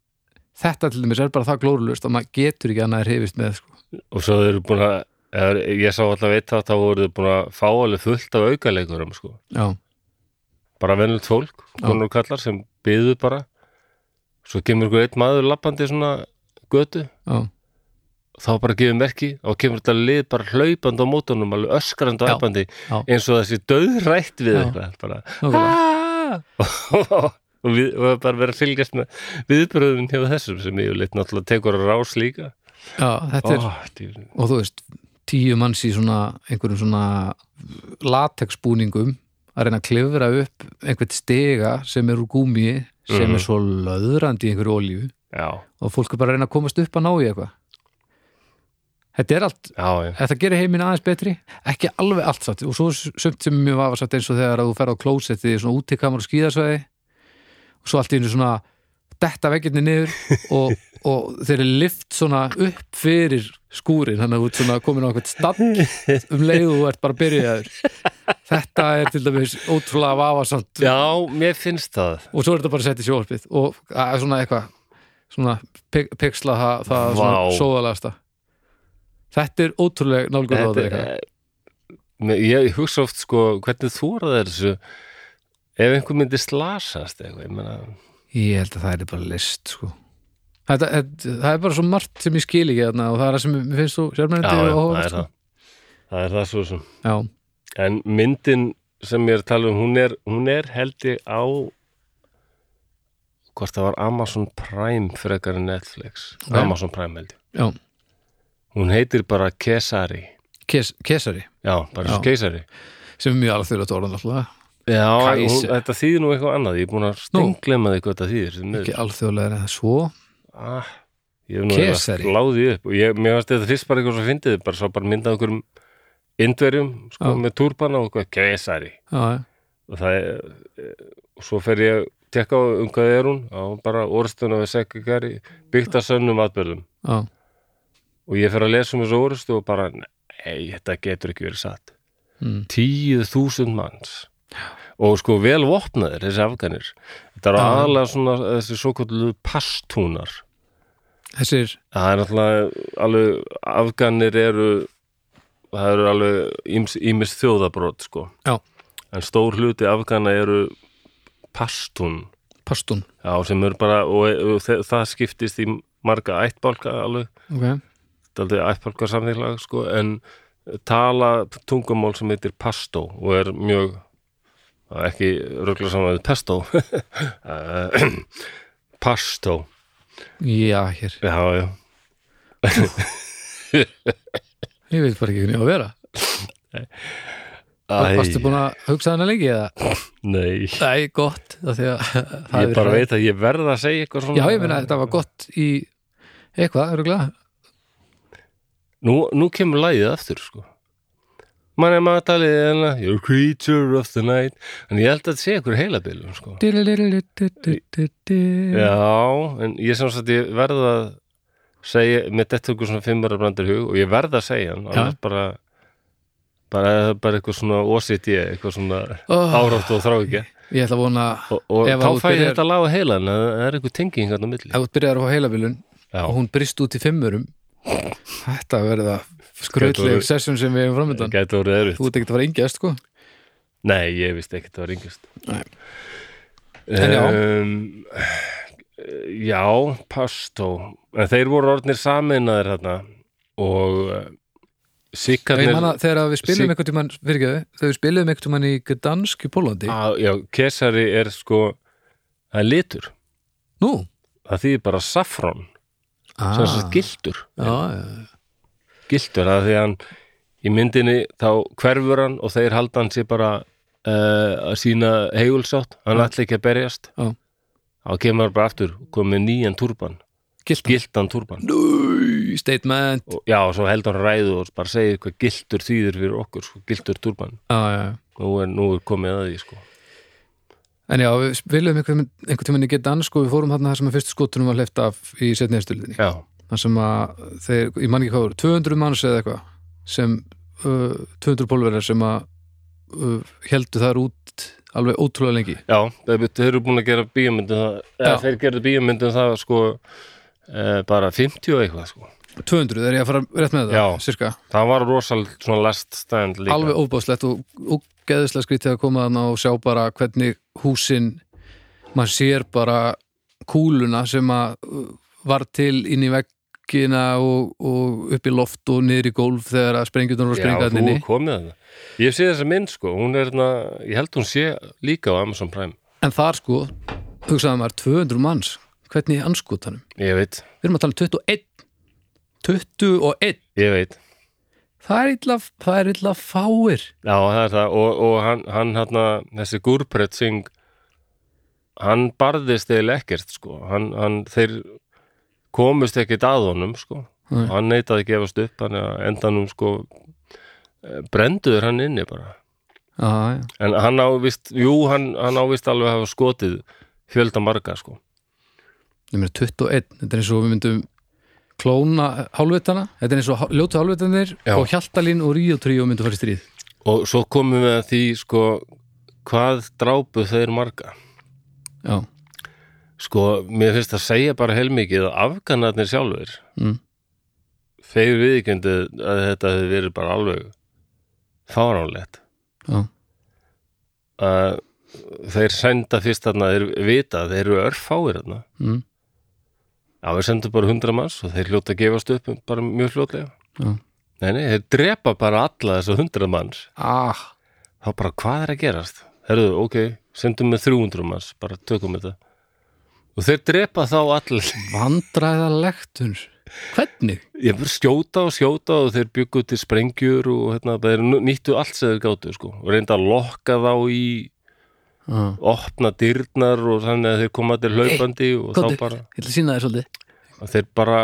Speaker 2: þetta til dæmis er bara það glórulust að maður getur ekki annað hefist með sko.
Speaker 1: Og svo þeir eru búin að eða, Ég sá alltaf eitt að þá voru þeir búin að fá alveg fullt af aukaleikurum sko.
Speaker 2: já,
Speaker 1: Bara venult fólk,
Speaker 2: Já.
Speaker 1: konur og kallar sem byðu bara Svo kemur ykkur eitt maður lappandi svona götu
Speaker 2: já,
Speaker 1: Þá bara gefur merki og kemur þetta lið bara hlaupandi á mótunum alveg öskrandi og
Speaker 2: Já.
Speaker 1: æpandi
Speaker 2: Já.
Speaker 1: eins og þessi döðrætt við
Speaker 2: Já.
Speaker 1: eitthvað bara,
Speaker 2: nákvæmlega
Speaker 1: og við og það er bara verið að fylgjast með viðbröðum hjá þessum sem ég leitt náttúrulega tekur að rás líka
Speaker 2: já, þetta er,
Speaker 1: Ó, djú-
Speaker 2: og þú veist tíu manns í svona einhverjum svona latexbúningum að reyna að klifra upp einhvern stiga sem er úr gúmi sem
Speaker 1: Mhm.
Speaker 2: er svo löðrandi í einhverju olíu
Speaker 1: já,
Speaker 2: og fólk er bara að reyna að komast upp að ná í eitthvað þetta er allt
Speaker 1: já, já,
Speaker 2: þetta gerir heiminn aðeins betri ekki alveg allt satt og svo er sumt sem er mjög vafarsatt eins og þegar að þú ferð á klósetti í svona útikamur og skíðasvæði og svo allt í einu svona detta veggirni niður og, og þeir eru lift svona upp fyrir skúrin þannig að þú ert svona komin á eitthvað stall um leið og þú ert bara byrjaður þetta er til dæmis ótrúlega vafarsamt
Speaker 1: já, mér finnst það
Speaker 2: og svo er þetta bara sett í sjóhálpið og að, svona eitthvað svona pi- pixla það, það
Speaker 1: Vá.
Speaker 2: svona sóðalegasta þetta er ótrúlega nálgur á
Speaker 1: Þetta
Speaker 2: þetta
Speaker 1: er- Mér- ég hugsa oft sko hvernig þú er þessu ef einhver myndi slasast eitthvað, ég meina
Speaker 2: Ég held að það er bara list sko. þetta, þetta, það er bara svo margt sem ég skil ekki þarna og það er það sem mér finnst þú
Speaker 1: já,
Speaker 2: sjálfmennandi
Speaker 1: já,
Speaker 2: og
Speaker 1: það
Speaker 2: hóð
Speaker 1: er
Speaker 2: sko.
Speaker 1: það það er það svo sem
Speaker 2: Já,
Speaker 1: en myndin sem ég er að tala um hún er, hún er held ég á hvort það var Amazon Prime frekar en Netflix
Speaker 2: Ok.
Speaker 1: Amazon Prime held ég
Speaker 2: já,
Speaker 1: hún heitir bara Kesari
Speaker 2: Kes, kesari
Speaker 1: já, bara
Speaker 2: Já.
Speaker 1: svo Kesari
Speaker 2: sem er mjög alveg þurfa tólan alltaf
Speaker 1: já,
Speaker 2: Kaisari.
Speaker 1: hún, þetta þýðir nú eitthvað annað ég er búin að stengleima því hvað þetta þýðir sem miður.
Speaker 2: ekki alþjóðlega en það svo
Speaker 1: ah, ég hef nú
Speaker 2: Kesari.
Speaker 1: eiginlega láðið upp og ég, mér varst þetta fyrst bara eitthvað svo fyndið bara svo bara myndað okkur indverjum sko,
Speaker 2: Já.
Speaker 1: með túrbana og eitthvað Kesari
Speaker 2: já, já.
Speaker 1: og það er eh, og svo fer ég að tekka á um hvað er hún og bara orðstuna við sekkarkari byggt að sönnum atbyrðum
Speaker 2: já,
Speaker 1: og ég fer að lesa um þessu orðstu og bara, nei, þetta getur ekki verið satt
Speaker 2: Mm.
Speaker 1: tíu þúsund manns og sko vel vopnaðir þessi afganir þetta eru
Speaker 2: Já.
Speaker 1: aðalega svona þessi svo kvöldu passtúnar
Speaker 2: þessir
Speaker 1: það er náttúrulega alveg afganir eru það eru alveg ýms- ýmis þjóðabrot sko
Speaker 2: Já.
Speaker 1: en stór hluti afgana eru pastún
Speaker 2: pastún
Speaker 1: Já, sem eru bara, og, og þe- það skiptist í marga ættbálka alveg,
Speaker 2: okay.
Speaker 1: þetta er aldrei ættbálka samfélag, sko, en tala tungumál sem heitir pastó og er mjög það er ekki röglega saman við pesto Eh, pastó
Speaker 2: Já, hér,
Speaker 1: já, já,
Speaker 2: ég veit bara ekki hvernig ég á að vera
Speaker 1: Æ,
Speaker 2: Varstu búin að hugsa hana lengi eða?
Speaker 1: nei
Speaker 2: Nei, gott af því að, það
Speaker 1: ég
Speaker 2: hefur
Speaker 1: bara
Speaker 2: verið-
Speaker 1: veit að ég verð að segja eitthvað svona
Speaker 2: Já, ég meina þetta var gott í eitthvað, eru glæð
Speaker 1: Nú, nú kemur lagið aftur sko Man er matalið hérna You're a creature of the night En ég held að þetta sé ykkur heilabilum sko
Speaker 2: Já,
Speaker 1: Já, en ég sem sagt ég verð að segja, mér dettur ykkur svona fimmara brandur hug og ég verð að segja hann
Speaker 2: Já.
Speaker 1: annars bara bara, bara eitthvað svona OCD eitthvað svona
Speaker 2: Oh.
Speaker 1: árátt og þráhyggja
Speaker 2: Ég ætla að vona
Speaker 1: og, og
Speaker 2: Ef að
Speaker 1: þá
Speaker 2: þú
Speaker 1: fæ ég
Speaker 2: byrjar-
Speaker 1: þetta lag á heilan að það er eitthvað tenging hann á milli
Speaker 2: ef þú byrjar að fá heilabilun
Speaker 1: Já,
Speaker 2: og hún brist út í fimmurum Þetta verða
Speaker 1: Gæti
Speaker 2: skrautleg
Speaker 1: orðið-
Speaker 2: session sem við hefum
Speaker 1: það
Speaker 2: framöndan
Speaker 1: gæti orðið
Speaker 2: Þú
Speaker 1: erfitt
Speaker 2: ert ekkert að fara yngjast sko
Speaker 1: Nei, ég vist ekki það var yngast
Speaker 2: Nei. En já.
Speaker 1: um, Ehm, Já, pastó En þeir voru orðnir sameinaðir þarna og eh,
Speaker 2: Ég
Speaker 1: Sikkarnir
Speaker 2: manna þegar að við
Speaker 1: Sig-
Speaker 2: spilum einhvern tímann fyrirgeðu, þegar við spilum einhvern tímann í Gdansk í Pólandi
Speaker 1: Á, já, kesari er sko það er litur,
Speaker 2: Nú
Speaker 1: það þýðir bara saffron
Speaker 2: Ah.
Speaker 1: sem er svo gildur
Speaker 2: Já, já,
Speaker 1: gildur að því að hann í myndinni þá hverfur hann og þeir halda hann sér bara uh, að sína heigulsátt, hann ætla ekki að berjast
Speaker 2: Já.
Speaker 1: þá kemur hann bara aftur komið með nýjan túrban,
Speaker 2: gilt
Speaker 1: gildan túrban
Speaker 2: Núi, statement
Speaker 1: og, já, og svo heldur hann ræðu og bara segir hvað gildur þýðir fyrir okkur, sko, gildur túrban
Speaker 2: Já, Ah, já, já
Speaker 1: nú er, nú er komið að því sko.
Speaker 2: En já, við viljum einhvern, einhvern tímann í Gdansk og við fórum þarna þar sem að fyrstu skotunum var hleyft af í setni eftirliðinni
Speaker 1: já,
Speaker 2: þar sem að þeir, ég man ekki hvað voru 200 manns eða eitthvað sem uh, 200 pólverðar sem að uh, heldu þar út alveg ótrúlega lengi
Speaker 1: Já, þeir, þeir eru búin að gera bíómyndum það, eða
Speaker 2: Já.
Speaker 1: þeir gerðu bíómyndum það sko e, bara 50 og eitthvað sko.
Speaker 2: 200, er ég að fara rétt með það,
Speaker 1: Já.
Speaker 2: sirka
Speaker 1: Það var rosalega svona last stand líka.
Speaker 2: alveg óbáslegt og, og geðislega skrítið að koma þarna og sjá bara hvernig húsin maður sér bara kúluna sem að uh, var til inn í veggina og, og upp í loft og niður í gólf þegar að sprengjurnar voru að springa
Speaker 1: Já, þú
Speaker 2: þarna
Speaker 1: er
Speaker 2: inni.
Speaker 1: komið að það. Ég sé þessa mynd sko, hún er hérna, ég held hún sé líka á Amazon Prime.
Speaker 2: en þar sko, hugsaði maður 200 manns, hvernig í anskotanum
Speaker 1: Ég veit,
Speaker 2: við erum að tala um 21 21
Speaker 1: ég veit.
Speaker 2: það er illa, það er illa fáir
Speaker 1: Já, það er það og, og hann, hann hann, þessi Gurpret Singh hann barðist eða ekkert sko. hann, hann, þeir komust ekkert að honum sko.
Speaker 2: Nei.
Speaker 1: hann neitaði að gefast upp þannig að endanum sko, eh, brenduður hann inni bara
Speaker 2: já, já,
Speaker 1: en hann ávist, jú, hann, hann ávist alveg að hafa skotið fjölda marga sko.
Speaker 2: nummer 21, þetta er eins og við myndum klóna hálfvitana þetta er eins og hál- ljótu hálfvitanir
Speaker 1: Já.
Speaker 2: og Hjaltalín og Ríó Tríó myndu fara í stríð
Speaker 1: og svo komum við að því sko, hvað drápu þeir marga
Speaker 2: já,
Speaker 1: Sko, mér finnst að segja bara heilmikið að afganarnir sjálfur
Speaker 2: Mm.
Speaker 1: þeir viðkjöndu að þetta hefði verið bara alveg fáránlegt
Speaker 2: já,
Speaker 1: að þeir senda fyrst þarna, þeir vita að þeir eru örfáir þarna
Speaker 2: mm,
Speaker 1: Já, við sendum bara hundra manns og þeir hljóta að gefast upp bara mjög fljótlega
Speaker 2: já
Speaker 1: Nei, nei, þeir drepa bara alla þessu hundra manns
Speaker 2: ah,
Speaker 1: þá bara hvað er að gerast herðu, ok, sendum við 300 manns bara tökum þetta og þeir drepa þá allir
Speaker 2: vandræðalektur hvernig?
Speaker 1: Ég fyrir skjóta og skjóta og þeir byggu til sprengjur og hérna, þeir nú- nýttu allt sem þeir gáttu sko og reynda að lokka þá í
Speaker 2: Ah.
Speaker 1: opna dyrnar og þannig að þeir koma til hlaupandi og
Speaker 2: Góttu,
Speaker 1: þá bara,
Speaker 2: ég ætla að sína þér svolítið
Speaker 1: að þeir bara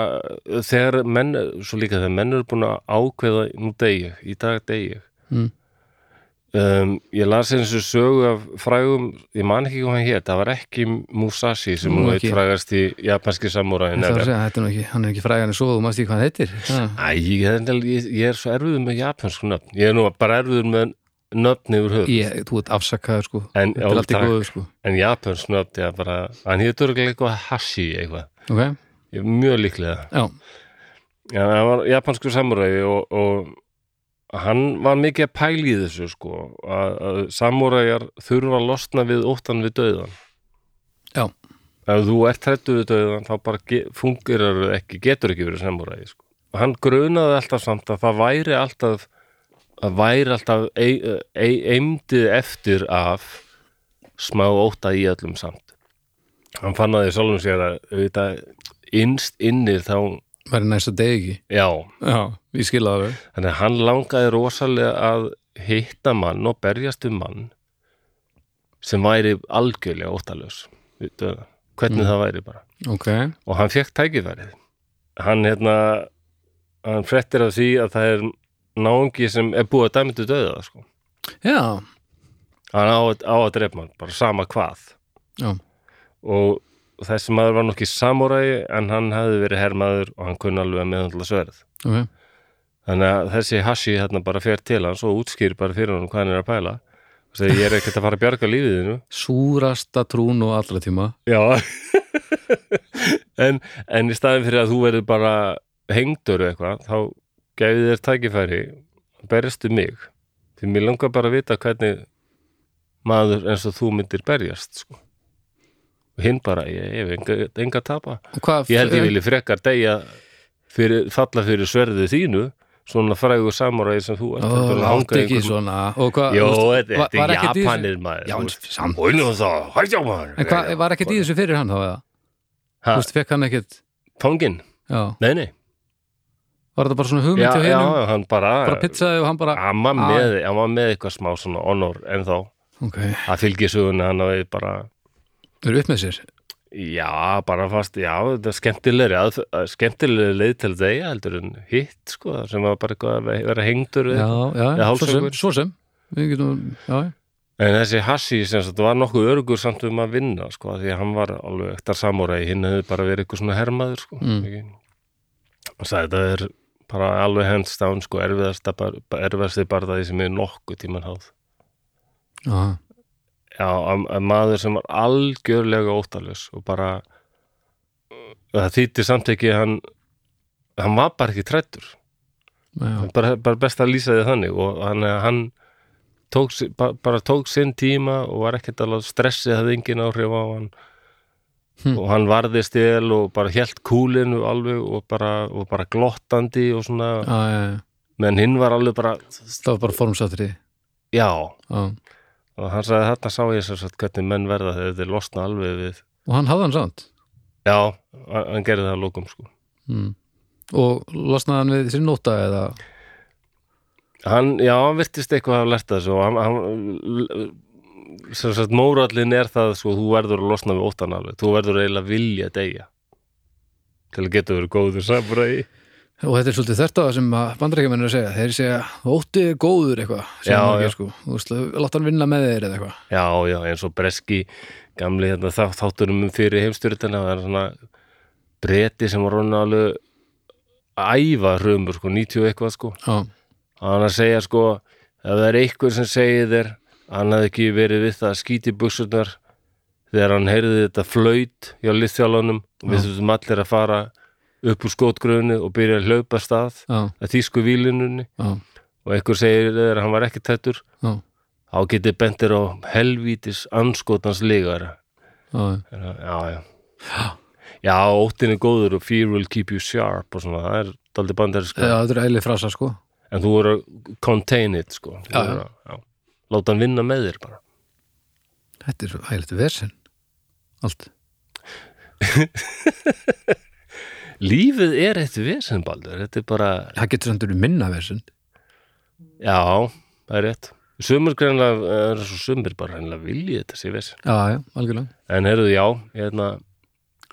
Speaker 1: þegar menn, svo líka þegar menn eru búin að ákveða, nú degi ég, í dag degi ég
Speaker 2: Mm.
Speaker 1: um, ég las eins og sögu af frægum, ég man ekki hvað hann hétt það var ekki Musashi sem
Speaker 2: Nú ekki.
Speaker 1: hún veit frægast í japanski samúræðin
Speaker 2: Það var að segja, þetta er nú ekki, hann er ekki frægan að sofa, þú maður stík hvað hann heitir Ah. Já.
Speaker 1: Æ, ég, ég, ég er svo erfiður með japansku nöfn. Ég er nú bara erfiður með nöfn yfir höfð.
Speaker 2: Ég, þú ert afsakaður sko
Speaker 1: En,
Speaker 2: Þetta er allt í
Speaker 1: takk.
Speaker 2: góðu sko
Speaker 1: en japansk nöfn, ég bara, hann hétt örgulega eitthvað hashi eitthvað.
Speaker 2: Ok,
Speaker 1: Ég er mjög líklega.
Speaker 2: já,
Speaker 1: Já, hann var japansku samuræði og, og hann var mikið að pæla í þessu sko. Að, að samuræjar þurfa að losna við óttan við döðan.
Speaker 2: Já.
Speaker 1: Ef þú ert hrættu við döðan, þá bara ge- fungerar þú ekki, getur ekki verið samuræði sko. Og hann grunaði alltaf samt að það væri alltaf að væri alltaf ei- ei- eimdið eftir af smá óta í öllum samt hann fann að því sjálfum sér að auðvitað, innst inni þá
Speaker 2: væri næsta deg ekki
Speaker 1: já,
Speaker 2: Já, ég skil það alveg
Speaker 1: þannig að hann langaði rosalega að hitta mann og berjast um mann sem væri algjörlega óttalös Veitu, hvernig það væri bara
Speaker 2: Ok,
Speaker 1: og hann fekk tækifærið hann hérna hann frettir af því að það er náungi sem er búið að dæmitu döða sko.
Speaker 2: já,
Speaker 1: hann á, að- á að drepa hann, bara sama hvað
Speaker 2: já,
Speaker 1: og þessi maður var nokkið samuræi en hann hafði verið herrmaður og hann kunni alveg að meðhandla sverð
Speaker 2: ok
Speaker 1: þannig að þessi hashi hérna bara fer til hans og útskýr bara fyrir hann hvað hann er að pæla og segi ég er ekkert að fara að bjarga lífiðinu
Speaker 2: Súrasta trún og allra tíma
Speaker 1: Já en, en í staðin fyrir að þú verður bara hengdur eða eitthvað þá gefið þér tækifæri að berjast um mig því mér langar bara að vita hvernig maður eins og þú myndir berjast sko. og hinn bara ég, ég hef enga, enga að tapa
Speaker 2: Og hvað,
Speaker 1: ég held ég vilji frekar degja fyrir, falla fyrir sverðið þínu svona frægur samuræði sem þú ert
Speaker 2: Ó,
Speaker 1: heldur en að hanga
Speaker 2: látt
Speaker 1: í
Speaker 2: ekki
Speaker 1: einhverjum-
Speaker 2: svona Og hvað,
Speaker 1: Jó,
Speaker 2: þú veist,
Speaker 1: þetta
Speaker 2: var-
Speaker 1: þetta
Speaker 2: var
Speaker 1: er
Speaker 2: ekkert í þessu-
Speaker 1: japanir maður
Speaker 2: Já,
Speaker 1: þú
Speaker 2: en
Speaker 1: veist.
Speaker 2: samt
Speaker 1: Og nú þá, hættjá maður
Speaker 2: En hvað, var ekkert í þessu fyrir hann þá eða? Þú
Speaker 1: Ha?
Speaker 2: veist, fekk hann ekkert
Speaker 1: Fanginn,
Speaker 2: Já,
Speaker 1: nei, nei
Speaker 2: var þetta bara svona hugmynd
Speaker 1: já,
Speaker 2: hjá
Speaker 1: já,
Speaker 2: hinum
Speaker 1: já, hann bara,
Speaker 2: Bara pizzaði og hann bara
Speaker 1: hann var
Speaker 2: Ah.
Speaker 1: með, hann var með eitthvað smá svona honor en þá
Speaker 2: Ok,
Speaker 1: að fylgisugunni hann hafi bara
Speaker 2: verið upp með sér
Speaker 1: já, bara fast, já, þetta er skemmtilegri að, skemmtilegri leið til þeir heldur en hitt, sko, sem var bara eitthvað að ve- vera hengdur við
Speaker 2: Já, já,
Speaker 1: Eða
Speaker 2: svo sem,
Speaker 1: hálsöngur.
Speaker 2: svo sem Við getum, já, já.
Speaker 1: en þessi Hassi, sem sagt, var nokkuð örugur samt um að vinna, sko, því að hann var alveg ektar samúræði, hinn hefði bara verið eitthvað svona hermaður, sko
Speaker 2: Mm.
Speaker 1: ekki? og sagði þetta er bara alveg hands down, sko, erfiðasta bar- erfiðasti barðaði sem er nokkuð tíman háð
Speaker 2: já
Speaker 1: Já, að, að maður sem var algjörlega óttalus og bara uh, það þýtti samt ekki að hann hann var bara ekki trættur
Speaker 2: Já,
Speaker 1: bara, bara best að lýsa því þannig og hann, hann tók, si- ba- bara tók sinn tíma og var ekkert alveg stressið hafði engin áhrif á hann
Speaker 2: Hm.
Speaker 1: og hann varði stil og bara hélt kúlinu alveg og bara, og bara glottandi og
Speaker 2: já,
Speaker 1: svona
Speaker 2: já, já.
Speaker 1: menn hinn var alveg bara,
Speaker 2: það var bara formsatri
Speaker 1: já
Speaker 2: og
Speaker 1: og hann sagði þarna sá ég sem sagt hvernig menn verða þegar þeir losna alveg við
Speaker 2: hann hafði hann samt
Speaker 1: Já, hann hann gerði það að lókum sko.
Speaker 2: mm. og losnaði hann við sér nota eða
Speaker 1: Hann, já, hann virtist eitthvað að hafa lært þessu og hann, hann sem sagt, mórallin er það sko, þú verður að losna við óttan alveg þú verður eiginlega að vilja deyja til að geta verið góður samræði
Speaker 2: og þetta er svolítið þetta sem bandarækjumenn er að segja þeir segja, ótti er góður eitthvað sem
Speaker 1: Já,
Speaker 2: hann
Speaker 1: já.
Speaker 2: ekki, sko. Þú veist, láta hann vinna með þeir eða eitthvað
Speaker 1: já, já, eins og breski gamli hérna, þá, þátturum fyrir heimstyrutana það er svona breti sem var raunin alveg æva hrumur, sko, 90 og eitthvað sko
Speaker 2: Já,
Speaker 1: hann að segja sko ef það er einhver sem segir þér að hann hafði ekki verið við það að skíti buksurnar þegar hann heyrði þetta flöyt hjá liðþjálunum og við þurfum allir að fara upp úr skotgröfni og byrja að hlaupa af stað
Speaker 2: já,
Speaker 1: að þýsku vílinunni
Speaker 2: já,
Speaker 1: og einhver segir þér að hann var ekki tættur
Speaker 2: já,
Speaker 1: þá getið bentir á helvítis anskotans ligara
Speaker 2: já.
Speaker 1: Þannig að- já, já já, óttin er góður og fear will keep you sharp og svona, það er daldi bandarinska
Speaker 2: Já, þetta er eilið frasa sko
Speaker 1: en þú voru að contain it sko Þú
Speaker 2: Já,
Speaker 1: verður að, já. láta hann vinna með þér bara
Speaker 2: Þetta er svo ægilegt versin Allt
Speaker 1: lífið er eitt vesen Baldur þetta er bara,
Speaker 2: Það getur samt verið minna versin
Speaker 1: já, það er rétt sumur greinlega, er svo sumir bara hennilega viljið þetta sé vesen
Speaker 2: Já, já, algjörlega
Speaker 1: en heyrðu, já, hérna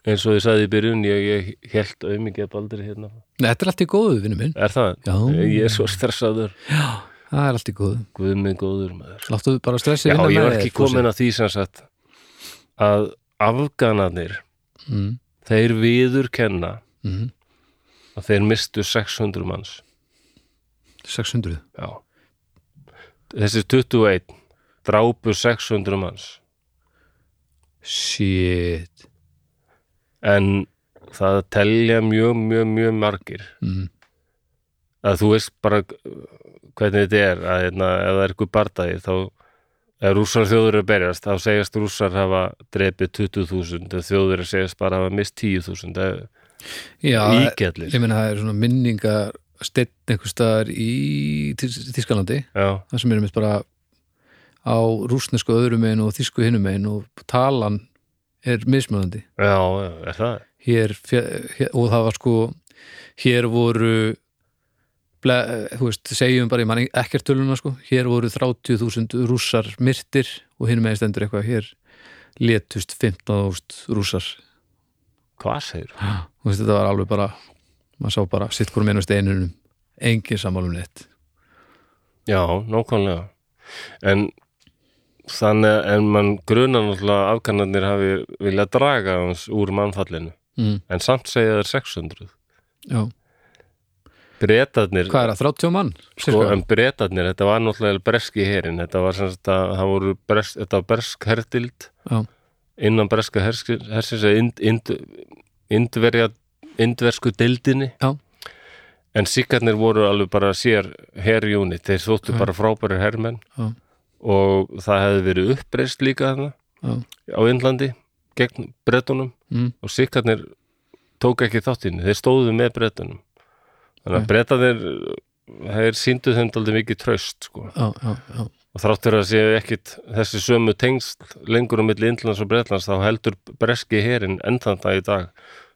Speaker 1: eins og ég sagði í byrjun, ég, ég held auðmikið Baldur hérna,
Speaker 2: Nei, þetta er allt í góðu, vinnu minn
Speaker 1: er það? Eh,
Speaker 2: Já.
Speaker 1: ég er svo stressaður,
Speaker 2: Það er allt í góðu
Speaker 1: guðmið góður maður
Speaker 2: Láttu bara stressið
Speaker 1: já,
Speaker 2: vinna
Speaker 1: ég
Speaker 2: með
Speaker 1: var ekki
Speaker 2: þér, Fúsi.
Speaker 1: komin að því sem sagt að afganarnir
Speaker 2: mm,
Speaker 1: þeir viður kenna
Speaker 2: mm,
Speaker 1: að þeir mistu 600 manns
Speaker 2: 600
Speaker 1: Já. Þessi 21 drápu 600 manns
Speaker 2: Shit
Speaker 1: en það telja mjög, mjög, mjög margir
Speaker 2: mm,
Speaker 1: að þú veist bara uh, hvernig þetta er að hérna, ef það er eitthvað bardagi þá ef rússar og þjóður eru að berjast þá segjast rússar hafa drepið 20.000 og þjóður að segjast bara hafa mist 10.000 það er
Speaker 2: Já,
Speaker 1: ígjallir
Speaker 2: ég meina það er svona minningar steinn einhvers staðar í Þís- Þýskalandi
Speaker 1: Já,
Speaker 2: það sem er mitt bara á rúsnesku öðrum megin og þísku hinum megin og talan er mismunandi
Speaker 1: já, já, er það?
Speaker 2: hér, fjö- hér og það var sko hér voru ble, þú veist, segjum bara ég man ekkert töluna sko, hér voru 30.000 rússar myrtir og hinum megin stendur eitthvað hér letust 15.000 rússar
Speaker 1: Hvað segir?
Speaker 2: þú veist, þetta var alveg bara maður sá bara sitt hvorum einu steinunum engin sammálum neitt
Speaker 1: Já, nákvæmlega en þannig en mann grunar náttúrulega afkanarnir hafi viljað draga hans úr mannfallinu
Speaker 2: mm,
Speaker 1: en samt segja þeir 600
Speaker 2: já.
Speaker 1: Bretarnir,
Speaker 2: hvað er það, 30 mann?
Speaker 1: sko,
Speaker 2: Sirka?
Speaker 1: en Bretarnir þetta var náttúrulega breski herin þetta var sem sagt að það voru bresk, þetta var bresk herdild
Speaker 2: Já.
Speaker 1: innan breska herski- hersins eða ind, ind, indverja indversku dildinni
Speaker 2: Já.
Speaker 1: en síkarnir voru alveg bara sér herjúni, þeir þóttu bara frábæri hermenn
Speaker 2: Já.
Speaker 1: og það hefði verið uppreist líka þarna
Speaker 2: Já.
Speaker 1: á Indlandi gegn brettunum
Speaker 2: Mm.
Speaker 1: og sikkarnir tók ekki þáttinu, þeir stóðu með brettunum þannig að brettaðir þeir síndu þeim daldið mikið tröst sko.
Speaker 2: já, já, já,
Speaker 1: og þráttur að séu ekkit þessi sömu tengst lengur á milli Indlands og Bretlands þá heldur breski herin endan það í dag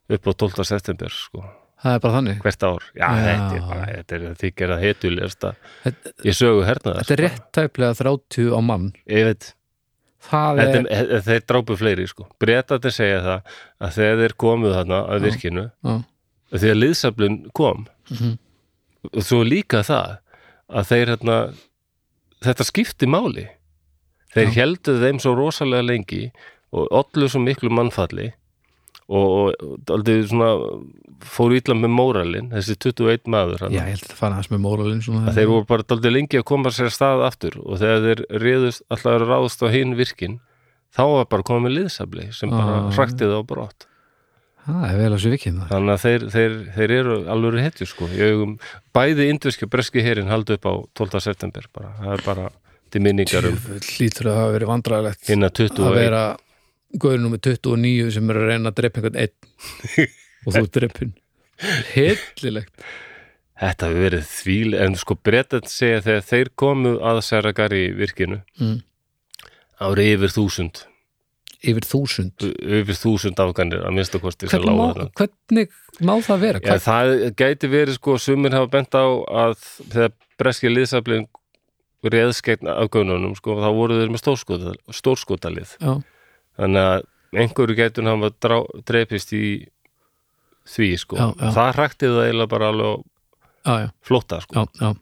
Speaker 1: upp á 12. september sko.
Speaker 2: það er bara þannig
Speaker 1: hvert ár, já,
Speaker 2: Já.
Speaker 1: þetta er bara þetta er því gerða hetulegast
Speaker 2: Þetta-
Speaker 1: ég sögu hernaðar sko.
Speaker 2: Þetta er rétt tæplega 30 á mann
Speaker 1: ég veit
Speaker 2: Það er,
Speaker 1: Þetta, er- þeir drápu fleiri sko breytandi segja það að þegar þeir komuð þarna að virkinu,
Speaker 2: já,
Speaker 1: að þegar liðsaflun kom
Speaker 2: Mhm.
Speaker 1: og svo líka það að þeir hérna þetta skipti máli þeir
Speaker 2: Já.
Speaker 1: heldu þeim svo rosalega lengi og ollu svo miklu mannfalli og, og, og aldrei svona fóru illa með móralin þessi 21 maður hann
Speaker 2: já, ég held að þetta fara aðeins með móralinn svona
Speaker 1: að þeir voru bara daldið lengi að koma sér af stað aftur og þegar þeir réðust alltaf að ráðast á hinn virkin þá var bara komið liðsabli sem bara
Speaker 2: Ah.
Speaker 1: hraktið á brott
Speaker 2: Það er vel að sér vikið maður
Speaker 1: þannig að þeir, þeir, þeir eru alveg hetju sko, í augum bæði indverski og breski herin haldi upp á 12. september bara, það er bara til minningar um
Speaker 2: Djöfull Lítur að hafa verið vandræðilegt
Speaker 1: hinna
Speaker 2: að
Speaker 1: 21
Speaker 2: vera guður nummer 29 sem er að reyna að drepa einhvern einn og þú drepin Hillilegt
Speaker 1: þetta hefur verið þvíl en sko breytan segja þegar þeir komu að Saragari virkinu
Speaker 2: Mm.
Speaker 1: ári yfir þúsund
Speaker 2: yfir þúsund
Speaker 1: yfir þúsund afganir að minnsta kosti sem
Speaker 2: hvernig
Speaker 1: lágu
Speaker 2: má,
Speaker 1: þarna.
Speaker 2: hvernig má það vera?
Speaker 1: Já,
Speaker 2: Hvað,
Speaker 1: það gæti verið sko, sumir hafa bent á að þegar breski liðsaflin réðskeitn afgönunum, sko, þá voru þeir með stórskota, stórskotalið.
Speaker 2: já,
Speaker 1: Þannig að einhverju gætun hafa drá, dreipist í því, sko.
Speaker 2: Já, já.
Speaker 1: Það hrakti það eiginlega bara alveg á
Speaker 2: já, já,
Speaker 1: flótta, sko.
Speaker 2: já, já.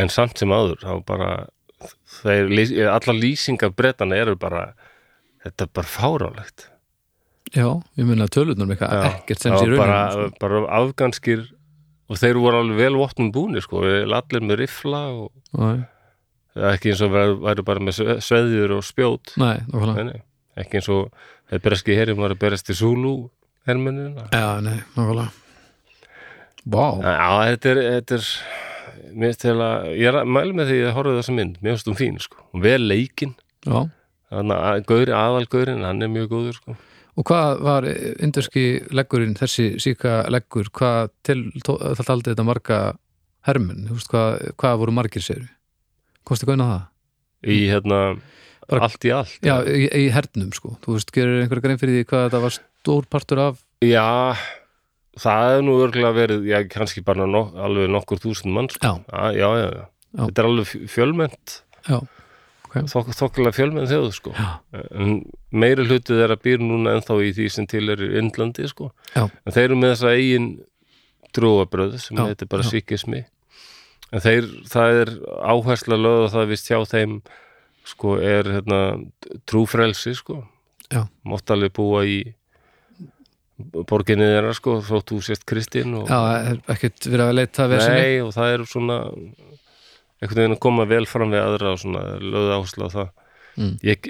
Speaker 1: En samt sem áður, þá bara, þeir, lýs- allar lýsingar brettana eru bara, þetta er bara fáránlegt.
Speaker 2: Já, ég meina tölurnar með eitthvað
Speaker 1: Já,
Speaker 2: ekkert sem
Speaker 1: það
Speaker 2: sé
Speaker 1: var bara,
Speaker 2: raunin sko.
Speaker 1: bara afganskir og þeir voru alveg vel vopnum búni sko, allir með rifla og
Speaker 2: Nei,
Speaker 1: það er ekki eins og væru, væru bara með sve- sveðjur og spjót
Speaker 2: nei, nákvæmlega
Speaker 1: nei, nei, ekki eins og þeir breski herjum var að berast í Zulu hermennina
Speaker 2: Já, nei, nákvæmlega Vá,
Speaker 1: Já, þetta er, þetta er mér finnst til að, ég er að mælu með því að horfa þessa mynd, mér finnst hún fín sko og vel leikinn,
Speaker 2: já
Speaker 1: þannig að gauri, aðalgaurin, hann er mjög góður sko
Speaker 2: Og hvað var indurski leggurinn, þessi síka leggur, hvað til, tó- það taldi þetta marga hermenn, þú veist, hvað, hvað voru margir sér? Kosti gauðna það?
Speaker 1: í hérna,
Speaker 2: Bara-
Speaker 1: allt í allt
Speaker 2: Já, í, í hernum, sko. Þú veist, gerir einhver grein fyrir því hvað þetta var stór partur af?
Speaker 1: Já, það hefur nú örgulega verið, já, kannski bara nok alveg nokkur þúsund mann, sko.
Speaker 2: Já,
Speaker 1: Já, já, já, já.
Speaker 2: Já.
Speaker 1: Þetta er alveg fjö- fjölmennt,
Speaker 2: já,
Speaker 1: þok þokkilega fjölmennt þjóð, sko.
Speaker 2: já,
Speaker 1: En meiri hluti þeirra býr núna ennþá í því sem til er í Indlandi, sko.
Speaker 2: Já.
Speaker 1: En þeir eru með þessa eigin trúabröð sem
Speaker 2: Já,
Speaker 1: heitir bara
Speaker 2: já.
Speaker 1: sikismi. En þeir, það er áhersla lögð og það er vist hjá þeim, sko, er hérna trúfrelsi, sko.
Speaker 2: Já.
Speaker 1: Mátt alveg búa í borginni þeirra, sko, þótt þú sést kristinn og...
Speaker 2: já, er ekkert verið að leita að vera sinni?
Speaker 1: Nei, og það er svona einhvern veginn að koma vel fram við aðra og svona löðu áherslu á það
Speaker 2: Mm.
Speaker 1: ég,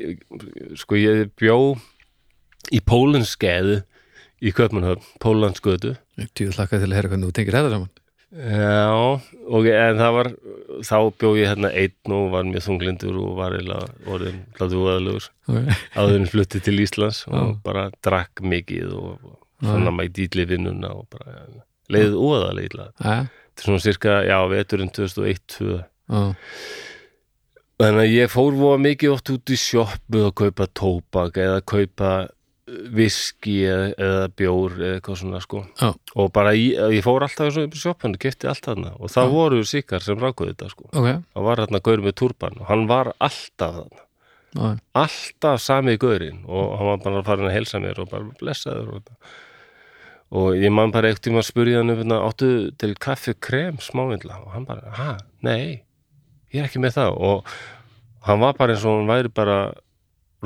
Speaker 1: sko ég bjó í Pólunskeiðu í Köpmanhöfn, Pólansgötu
Speaker 2: Nei. Tjóð hlakka til að heyra hvernig þú tengir þetta saman.
Speaker 1: Já, og en það var þá bjó ég hérna einn og var mjög þunglindur og var eiginlega orðin hlatúaðalegur
Speaker 2: Okay.
Speaker 1: áðurinn flutti til Íslands og
Speaker 2: Já.
Speaker 1: bara drakk mikið og fann
Speaker 2: Já.
Speaker 1: að maður dýtli vinnuna og bara leiðið óðalega illa
Speaker 2: Já,
Speaker 1: Þetta er svona cirka, já, veturinn 2001-2002
Speaker 2: já,
Speaker 1: Þannig að ég fór voða mikið oft út í sjoppu að kaupa tóbak eða kaupa uh, viski eða, eða bjór eða eitthvað svona sko
Speaker 2: Já.
Speaker 1: og bara ég, ég fór alltaf eins og upp í sjoppunni, kefti alltaf þarna og það
Speaker 2: Já.
Speaker 1: voru síkar sem rákuði þetta sko
Speaker 2: ok,
Speaker 1: það var hérna gaur með turban og hann var alltaf þarna
Speaker 2: já,
Speaker 1: alltaf sami gaurinn og hann var bara farin að helsa mér og bara blessaður og, og ég man bara eitt tíma að spurja hann um hérna, áttu til kaffi krem smávindla og hann bara, ha, nei ég er ekki með það og hann var bara eins og hann væri bara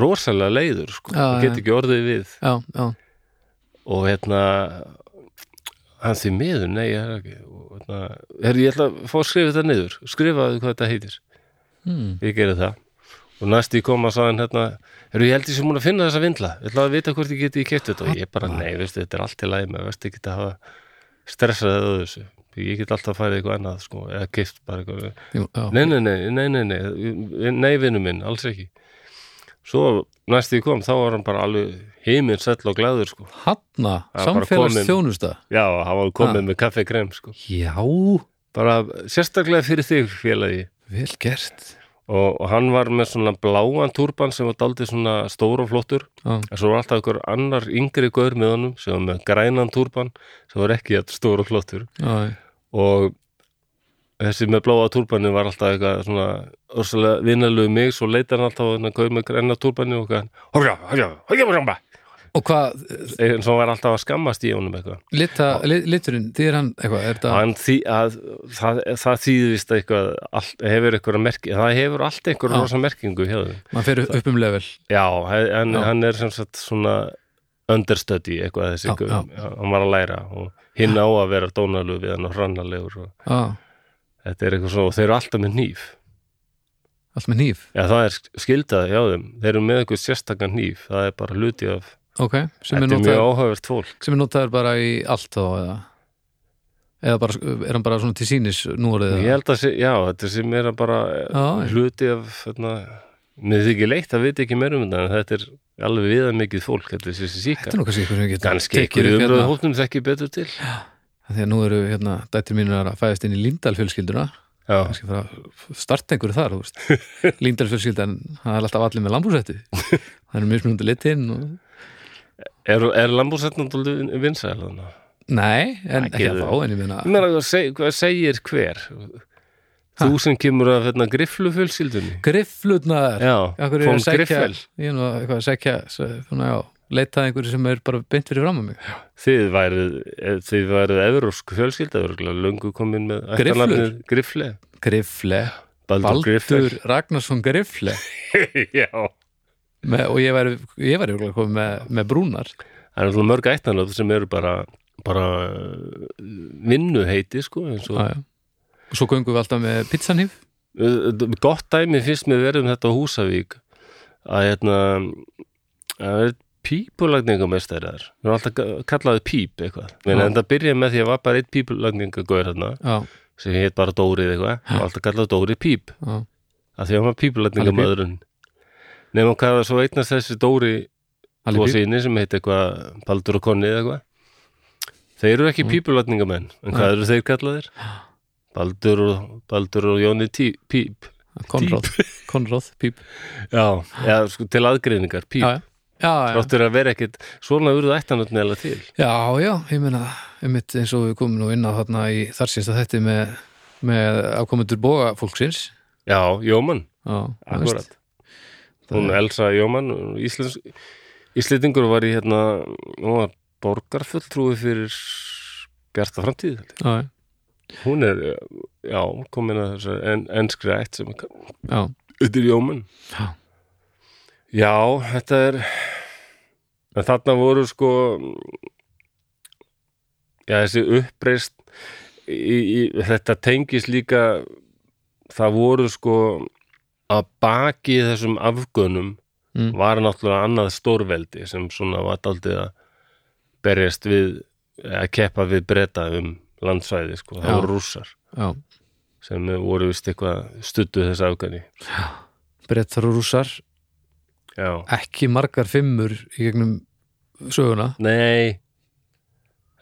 Speaker 1: rosalega leiður sko,
Speaker 2: Já,
Speaker 1: og
Speaker 2: já.
Speaker 1: get ekki orðið við
Speaker 2: já, já,
Speaker 1: og hérna hann því miður, nei, ég er ekki og hérna, herri, ég ætla að fá að skrifa þetta niður skrifaðu hvað þetta heitir
Speaker 2: hmm,
Speaker 1: ég gerði það og næst ég kom að sagðan hérna eru ég held ég sem múin að finna þessa vindla ég ætla að vita hvort ég geti ég keft þetta og ég bara nei, veistu, þetta er allt í lagi með veist, ég geti að hafa stressaðið á þessu ég get alltaf að færa eitthvað annað sko, eða keft bara eitthvað
Speaker 2: jú, já,
Speaker 1: nei, nei, nei, nei, nei, nei, nei vinnu minn, alls ekki svo næst ég kom þá var hann bara alveg heiminn sell og glæður sko.
Speaker 2: hanna,
Speaker 1: Það er bara
Speaker 2: samfélags
Speaker 1: komin-
Speaker 2: þjónusta.
Speaker 1: já, hann var komið með kaffekrem sko.
Speaker 2: Já,
Speaker 1: bara sérstaklega fyrir þig félagi
Speaker 2: vel gert.
Speaker 1: og, og hann var með svona bláan turban sem var daldið svona stór og flottur
Speaker 2: Já,
Speaker 1: en svo var alltaf einhver annar yngri gaur með honum sem var með grænan turban sem var ekki að stór og flottur
Speaker 2: já, já.
Speaker 1: og þessi með bláa turbanu var alltaf eitthvað svona örsalega vinnalegu mig svo leitar hann alltaf að gauð með græna turbanu og hann, horja, horja, horja, horja
Speaker 2: Og hvað,
Speaker 1: eins og hann var alltaf að skammast í honum eitthvað
Speaker 2: lita, li, liturinn, þýðir hann eitthvað, er þetta,
Speaker 1: hann því að það, það þýðist eitthvað, all, hefur eitthvað merki, það hefur allt eitthvað
Speaker 2: Já.
Speaker 1: rosa merkingu hjá þeim
Speaker 2: mann fer upp um level.
Speaker 1: Já, he- en
Speaker 2: Já.
Speaker 1: hann er sem sagt svona understudy eitthvað þessi,
Speaker 2: Já,
Speaker 1: já,
Speaker 2: já.
Speaker 1: hann var að læra og hinn á að vera dónalegu við hann og hrannalegur og
Speaker 2: Já,
Speaker 1: þetta er eitthvað svo og þeir eru alltaf með hníf
Speaker 2: allt með nýf.
Speaker 1: Já, það er skildað hjá þeim þeir eru með eitthvað sérstakann hníf það er bara hluti af,
Speaker 2: Ok, sem er,
Speaker 1: þetta er mjög
Speaker 2: notaður,
Speaker 1: áhugavert fólk
Speaker 2: sem er notaður bara í allt þá eða eða bara, er hann bara svona til sínis nú orðið
Speaker 1: Ég held að, sé, já, þetta sem er bara eh,
Speaker 2: Já, já.
Speaker 1: hluti af hérna, mér þykir leitt að vita ekki meir um þetta en þetta er alveg viða mikið fólk þetta er þessi
Speaker 2: Þetta
Speaker 1: síka
Speaker 2: er nú kannski eitthvað sem við getum
Speaker 1: Ganski ekki
Speaker 2: tekið upp
Speaker 1: umröðu
Speaker 2: hérna,
Speaker 1: hóttum þekki betur til
Speaker 2: Af því að nú eru hérna dættir mínur að fæðast inn í Lindal fjölskylduna
Speaker 1: já,
Speaker 2: kannski fara að starta einhverju þar þú veist. líndalsfjölskyldan, það er alltaf allir með lambúsættu það er mjög smunandi litinn og...
Speaker 1: er, er lambúsetnum vinsæl þannig?
Speaker 2: nei, en
Speaker 1: Ekki
Speaker 2: ekki að
Speaker 1: þau.
Speaker 2: fá en ég meina,
Speaker 1: Ég meina, hvað seg- hvað segir hver? Þú sem kemur að hérna, griflu fjölskyldunni?
Speaker 2: grifflutnar
Speaker 1: Já,
Speaker 2: Akkur er
Speaker 1: von
Speaker 2: að sækja,
Speaker 1: Griffel.
Speaker 2: ég er nú að- eitthvað að sækja s- svona, já, leita að einhverju sem er bara beint fyrir fram á mig
Speaker 1: Þið værið, eh, þið værið evrósk fjölskylda, örgulega löngu komin með
Speaker 2: Grifflur?
Speaker 1: ættarnafnið Grifle.
Speaker 2: Griffle,
Speaker 1: Baldur Griffel.
Speaker 2: Baldur Ragnarsson Griffle
Speaker 1: Já.
Speaker 2: með, og ég væri, ég væri örugglega komið með, með brúnar
Speaker 1: Það er svona mörg ættanöfn sem eru bara, bara eh, vinnuheiti, sko, eins og
Speaker 2: Já, já. og svo göngum við alltaf með pizzanýf
Speaker 1: Uh, gott dæmi fyrst með verðum um þetta á Húsavík að hérna að er pípulagningumestari þar við erum alltaf ga- kallaði píp eitthvað við
Speaker 2: Já.
Speaker 1: erum enda að byrja með því að var bara eitt pípulagningagóður hérna
Speaker 2: já,
Speaker 1: sem heit bara Dórið eitthvað og alltaf kallaði Dórið píp
Speaker 2: já,
Speaker 1: að því að hann var pípulagningamaðurinn nefnum hvað það svo eignast þessi Dóri
Speaker 2: Halli
Speaker 1: tvo
Speaker 2: Bíl.
Speaker 1: síni sem heit eitthvað Baldur og Konni eða eitthvað þeir eru ekki pípulagningamenn en hvað eru þeir kallaðir? Baldur og, Baldur og Jóni tí, Píp
Speaker 2: Konráð, Konráð, Píp
Speaker 1: Já, já sko, til aðgreiningar, píp
Speaker 2: já, já, já,
Speaker 1: Þráttur að vera ekkit, svona urðu ættanöfnilega til
Speaker 2: já, já, ég meina einmitt eins og við komum nú inn á þarna í þar sínst að þetta með, með afkomendur boga fólksins
Speaker 1: Já, Jóman,
Speaker 2: já, þú veist.
Speaker 1: akkurat Hún Elsa Jóman, Íslands Íslendingur var í hérna hún var borgarfulltrúi fyrir Bjarta framtíð held ég.
Speaker 2: já, já,
Speaker 1: Hún er, já, komin að þessu en, enskri ætt sem er
Speaker 2: já,
Speaker 1: Þetta er Jóman
Speaker 2: Já.
Speaker 1: Já, þetta er en þarna voru sko já, þessi uppreist í, í, þetta tengis líka það voru sko að baki þessum afgönum
Speaker 2: Mm.
Speaker 1: var náttúrulega annað stórveldi sem svona var daldið að berjast við að keppa við breyta um landsvæði sko, það
Speaker 2: Já.
Speaker 1: voru rússar
Speaker 2: já.
Speaker 1: sem voru vist eitthvað stuttu þess afgöni
Speaker 2: brettar og rússar
Speaker 1: Já
Speaker 2: ekki margar fimmur í gegnum söguna
Speaker 1: Nei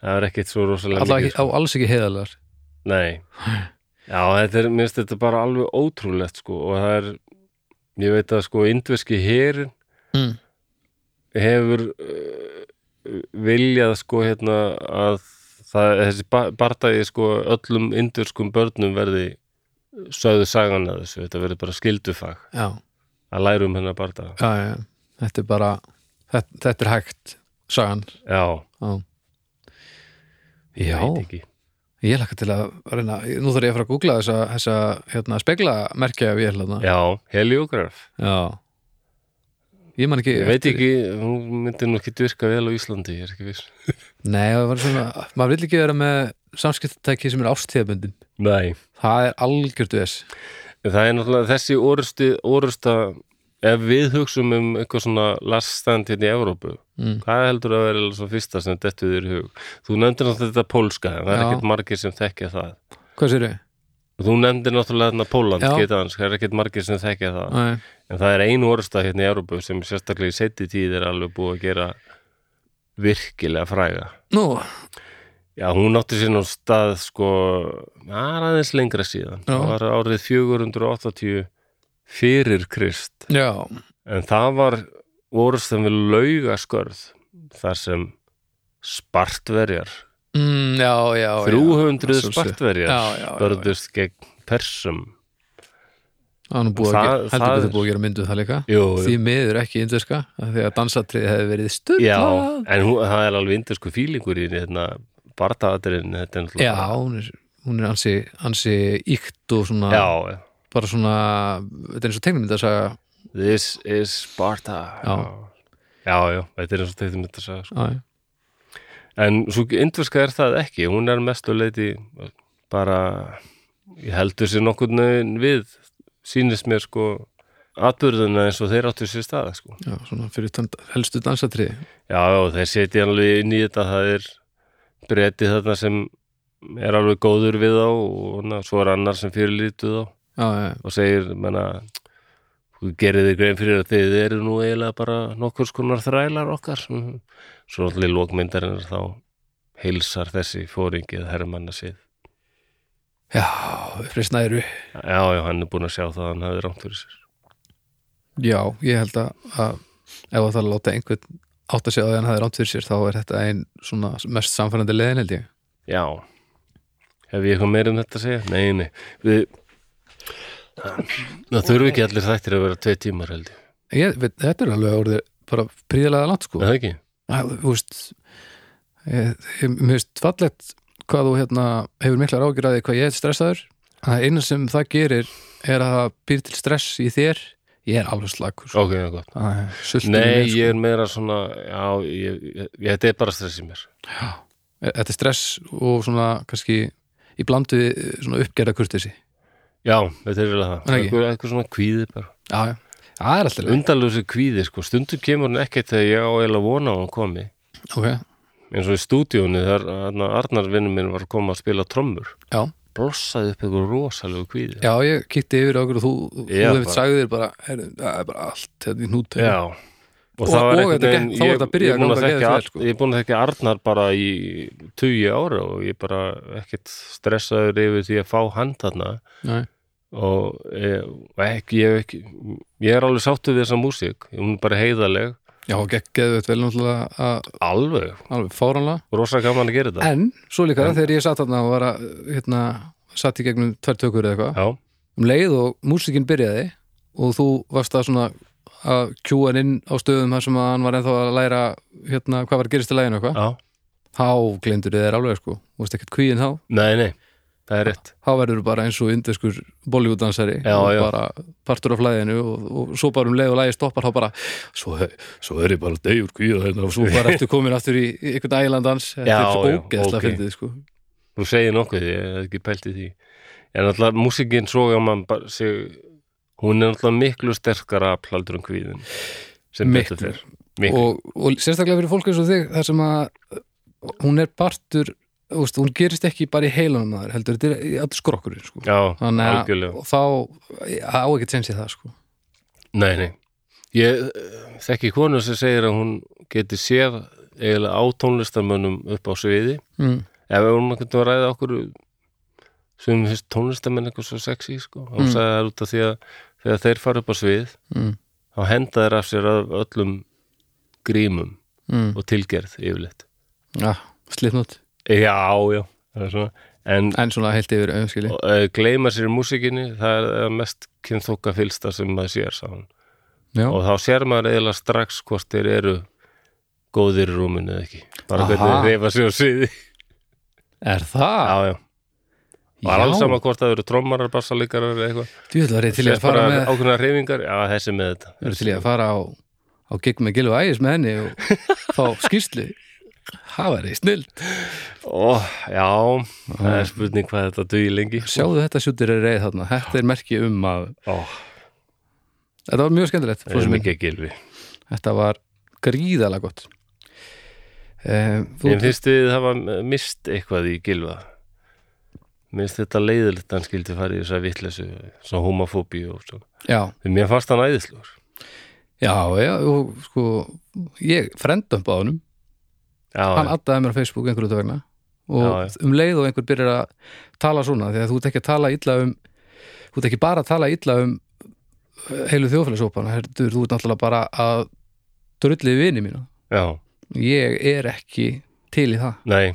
Speaker 1: Það er ekkert svo rosalega
Speaker 2: Alla, ekki,
Speaker 1: mikið sko.
Speaker 2: á alls ekki heiðalar
Speaker 1: Nei Já, þetta er, minnst þetta bara alveg ótrúlegt sko og það er, ég veit að sko indverski herin
Speaker 2: mm.
Speaker 1: hefur uh, viljað sko hérna að það, þessi ba- bardagi sko öllum indverskum börnum verði sögðu sagan að þessu, þetta verði bara skildufag
Speaker 2: já,
Speaker 1: að læra um hennar bardaga
Speaker 2: já, já, þetta er bara þetta, þetta er hægt, sagan
Speaker 1: Já,
Speaker 2: já,
Speaker 1: ég
Speaker 2: Já.
Speaker 1: veit ekki
Speaker 2: ég lakka til að reyna, nú þarf ég að fara að googla þessa, þessa hérna, spegla merkja við hérna
Speaker 1: Já, heliograf
Speaker 2: Já Ég man ekki
Speaker 1: Ég veit ekki, hún myndi nú ekki virka vel á Íslandi, ég er ekki viss
Speaker 2: Nei, það var svona, maður vill ekki vera með samskiptatæki sem er ástíðabundin
Speaker 1: Nei,
Speaker 2: Það er algjört við þess
Speaker 1: það er náttúrulega þessi orusti, orusta ef við hugsum um eitthvað svona laststand hérna í Evrópu
Speaker 2: Mm.
Speaker 1: hvað heldur að vera svo fyrsta sem dettu þér í hug þú nefndir náttúrulega þetta pólska en það er
Speaker 2: Já.
Speaker 1: ekkert margir sem þekkja það
Speaker 2: Hvað sérðu?
Speaker 1: Og þú nefndir náttúrulega hérna Póland
Speaker 2: Já.
Speaker 1: getaðans, það er ekkert margir sem þekkja það
Speaker 2: Nei,
Speaker 1: en það er einu orusta hérna í Evrópu sem sérstaklega í seti tíð er alveg búið að gera virkilega fræga
Speaker 2: nú,
Speaker 1: Já, hún átti sér nú stað sko aðeins lengra síðan
Speaker 2: Já.
Speaker 1: það var árið 480 fyrir Krist
Speaker 2: já
Speaker 1: en það var orðstum við laugaskörð þar sem spartverjar
Speaker 2: mm, Já, já, já
Speaker 1: 300
Speaker 2: Að sjálfsögðu. Já,
Speaker 1: spartverjar
Speaker 2: já, já, já.
Speaker 1: börðust gegn persum
Speaker 2: Það er nú búið að
Speaker 1: Það-
Speaker 2: gera, heldur
Speaker 1: það
Speaker 2: við
Speaker 1: er-
Speaker 2: þau búið að gera myndu það líka
Speaker 1: Jú,
Speaker 2: Því miður ekki indverska af Því að dansatriði hefði verið
Speaker 1: já,
Speaker 2: sturlað
Speaker 1: en hún, það er alveg indisku fílingur í henni, hérna bardaðurinn, þetta er
Speaker 2: Já,
Speaker 1: náttúrulega
Speaker 2: hún er, hún er ansi, ansi íkt og svona
Speaker 1: já,
Speaker 2: bara svona, þetta er eins og tegnum þetta að sagja
Speaker 1: this is Sparta já, já, já þetta er eins og tegðum þetta að sagði
Speaker 2: Já, já.
Speaker 1: En svo indverska er það ekki, hún er mestu leiti bara ég heldur sér nokkurn veginn við sýnist mér sko atbyrðuna eins og þeir áttu sér staða sko.
Speaker 2: já, svona fyrir utan helstu dansatriði
Speaker 1: Já, já, þeir setja alveg inn í þetta það er breyti þarna sem er alveg góður við þá og na, svo er annar sem fyrirlítu þá
Speaker 2: Já, já,
Speaker 1: og segir, menna þú gerir þig grein fyrir að þið eru nú eiginlega bara nokkurs konar þrælar okkar Mhm. svo allir lókmyndarinn þá heilsar þessi fóringið hermanna síð
Speaker 2: Já, uppreisna eru
Speaker 1: Já, já, hann er búin að sjá það að hann hefði rámt fyrir sér
Speaker 2: Já, ég held að, að ef að það er að láta einhvern átt að segja að hann hafi rámt fyrir sér þá er þetta ein svona mest samfærandi leiðin held ég
Speaker 1: Já Hef ég eitthvað meira um þetta að segja? Nei, nei Við Það þurfi ekki allir þættir að vera tvei tímar held ég
Speaker 2: Ég, við, þetta er alveg orðið bara príðilega langt sko
Speaker 1: Er það ekki?
Speaker 2: að, þú veist ég, ég, mér veist fallegt hvað þú hérna hefur miklar ágjur að því hvað ég er stressaður að eina sem það gerir er að það býr til stress í þér ég er alveg slakur
Speaker 1: Ok, það er gott
Speaker 2: Sultur
Speaker 1: Nei, ég er sko. meira svona Já, ég, ég, ég, þetta er bara stress í mér
Speaker 2: E, Þetta er stress og svona kannski í blandu við eh, svona uppgerða kurtesi
Speaker 1: Já, þetta er vel það
Speaker 2: Er það ekki?
Speaker 1: Eitthvað, eitthvað svona kvíði bara
Speaker 2: Já, já, það er alltaf leið
Speaker 1: Undalösi kvíði, sko Stundum kemur hann ekkert þegar ég á eiginlega vona á að hann komi
Speaker 2: Ok,
Speaker 1: eins og í stúdíónu þegar þarna Arnar vinnum minn var að koma að spila trommur
Speaker 2: já,
Speaker 1: blossaði upp eitthvað rosalegu kvíði
Speaker 2: já, ég kíkti yfir okkur og þú, þú
Speaker 1: Já,
Speaker 2: hefur
Speaker 1: bara-
Speaker 2: sagðir bara, heyrðu, það er bara allt hérna í hnút
Speaker 1: Já. og
Speaker 2: Og-
Speaker 1: það
Speaker 2: og
Speaker 1: var einhvern
Speaker 2: þetta gekk-
Speaker 1: veginn
Speaker 2: þá var
Speaker 1: ég,
Speaker 2: þetta að byrja
Speaker 1: ég,
Speaker 2: að
Speaker 1: er búinn að
Speaker 2: ganga
Speaker 1: þekkja
Speaker 2: geðveikt vel,
Speaker 1: Ar-
Speaker 2: sko.
Speaker 1: ég er búin að þekki Arnar bara í 20 ára og ég bara ekkert stressaður yfir því að fá hann þarna
Speaker 2: Nei,
Speaker 1: og ég, og ekki, ég, hef ekki, ég er alveg sáttu við þessa músík hún er bara heiðaleg,
Speaker 2: já, gekk geðveitt vel náttúrulega að,
Speaker 1: alveg
Speaker 2: alveg fáranlega
Speaker 1: rosa gaman að gera þetta
Speaker 2: En, svo líka, þegar ég satt þarna og var að, hérna, satt í gegnum tvær tökur eða eitthvað,
Speaker 1: Já,
Speaker 2: um leið og músikin byrjaði og þú varst að svona að kjúa hann inn á stöðum þar sem að hann var ennþá að læra hérna, hvað var að gerist í læginu og eitthvað,
Speaker 1: já,
Speaker 2: þá glemdur þið þér alveg sko, þú veist ekkert kvíðin þá
Speaker 1: nei, nei það er rétt,
Speaker 2: þá verður þú bara eins og indeskur Bollywood-dansari
Speaker 1: Já,
Speaker 2: og
Speaker 1: já.
Speaker 2: bara partur af flæðinu og, og svo bara um leið og lægi stoppar þá bara, svo, svo er ég bara degjur kvíða hérna og svo bara eftir komin aftur í í einhvern ægilandans, þetta
Speaker 1: Já,
Speaker 2: er svo
Speaker 1: já,
Speaker 2: ógeðslega
Speaker 1: ok.
Speaker 2: fyndið sko
Speaker 1: þú segir nokkuð ég hef ekki pælt í því en alltaf músíkin svo gaman bara sig, hún er alltaf miklu sterkara afl heldur um kvíðin sem
Speaker 2: Miklu.
Speaker 1: betur fyrr miklu,
Speaker 2: og, og sérstaklega fyrir fólk eins og þig þar sem að hún er partur þú veist, hún gerist ekki bara í heilanum maður heldur, þetta er í allir skrokkurinn sko.
Speaker 1: já,
Speaker 2: þannig að
Speaker 1: algjörlega
Speaker 2: og þá á ekki tjensi það sko.
Speaker 1: nei, nei. ég eh, þekki konu sem segir að hún geti séð eiginlega á tónlistamönnum upp á sviði
Speaker 2: mm.
Speaker 1: ef við vorum ekkert að ræða okkur sem finnst tónlistamenn eitthvað svo sexy sko, hún
Speaker 2: Mm.
Speaker 1: sagði það er út af því að þegar þeir fara upp á svið
Speaker 2: Mm.
Speaker 1: þá henda þeir af sér af öllum grímum
Speaker 2: Mm.
Speaker 1: og tilgerð yfirleitt
Speaker 2: Ja, slipnót
Speaker 1: já, já, það er svona en
Speaker 2: en svona heilt yfir auðskili
Speaker 1: uh, gleyma sér í músikinni það er það mest kynþóka fylsta sem maður sér sáðan
Speaker 2: Já.
Speaker 1: og þá sér maður eiginlega strax hvort þeir eru góðir í rúminu eða ekki bara
Speaker 2: Aha.
Speaker 1: hvernig þeir reyfa sér á sviði
Speaker 2: er það?
Speaker 1: já, já, var alls sama hvort það eru trommarar, bassalíkarar eða eitthvað
Speaker 2: þú ætlar ég til í að fara með
Speaker 1: ákveðna reyfingar, já þessi með þetta
Speaker 2: Þú ætlar ég að fara á, á gig með Gilv Ægis með henni og fá skýrslu það væri snild
Speaker 1: Ó, já, það er spurning hvað þetta dugi lengi
Speaker 2: sjáðu þetta sjúttir er reið þarna þetta er merki um að
Speaker 1: Ó,
Speaker 2: þetta var mjög skemmtilegt
Speaker 1: það
Speaker 2: Fúsi
Speaker 1: er
Speaker 2: minn.
Speaker 1: mikið að gilfi
Speaker 2: Þetta var gríðalega gott um, þú,
Speaker 1: Ég finnst þið hafa mist eitthvað í gilfa minnst þetta leiðilegt að hann skildi fara í þess að vitleysu svo homofóbí og svo
Speaker 2: Já,
Speaker 1: Því mér fannst hann æðislegur
Speaker 2: já, já og, sko, Ég frendum á honum Hann
Speaker 1: Já,
Speaker 2: addaði mér á Facebook einhverju þetta vegna og
Speaker 1: Já,
Speaker 2: um leið og einhver byrjar að tala svona því að þú ert ekki að tala illa um þú ert ekki bara að tala illa um eh, heilu þjóðfélagsópana Herdur, þú ert náttúrulega bara að drullið vini mína
Speaker 1: já,
Speaker 2: ég er ekki til í það
Speaker 1: nei,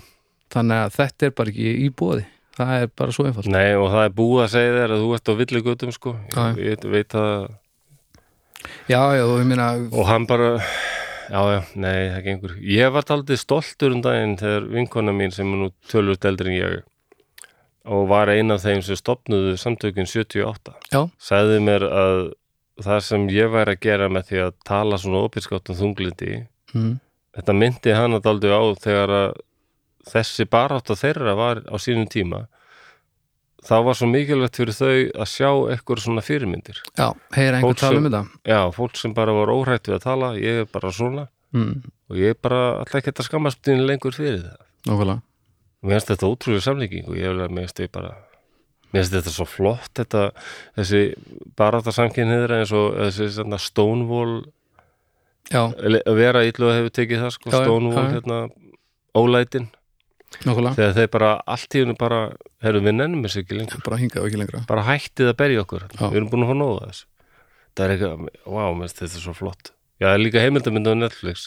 Speaker 2: þannig að þetta er bara ekki í bóði það er bara svo einfalt
Speaker 1: nei og það er búið að segja þér að þú ert á villigötum sko
Speaker 2: Já,
Speaker 1: ég, ég veit að
Speaker 2: Já, já, og ég meina
Speaker 1: og hann bara já, já, nei, það gengur ég var aldrei stoltur um daginn þegar vinkona mín sem er nú tölvöld eldri en ég og var ein af þeim sem stopnuðu samtökin 78
Speaker 2: Já.
Speaker 1: sagði mér að það sem ég væri að gera með því að tala svona opinskátt um þunglindi
Speaker 2: mm,
Speaker 1: þetta myndi hann að aldrei á þegar að þessi barátta þeirra var á sínum tíma þá var svo mikilvægt fyrir þau að sjá eitthvað svona fyrirmyndir
Speaker 2: Já, heyra einhver
Speaker 1: Fólk
Speaker 2: tala um
Speaker 1: sem-
Speaker 2: þetta
Speaker 1: já, fólk sem bara var óhrætt við að tala ég er bara svona
Speaker 2: mm,
Speaker 1: og ég er bara alltaf ekki að skammast þín lengur fyrir það.
Speaker 2: Nókulega
Speaker 1: Og Mér finnst þetta ótrúlega samlíking og ég vil að mér finnst ég bara mér finnst þetta svo flott þetta, þessi baráta samkynniðra eins og þessi svona Stonewall
Speaker 2: Já,
Speaker 1: le- vera illu hefur tekið það sko,
Speaker 2: Já, já,
Speaker 1: Stonewall
Speaker 2: já.
Speaker 1: hérna ólætin
Speaker 2: nákvæmlega,
Speaker 1: þegar þeir bara allt í hennu bara herru við nennum þessu ekki lengur
Speaker 2: bara hingað og ekki lengra
Speaker 1: bara hættið að berja okkur
Speaker 2: Já.
Speaker 1: við erum búin að fá nóða þessu það er eitthvað, wow, mest, þetta er svo flott já, það er líka heimildamynd á Netflix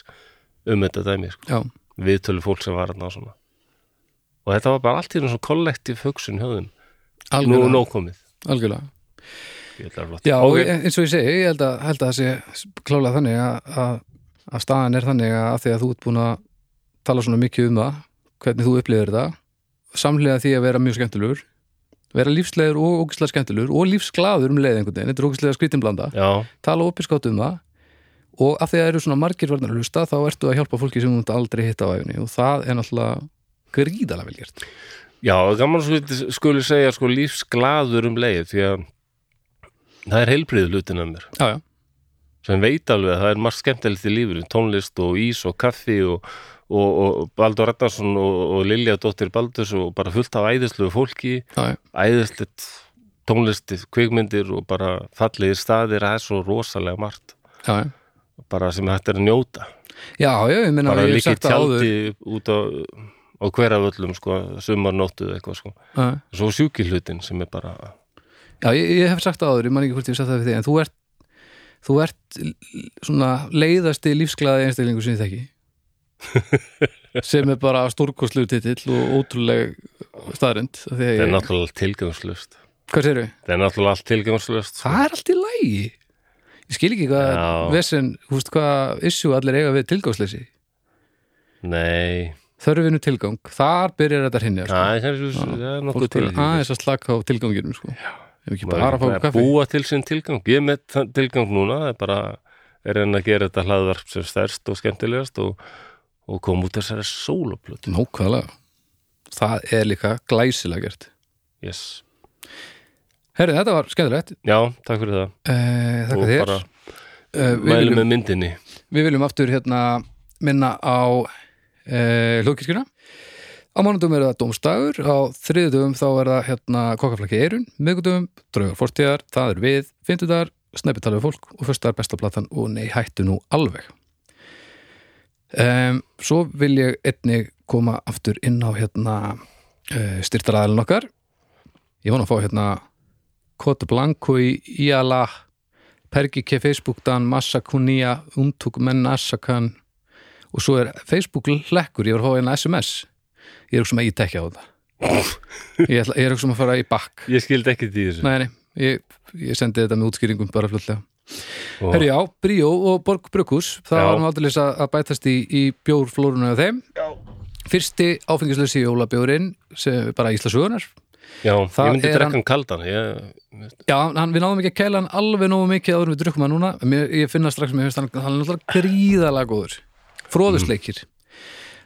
Speaker 1: um þetta dæmi, sko.
Speaker 2: já,
Speaker 1: viðtölu fólk sem var þarna og svona og þetta var bara allt í hennu svona kollektiv hugsun höfðum, nú
Speaker 2: algjörlega,
Speaker 1: er nóg komið
Speaker 2: algjörlega.
Speaker 1: Ég held að það er flott.
Speaker 2: Já,
Speaker 1: Ok.
Speaker 2: en- eins og ég segi, ég held að, held að það sé klálega þannig að, að, að staðan er þannig að af því að þú ert búin að tala svona mikið um það, hvernig þú upplifir þetta samlega því að vera mjög skemmtilegur vera lífslegur og ógislega skemmtilegur og lífsglaður um leið einhvern veginn, þetta er ógislega skrítinblanda
Speaker 1: já,
Speaker 2: tala opinskátt um það og af því að það eru svona margir varnar að hlusta þá ertu að hjálpa fólki sem þú ert aldrei hitta á æfni og það er náttúrulega gríðalega vel gert
Speaker 1: já, gaman skuli, skuli segja sko lífsglaður um leið því að það er heilbrið hlutin að mér
Speaker 2: Já, já,
Speaker 1: sem veit alveg að það er margt skemmtilegt í lífinu tónlist og ís og kaffi og, og, og Baldur Ragnarsson og, og Lilja Dóttir Baldurs og bara fullt af æðislegu fólki
Speaker 2: já, já,
Speaker 1: æðislegt tónlisti, kvikmyndir og bara fallegir staðir það er svo rosalega margt
Speaker 2: já, já.
Speaker 1: bara sem hægt er að njóta
Speaker 2: Já, já, ég meina
Speaker 1: bara
Speaker 2: ég hef
Speaker 1: líka í
Speaker 2: sagt það áður.
Speaker 1: tjaldi út á, á hveraföllum sko, sumarnóttu eða eitthvað sko
Speaker 2: Já, já.
Speaker 1: svo sjúki hlutin sem er bara
Speaker 2: Já, ég, ég hef sagt það áður, ég man ekki hvort ég hef sagt það við þig en þú ert, þú ert l- svona leiðasti lífsglaði einstaklingu sem ég þekki sem er bara stórkostlu titill og ótrúleg staðrind
Speaker 1: það er
Speaker 2: ég,
Speaker 1: náttúrulega allt tilgangslust
Speaker 2: Hvað segirðu?
Speaker 1: það er náttúrulega allt tilgangslust
Speaker 2: Það er allt í lægi Ég skil ekki hvað
Speaker 1: Já.
Speaker 2: vesen, þú veist hvað issue allir eiga við tilgangsleysi
Speaker 1: nei,
Speaker 2: Þörfinu tilgang, þar byrjar þetta hrinja sko.
Speaker 1: það er, það er nokkuð
Speaker 2: Fólk
Speaker 1: til
Speaker 2: til
Speaker 1: í því.
Speaker 2: aðeins að slaka á tilganginum sko. Ef ekki
Speaker 1: Maður
Speaker 2: bara að fá
Speaker 1: er
Speaker 2: okkur kaffi
Speaker 1: búa til sinn tilgang ég er með þann tilgang núna það er bara er enn að gera þetta hlaðvarp sem stærst og skemmtilegast og, og koma út þessari sóloplötu
Speaker 2: Nókvæðlega Það er líka glæsilega gert
Speaker 1: yes.
Speaker 2: Herri, þetta var skemmtilegt
Speaker 1: já, takk fyrir það
Speaker 2: uh, Þakka
Speaker 1: og
Speaker 2: þér
Speaker 1: bara um-
Speaker 2: uh, við,
Speaker 1: mæli
Speaker 2: viljum,
Speaker 1: með myndinni
Speaker 2: við viljum aftur hérna minna á uh, hlókirkjuna Á mánudum er það dómstagur á þriðudum þá er það hérna kokkaflaki eirun miðgudum, draugar fórstíðar, það er við fimmtudar, snæpitalegu fólk og föstudagar besta platan og nei hættu nú alveg um, Svo vil ég einnig koma aftur inn á hérna uh, styrtaraðalinn okkar Ég vona að fá hérna Kota Blanco í Íala Pergi ke Facebook-dan Massakunia, umtúk menn Assakan og svo er Facebook lekkur, ég var að fá hérna SMS ég er ekki sem að ég tekja á þetta ég, ætla, ég er ekki sem að fara í bakk
Speaker 1: ég skildi ekki því þessu
Speaker 2: nei, nei, ég, ég sendi þetta með útskýringum bara fljótlega
Speaker 1: Og-
Speaker 2: Herri já, Bríó og Borg Brukus það
Speaker 1: Já.
Speaker 2: var nú aldrei að að bætast í, í bjórflóruna af þeim
Speaker 1: já,
Speaker 2: fyrsti áfengislösi jólabjórin sem bara Íslasögunar
Speaker 1: já
Speaker 2: Það
Speaker 1: ég myndi
Speaker 2: er hann-
Speaker 1: drekkan kaldan ég,
Speaker 2: Já, hann, við náðum ekki að kæla hann alveg nógu mikið áður en við drukkum hann núna En mér, ég finna strax, mér finnst hann, hann er náttúrulega gríðalega góður fróðusleikir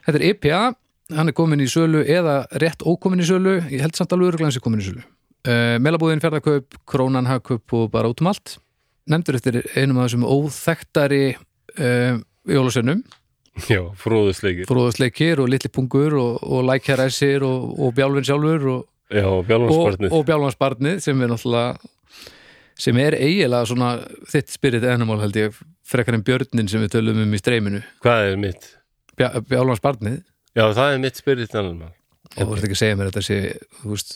Speaker 2: Þetta er IPA, hann er komin í sölu eða rétt ókomin í sölu ég held samt alveg örugglega hans er komin í sölu uh, Melabúðin, Fjardaköp, Krónan, Hagköp og bara út um allt nefndur eftir einum af þessum óþektari uh, jólasönnum
Speaker 1: já, fróðusleikir
Speaker 2: fróðusleikir og litli pungur og, og lækjaræsir og, og bjálfin sjálfur og,
Speaker 1: já,
Speaker 2: og,
Speaker 1: bjálfansbarnið
Speaker 2: og bjálfansbarnið sem er náttúrulega sem er eiginlega svona þitt spirit animal held ég frekar en björnin sem við tölum um í streyminu
Speaker 1: hvað er mitt?
Speaker 2: Bja, bjálfansbarnið
Speaker 1: já, það er mitt spirit animal.
Speaker 2: og þú ert ekki að segja mér að þetta sé þú veist,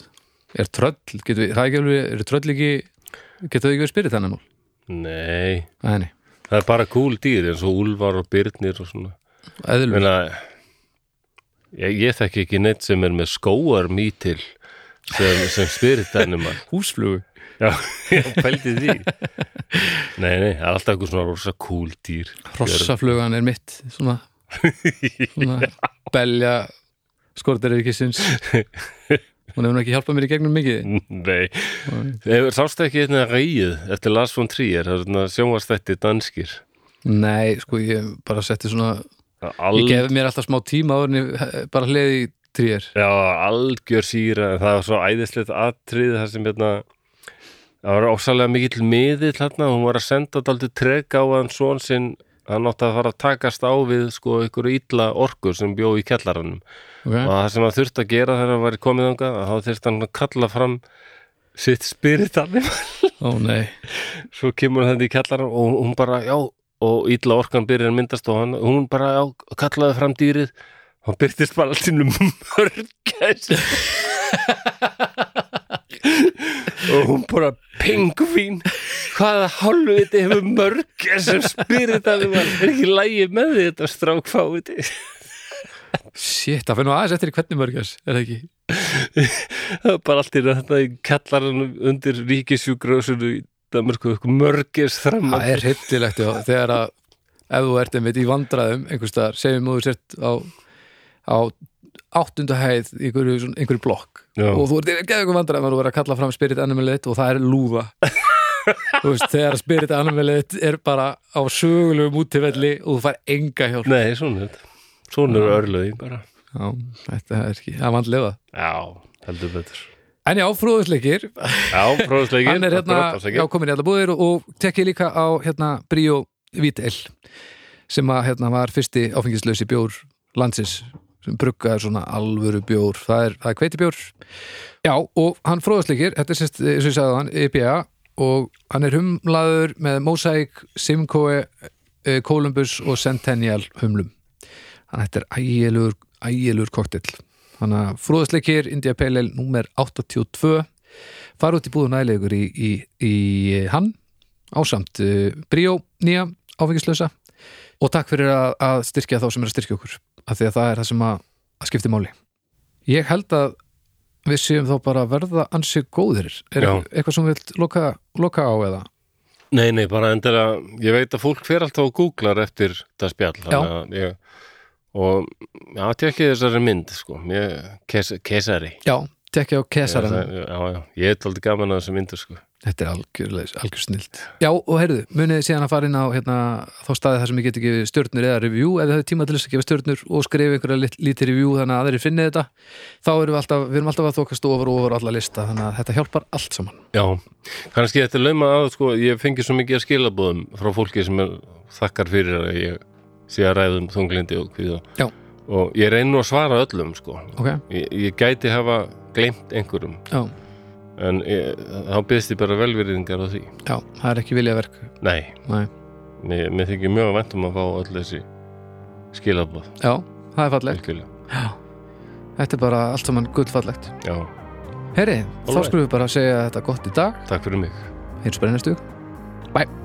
Speaker 2: er tröll, getur við, það er ekki alveg er tröll ekki, getur þau ekki verið spirit animal
Speaker 1: nei,
Speaker 2: Æ, nei,
Speaker 1: það er bara cool dýr eins og úlfar og byrnir og svona
Speaker 2: eðlum
Speaker 1: Meina, ég, ég þekki ekki neitt sem er með skóar mítil sem, sem spirit animal
Speaker 2: húsflugu
Speaker 1: já, ég pældi því nei, nei, það er alltaf eitthvað svona rosa cool dýr
Speaker 2: hrossaflugan er mitt svona, svona belja skortir ekki sinns hún hefur nú ekki hjálpað mér í gegnum mikið
Speaker 1: nei, hefur sástu ekki hérna reyið eftir Lars von Trier það er svona sjónvastætti danskir
Speaker 2: nei, sko ég bara setti svona
Speaker 1: Al,
Speaker 2: Ég gef mér alltaf smá tíma áður en ég eh, bara hliði í trýjar
Speaker 1: já, algjör síra en það var svo æðislegt atrið þar sem hérna það var ósalega mikill miðill hérna, hún var að senda daldið treg á hann svon sinn hann átti að fara að takast á við sko ykkur illa orkur sem bjó í kjallaranum og
Speaker 2: okay.
Speaker 1: það sem hann þurfti að gera þegar hann var komið þangað að þá þurfti hann að kalla fram sitt spirit animal
Speaker 2: Ó nei,
Speaker 1: svo kemur hann hérna í kjallaran og hún bara já og illa orkan byrjar að myndast og hann, hún bara já, kallaði fram dýrið hann byrtist bara allt innum mörgæs og hún bara pingvín hvaða hálfu þetta hefur mörgæs sem spyrir það um hann er ekki lægi með því þetta strákfáði
Speaker 2: Shit, það fyrir nú aðeins eftir í hvernig mörgæs, er það ekki?
Speaker 1: það var bara allt í einu þarna í kallarann undir ríkisjúkrásinu í Danmarku mörgæs þramma
Speaker 2: Það er hryllilegt, já, þegar að ef þú ert einmitt í vandræðum einhvers staðar, segjum þú sért á, á áttundu hæð í einhverju, svona- einhverju blokk
Speaker 1: Já.
Speaker 2: og þú ert í geðveikum vandræðum og þú verður að kalla fram spirit animalið og það er lúða Þú veist, þegar spirit animalið er bara á sögulegum útifelli og þú fær enga hjálp
Speaker 1: nei, svona er þetta svona eru örlöðin bara
Speaker 2: Já, þetta er ekki, það er vandlega
Speaker 1: já, heldur betur
Speaker 2: En já, fróðusleikir,
Speaker 1: já, prófisleikir
Speaker 2: hann er hérna, já, komin í alla búðir og, og tekki líka á hérna Bríó Vítel sem að hérna var fyrsti áfengislausi bjór landsins sem bruggaður svona alvöru bjór það er, það er hveitibjór já og hann fróðasleikir, þetta er sérst eins og ég sagði hann, IPA og hann er humlaður með Mosaic, Simcoe eh, Columbus og Centennial humlum þannig að þetta er ægilegur, ægilegur koktel þannig að fróðasleikir India Pale Ale númer 82 fara út í búðuna ægilegur í, í, í eh, hann ásamt uh, Bríó nýja áfengislausa og takk fyrir að, að styrkja þá sem er að styrkja okkur af því að það er það sem að, að skipti máli ég held að við séum þá bara að verða ansi góðir er
Speaker 1: Já.
Speaker 2: eitthvað sem við vilt loka, loka á eða
Speaker 1: Nei, nei, bara endilega, ég veit að fólk fer alltaf og googlar eftir það spjall
Speaker 2: Já.
Speaker 1: þannig að ég, og já, tekki þessari mynd, sko ég, kes, kesari
Speaker 2: já, tekja á kesaran
Speaker 1: já, já, ég er aldrei gaman að þessu myndu, sko
Speaker 2: Þetta er algjörlega, algjör snilt Já, og heyrðu, munið þið síðan að fara inn á hérna, þá staðið þar sem ég geti gefið stjörnur eða review, ef þið hafið tíma til þess að gefa stjörnur og skrifa einhverja lit, lítið review þannig að aðrir finni þetta þá erum við alltaf, við erum alltaf að þokast ofar og ofar á alla lista, þannig að þetta hjálpar allt saman
Speaker 1: Já, kannski þetta er lauma að, sko ég fengi svo mikið að skilabóðum frá fólki sem er þakkar fyrir að ég sé að ræðum þunglindi og kvíða
Speaker 2: Já.
Speaker 1: og ég reyni nú að svara öllum, sko
Speaker 2: Ok,
Speaker 1: ég, ég gæti hafa gleymt einhverjum
Speaker 2: já,
Speaker 1: en ég, þá byrðst ég bara velverðingar á því
Speaker 2: já, það er ekki viljaverk
Speaker 1: Nei,
Speaker 2: Nei.
Speaker 1: Mér, mér þykir mjög vænt um að fá öll þessi skilabóð,
Speaker 2: Já, það er fallegt
Speaker 1: virkilega.
Speaker 2: Já, þetta er bara allt saman gullfallegt
Speaker 1: Já,
Speaker 2: Heyri, þá
Speaker 1: Alright.
Speaker 2: skulum við bara segja þetta gott í dag
Speaker 1: takk fyrir mig.
Speaker 2: eins og brennistug Bye